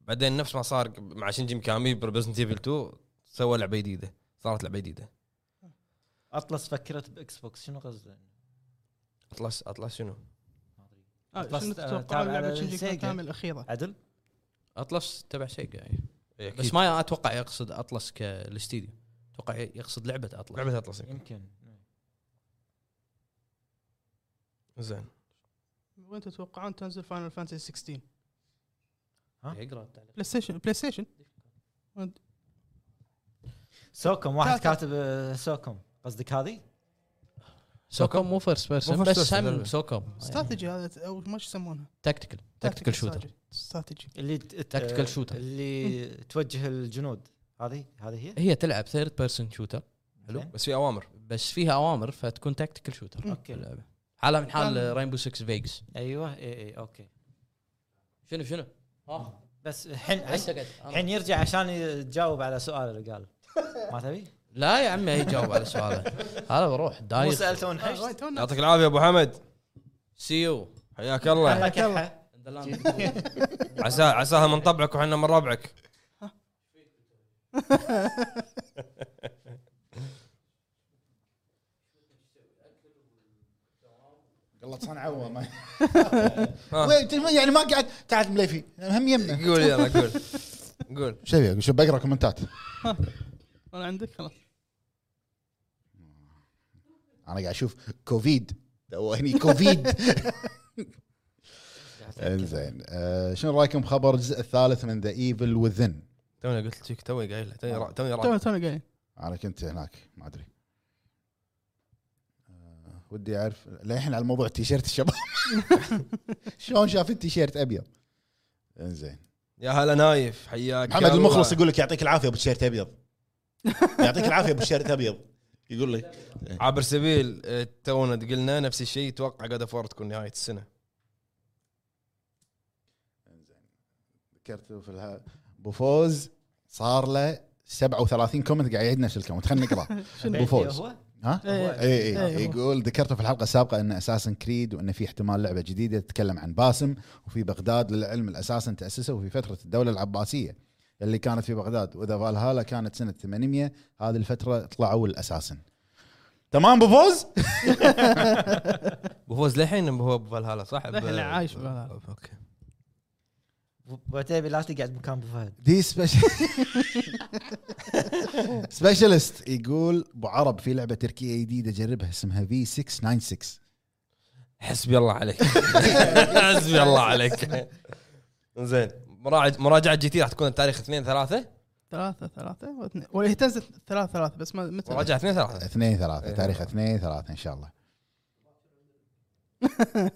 [SPEAKER 1] بعدين نفس ما صار مع شنجي ميكامي بريزنت ايفل 2 سوى لعبه جديده صارت لعبه جديده
[SPEAKER 6] اطلس فكرت باكس بوكس شنو قصده؟
[SPEAKER 1] اطلس اطلس شنو؟
[SPEAKER 4] آه، شنو
[SPEAKER 6] بس- آه،
[SPEAKER 4] تتوقع
[SPEAKER 6] تابع
[SPEAKER 4] لعبه
[SPEAKER 6] للسيجا.
[SPEAKER 4] شنجي كامل الاخيره
[SPEAKER 6] عدل؟
[SPEAKER 5] اطلس تبع سيجا يعني.
[SPEAKER 1] إيه، أكيد.
[SPEAKER 5] بس ما اتوقع يقصد اطلس كالاستديو اتوقع يقصد لعبه اطلس
[SPEAKER 1] لعبه اطلس
[SPEAKER 6] يمكن
[SPEAKER 1] زين
[SPEAKER 4] وين تتوقعون تنزل فاينل فانتسي 16
[SPEAKER 6] ها؟
[SPEAKER 5] يقرا التعليق.
[SPEAKER 4] بلاي ستيشن بلاي ستيشن
[SPEAKER 6] سوكم واحد
[SPEAKER 4] ثلاثة.
[SPEAKER 6] كاتب آه، سوكم قصدك هذه؟
[SPEAKER 5] سوكم مو فيرست بيرسون
[SPEAKER 1] مو first
[SPEAKER 5] بس
[SPEAKER 1] person لعبة.
[SPEAKER 5] هم يعني سوكم
[SPEAKER 4] استراتيجي هذا او ما شو يسمونها
[SPEAKER 5] تكتيكال تكتيكال شوتر
[SPEAKER 4] استراتيجي
[SPEAKER 6] اللي ت- ت-
[SPEAKER 5] Tactical
[SPEAKER 6] آه،
[SPEAKER 5] shooter.
[SPEAKER 6] اللي توجه الجنود هذه هذه هي؟
[SPEAKER 5] هي تلعب ثيرد بيرسون شوتر حلو.
[SPEAKER 6] زين.
[SPEAKER 1] بس في اوامر
[SPEAKER 5] بس فيها اوامر فتكون تكتيكال شوتر
[SPEAKER 6] اوكي
[SPEAKER 5] اللعبه حالها من حال
[SPEAKER 4] كان-
[SPEAKER 5] رينبو 6 فيجز
[SPEAKER 6] ايوه اي اي اوكي
[SPEAKER 5] شنو شنو؟ ها
[SPEAKER 6] بس الحين
[SPEAKER 5] عشت قد.
[SPEAKER 6] الحين يرجع عشان يتجاوب على سؤال اللي قال ما تبي؟
[SPEAKER 5] لا يا عمي يجاوب على سؤاله هذا بروح
[SPEAKER 6] مو
[SPEAKER 5] دايخ
[SPEAKER 6] سالته
[SPEAKER 4] آه،
[SPEAKER 6] وانحشت
[SPEAKER 4] وايد تونا.
[SPEAKER 1] يعطيك العافيه ابو حمد
[SPEAKER 5] سيو
[SPEAKER 1] حياك الله
[SPEAKER 6] حركة حا.
[SPEAKER 1] عساه عساها من طبعك وحنا من ربعك
[SPEAKER 2] قلت صنعوه ما
[SPEAKER 1] ها.
[SPEAKER 2] وين تلم- يعني ما قاعد قاعد مليفي هم يمنا
[SPEAKER 1] قول يلا قول قول
[SPEAKER 2] شو أبي أقول؟ شو بقرا كومنتات
[SPEAKER 4] انا عندك خلاص
[SPEAKER 2] انا قاعد اشوف كوفيد تو هني كوفيد انزين آه، شنو رايكم بخبر الجزء الثالث من ذا ايفل وذن
[SPEAKER 1] توني قلت لك توي قايل له، توني را- توني
[SPEAKER 4] تونا
[SPEAKER 1] رايح
[SPEAKER 4] تونا قايل
[SPEAKER 2] انا كنت هناك ما ادري آه، ودي اعرف للحين على موضوع التيشيرت الشباب شلون شاف التيشيرت ابيض انزين
[SPEAKER 1] يا هلا نايف حياك
[SPEAKER 2] محمد
[SPEAKER 1] الله.
[SPEAKER 2] المخلص يقول لك يعطيك العافيه ابو تيشيرت ابيض يعطيك العافيه ابو تيشيرت ابيض يقول لك
[SPEAKER 1] عبر سبيل آه، تونا قلنا نفس الشيء يتوقع قد فور تكون نهايه السنه
[SPEAKER 2] ذكرته في الها- ابو فوز صار له 37 كومنت قاعد يعيد نفس الكومنت خلينا نقراه ابو فوز
[SPEAKER 6] هو؟
[SPEAKER 2] ها
[SPEAKER 4] إيه.
[SPEAKER 2] اي
[SPEAKER 4] إيه.
[SPEAKER 2] اي يقول ذكرته في الحلقه السابقه ان اساسن كريد وان في احتمال لعبه جديده تتكلم عن باسم وفي بغداد للعلم الاساسن تاسسه في فتره الدوله العباسيه اللي كانت في بغداد واذا فالهالا كانت سنه 800 هذه الفتره طلعوا الاساسن تمام ابو فوز
[SPEAKER 1] ابو فوز للحين هو بفالهالا صح؟
[SPEAKER 4] للحين
[SPEAKER 1] ب-
[SPEAKER 4] عايش بفالهالا.
[SPEAKER 1] اوكي
[SPEAKER 6] وتبي لا تقعد مكان ابو فهد
[SPEAKER 2] دي سبيشل سبيشالست يقول ابو عرب في لعبه تركيه جديده جربها اسمها في 696
[SPEAKER 1] حسبي الله عليك حسبي الله عليك زين مراجعه مراجعه جي تي راح تكون التاريخ 2 3
[SPEAKER 4] ثلاثة ثلاثة واثنين ولا هي تنزل ثلاثة ثلاثة بس ما متى
[SPEAKER 1] مراجعه 2 3
[SPEAKER 2] اثنين ثلاثة تاريخ اثنين ثلاثة ان شاء الله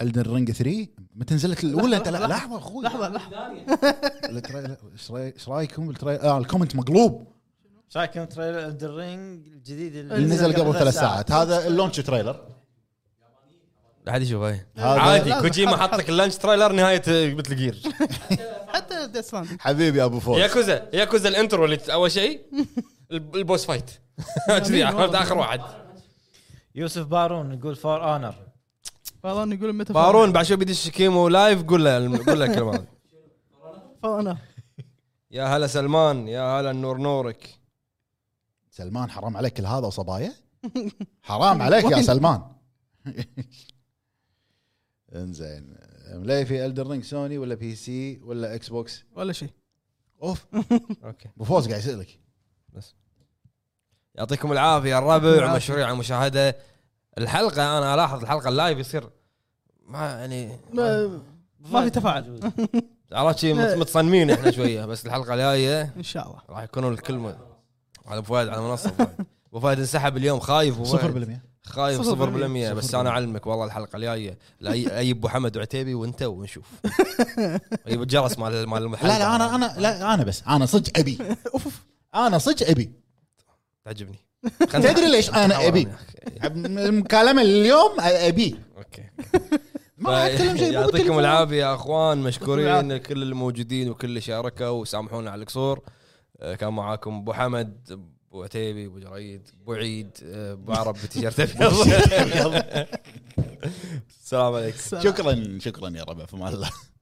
[SPEAKER 2] الدن رينج 3 متى نزلت الاولى انت لا- لحظه اخوي
[SPEAKER 4] لحظة لحظة
[SPEAKER 2] التريلر- ايش راي- ايش رايكم بالتريلر اه الكومنت مقلوب
[SPEAKER 6] ايش رايكم تريلر الدر رينج الجديد
[SPEAKER 2] اللي نزل قبل ثلاث ساعات هذا اللونش تريلر
[SPEAKER 1] لا حد يشوف هاي
[SPEAKER 2] هذا-
[SPEAKER 1] عادي
[SPEAKER 4] لازم.
[SPEAKER 1] كوجيما حط لك اللانش تريلر نهايه مثل جير
[SPEAKER 4] حتى ديث لاند
[SPEAKER 2] حبيبي ابو فوز
[SPEAKER 1] ياكوزا ياكوزا الانترو اللي ت- اول شيء الب- البوس فايت كذي عرفت اخر واحد
[SPEAKER 6] يوسف بارون يقول فور اونر
[SPEAKER 4] فالون يقول متى
[SPEAKER 1] بارون بعد شوي بيدش كيمو لايف قول له قول له الكلمه هذه
[SPEAKER 4] فالون
[SPEAKER 1] يا هلا سلمان يا هلا النور نورك
[SPEAKER 2] سلمان حرام عليك كل هذا وصبايا حرام عليك يا سلمان انزين مليفي الدر رينج سوني ولا بي سي ولا اكس بوكس
[SPEAKER 4] ولا شيء
[SPEAKER 2] اوف
[SPEAKER 1] اوكي
[SPEAKER 2] ابو فوز قاعد يسالك
[SPEAKER 1] يعطيكم العافيه الربع مشروع على المشاهده الحلقه انا الاحظ الحلقه اللايف يصير ما يعني
[SPEAKER 4] ما- ما في تفاعل
[SPEAKER 1] عرفت شي مت- متصنمين احنا شويه بس الحلقه الجايه
[SPEAKER 4] ان شاء الله
[SPEAKER 1] راح يكونون الكل م- على ابو فهد على منصه أبو فهد. ابو فهد انسحب اليوم خايف أبو فهد.
[SPEAKER 2] 0%
[SPEAKER 1] خايف 0%
[SPEAKER 4] صفر
[SPEAKER 1] بالمية بس انا اعلمك والله الحلقه الجايه لا أي- اجيب ابو حمد وعتيبي وانت ونشوف اجيب الجرس مال مال المحل
[SPEAKER 2] لا لا انا انا لا انا بس انا صدق ابي اوف انا صدق ابي
[SPEAKER 1] تعجبني
[SPEAKER 2] تدري ليش أنا أبي؟ المكالمه اليوم ابي
[SPEAKER 1] اوكي
[SPEAKER 2] ما راح اتكلم شيء مو
[SPEAKER 1] يعطيكم
[SPEAKER 2] بالتليفون.
[SPEAKER 1] العافيه يا اخوان مشكورين
[SPEAKER 4] العافية.
[SPEAKER 1] كل الموجودين وكل اللي شاركوا وسامحونا على القصور آه، كان معاكم ابو حمد ابو عتيبي ابو جريد ابو عيد آه، ابو عرب بتيشيرت ابيض
[SPEAKER 2] السلام
[SPEAKER 1] السلام عليكم
[SPEAKER 2] شكرا شكرا يا ربع فما الله